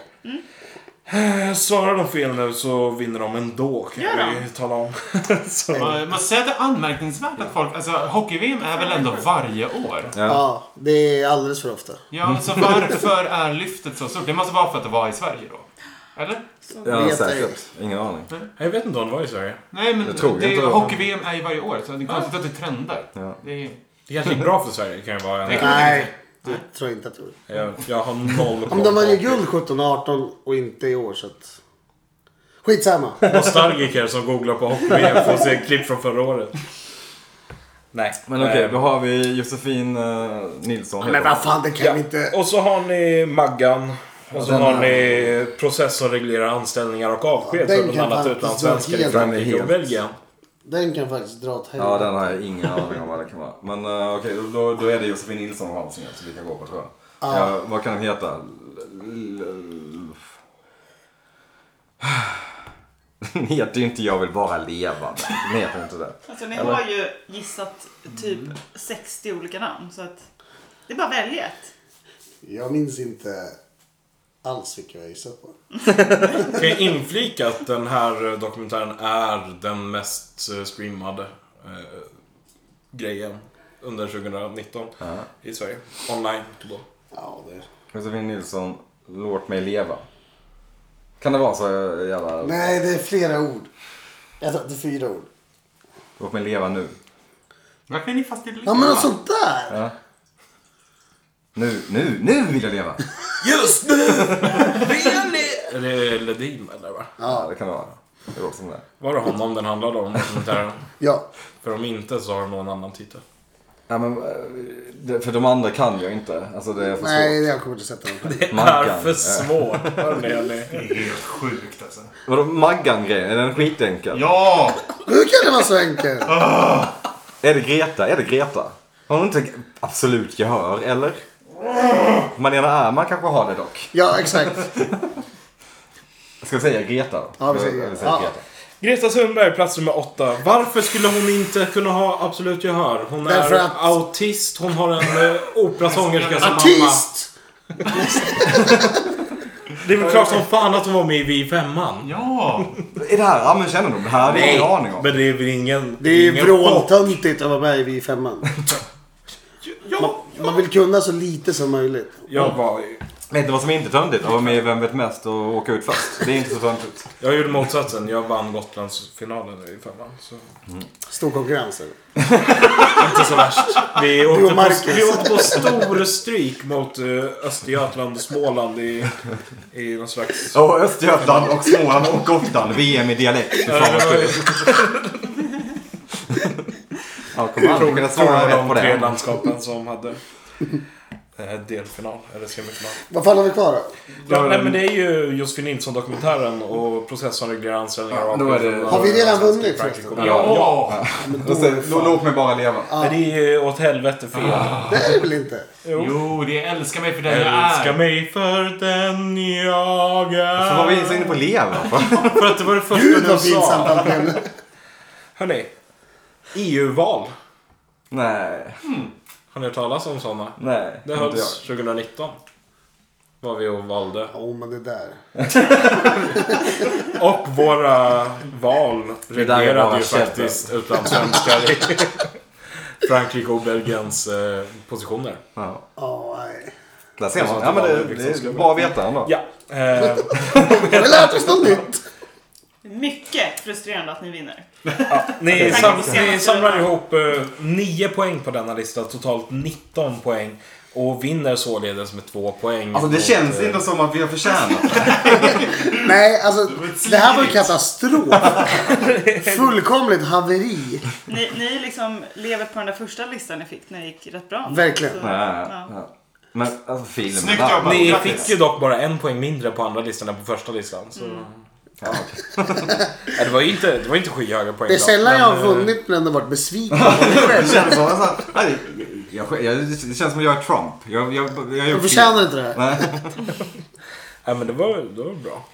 Eh, Svarar de fel nu så vinner de ändå, kan Gör vi tala om. *laughs* så. Man, man säger att det är anmärkningsvärt att folk... Alltså, hockey-VM är väl ändå varje år? Ja. det är alldeles för ofta. Ja, så varför är lyftet så stort? Det måste vara för att det var i Sverige då? Eller? Ja, Vet säkert. Ingen aning. Jag vet inte om det var i Sverige. Nej, men Jag tror det- inte- hockey-VM är ju varje år, så det är konstigt att det trendar. Ja. Det är, Det kanske gick bra för Sverige, kan ju vara. En, Nej. Nej, det tror jag inte att det gjorde. jag, jag har noll Om de vann ju guld 17 18 och inte i år så att... Skitsamma. Nostalgiker som googlar på hockey-VM får se klipp från förra året. Nej. Men okej, Eh, då har vi Josefin eh, Nilsson. *laughs* Men vad fan, det kan vi inte... Och så har ni Maggan. Och så Den har här- ni process som reglerar anställningar och avsked Ja, den för bland kan annat faktiskt utlandssvenskar i vara helt- Frankrike och Den är helt- Belgien. Den kan faktiskt dra åt Ja, helvete. den har jag ingen aning om vad det kan vara. Men eh, okej, då- då, då är det Josefin Nilsson och Hansingen som vi kan gå på tror jag. Ja, vad kan den heta? L- l- *sighs* Den heter ju inte Jag vill bara leva. Den heter inte det. Alltså ni har ju gissat typ Mm. 60 olika namn så att det är bara att välja ett. Jag minns inte alls vilka jag gissat på. Kan jag inflika att den här eh, dokumentären är den mest eh, streamade eh, grejen under 2019 i Sverige. Online då. Ja, det... Josefin Nilsson, Låt mig leva. Kan det vara så eh, jävla... Nej, det är flera ord. Jag tror att det är fyra ord. Låt mig leva nu. varför är ni fast i lyft? Ja, men alltså- något sånt där! Ja. Nu, nu, nu vill jag leva! Just nu! Är det Ledin eller va? Ja, det kan det vara. Det låter som det. Var det honom den handlade om dokumentären? Ja. För om inte så har den någon annan titel. Ja, men, eh, det- för de andra kan jag inte. Alltså det är för svårt. Nej, jag kommer inte sätta dem. Det är Maggan. för svårt. hörni, hörni. Det är helt sjukt alltså. Vadå Maggan-grejen? Är den skitenkel? Ja! Hur kan det vara så enkelt? Är det Greta? Är det Greta? Har hon inte absolut gehör, eller? Malena Ärman kanske har det dock. Ja, exakt. Ska vi säga Greta då? Ja, vi säger- ja. Greta. Greta Sundberg, plats nummer åtta. Varför skulle hon inte kunna ha absolut gehör? Hon är Därför att- autist, hon har en eh, operasångerska *laughs* som mamma. Artist! Det är väl klart som fan att hon var med i Vi i femman. Ja! Är det här allmänkännedom? Det här har vi ingen aning om. Men det är väl ingen... Det är ju ingen vråltöntigt att vara med i Vi i femman. Ja, Man vill kunna så lite som möjligt. jag, var, Vet du vad som är inte töntigt? Att vara med i Vem vet mest och åka ut först. Det är inte så töntigt. jag gjorde motsatsen. Jag vann Gotlandsfinalen i femman. Så. Stor konkurrens. eller? Inte så värst. Vi Du åkte, och på, Marcus. vi åkte på stor stryk mot eh, Östergötland och Småland i, i någon slags... *laughs* Och Östergötland och Småland och Gotland. VM i dialekt. Fy fan vad kul. Ja, kommer aldrig kunna Två svara av rätt på de tre det. landskapen som hade eh, delfinal, eller semifinal. Vad fan har vi kvar då? Ja, nej, men det är ju Josefin Nilsson-dokumentären och processen reglerar anställningar och då är det- Har vi redan vunnit förresten? förresten? Ja. ja. Ja! Och sen, lå- Låt mig bara leva. Men Det är ju åt helvete fel. Det är det väl inte? Jo, det är Älska mig för den jag Älska är. mig för den jag är. Så var vi så inne på leva? För att det var det första Gud du vad pinsamt sa. han blev. Hörni, EU-val. Nej. Har ni hört talas om sådana? Nej. Det inte jag. hölls 2019. Var vi och valde. Åh, men det där. Och våra val Det där är reglerade bara ju käbbel. faktiskt utlandssvenskar i Frankrike och Belgiens eh, positioner. Ja. Ja, nej. Där ser man. Ja, men det, det är bra att veta ändå. Ja. Eh, Har vi lärt oss något nytt? Mycket frustrerande att ni vinner. ni, Tack. sam, ni samlar ihop eh, 9 poäng på denna lista. Totalt 19 poäng. Och vinner således med 2 poäng. Alltså det mot, känns eh, inte som att vi har förtjänat det. Nej, alltså det här var ju katastrof. Fullkomligt haveri. Ni, ni liksom lever på den där första listan ni fick när det gick rätt bra. Verkligen. Så- Nej, Ja. ja. Men alltså filmen. Snyggt där. jobbat. Ni Grattis. fick ju dock bara en poäng mindre på andra listan än på första listan. Så. Ja. Nej, det var ju inte, det var inte skyhöga poäng. Det är då, sällan men, jag har eh, vunnit men ändå varit besviken på mig Det själv. känns som att jag, nej, jag, jag, det känns som att jag är Trump. Jag, jag, jag, jag, Jag förtjänar inte det här. Nej, men det var, det var bra.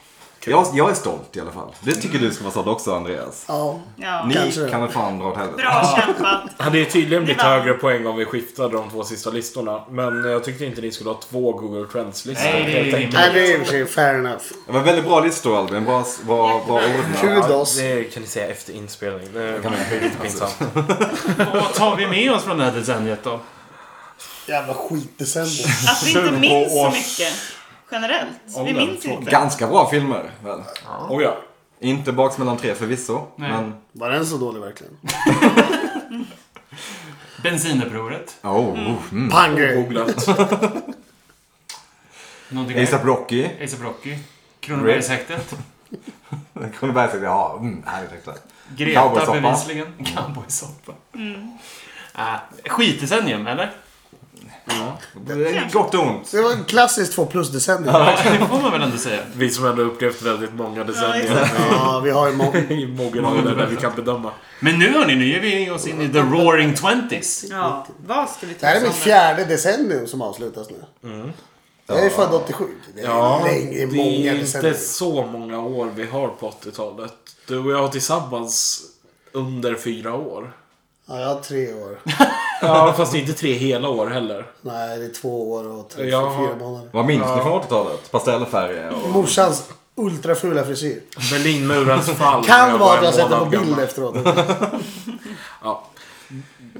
jag, jag är stolt i alla fall. Det tycker du ska vara stolt också Andreas. Ja. Ja. Ni Kanske det. kan väl fan dra åt helvete. Bra kämpat. Det hade ju tydligen blivit Det var- högre poäng om vi skiftade de två sista listorna. Men jag tyckte inte ni skulle ha två Google Trends-listor. Nej, det är helt enkelt. rimligt. Nej, det är i och för sig fair enough. Det var väldigt bra listor Albin. Bra, bra, bra ordning. Kul oss. det kan ni säga efter inspelning. Det blir lite pinsamt. Vad tar vi med oss från det här decenniet då? Jävla skitdecennium. Att vi *laughs* Alltså, inte minns så mycket. Generellt. Vi den minns inte. Ganska bra filmer. Väl? Oh, ja. Inte Baks mellan tre förvisso. Nej. Men, Var den så dålig verkligen? Bensinupproret. oh, mm. Panger. Googlat. Någonting ASAP Rocky. A$AP Rocky. Kronobergshäktet. Kronoberg säger ja, mm, härligt häkte. Greta Cowboysoppa. bevisligen. Cowboysoppa. Äh, skitdecennium, eller? Det är Gott och ont. Det var en klassisk två plus decennium. Det får man väl ändå säga. Vi som ändå upplevt väldigt många decennier Ja, vi har ju många. i mogen ålder där vi kan bedöma. Men nu hörni, nu ger vi oss in i the roaring twenties. Ja, vad ska vi Det här är tipsa om mitt fjärde decennium som avslutas nu. Jag är född 87. Det är Mm. Ja, länge, det är det många är inte decennier. så många år vi har på 80-talet. Du och jag har tillsammans under fyra år. Ja, jag har tre år. Ja, fast inte tre hela år heller. Nej, det är två år och tre, Jag har- fyra månader. Vad minns ni från 80-talet? Pastellfärger och... Morsans ultrafula frisyr. Berlinmurens fall. när Kan jag vara var att en jag sett den på månad bild gammal. *laughs* efteråt. Ja.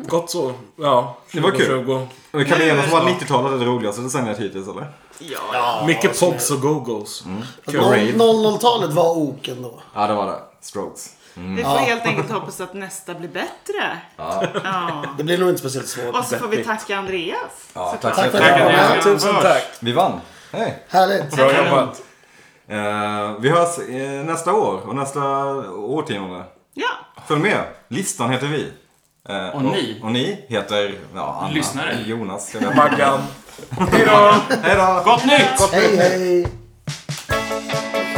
Gott så. Ja, Det var kul. 2020. Men Kan vi enas om att 90-talet är det roligaste decenniet hittills eller? Mycket pops och go-go's. Mm. Raid. 00-talet var ok ändå. Ja, det var det. Strokes. Vi får helt enkelt hoppas att nästa blir bättre. Ja. Det blir nog inte speciellt svårt. Och så får vi tacka Andreas. Ja, tack såklart. så Tack för mycket. att du kom. Ja, med. tusen tack. Vi vann. Hej. Härligt. Bra jobbat. Eh, vi hörs eh, nästa år och nästa årtionde. Ja, Följ med. Listan heter vi. Eh, Och ni. Och, ni heter ja, Anna, Lyssnare. *laughs* Jonas. jag vet inte. Maggan. Hej då. Hej då! Gott nytt! Hej, hej.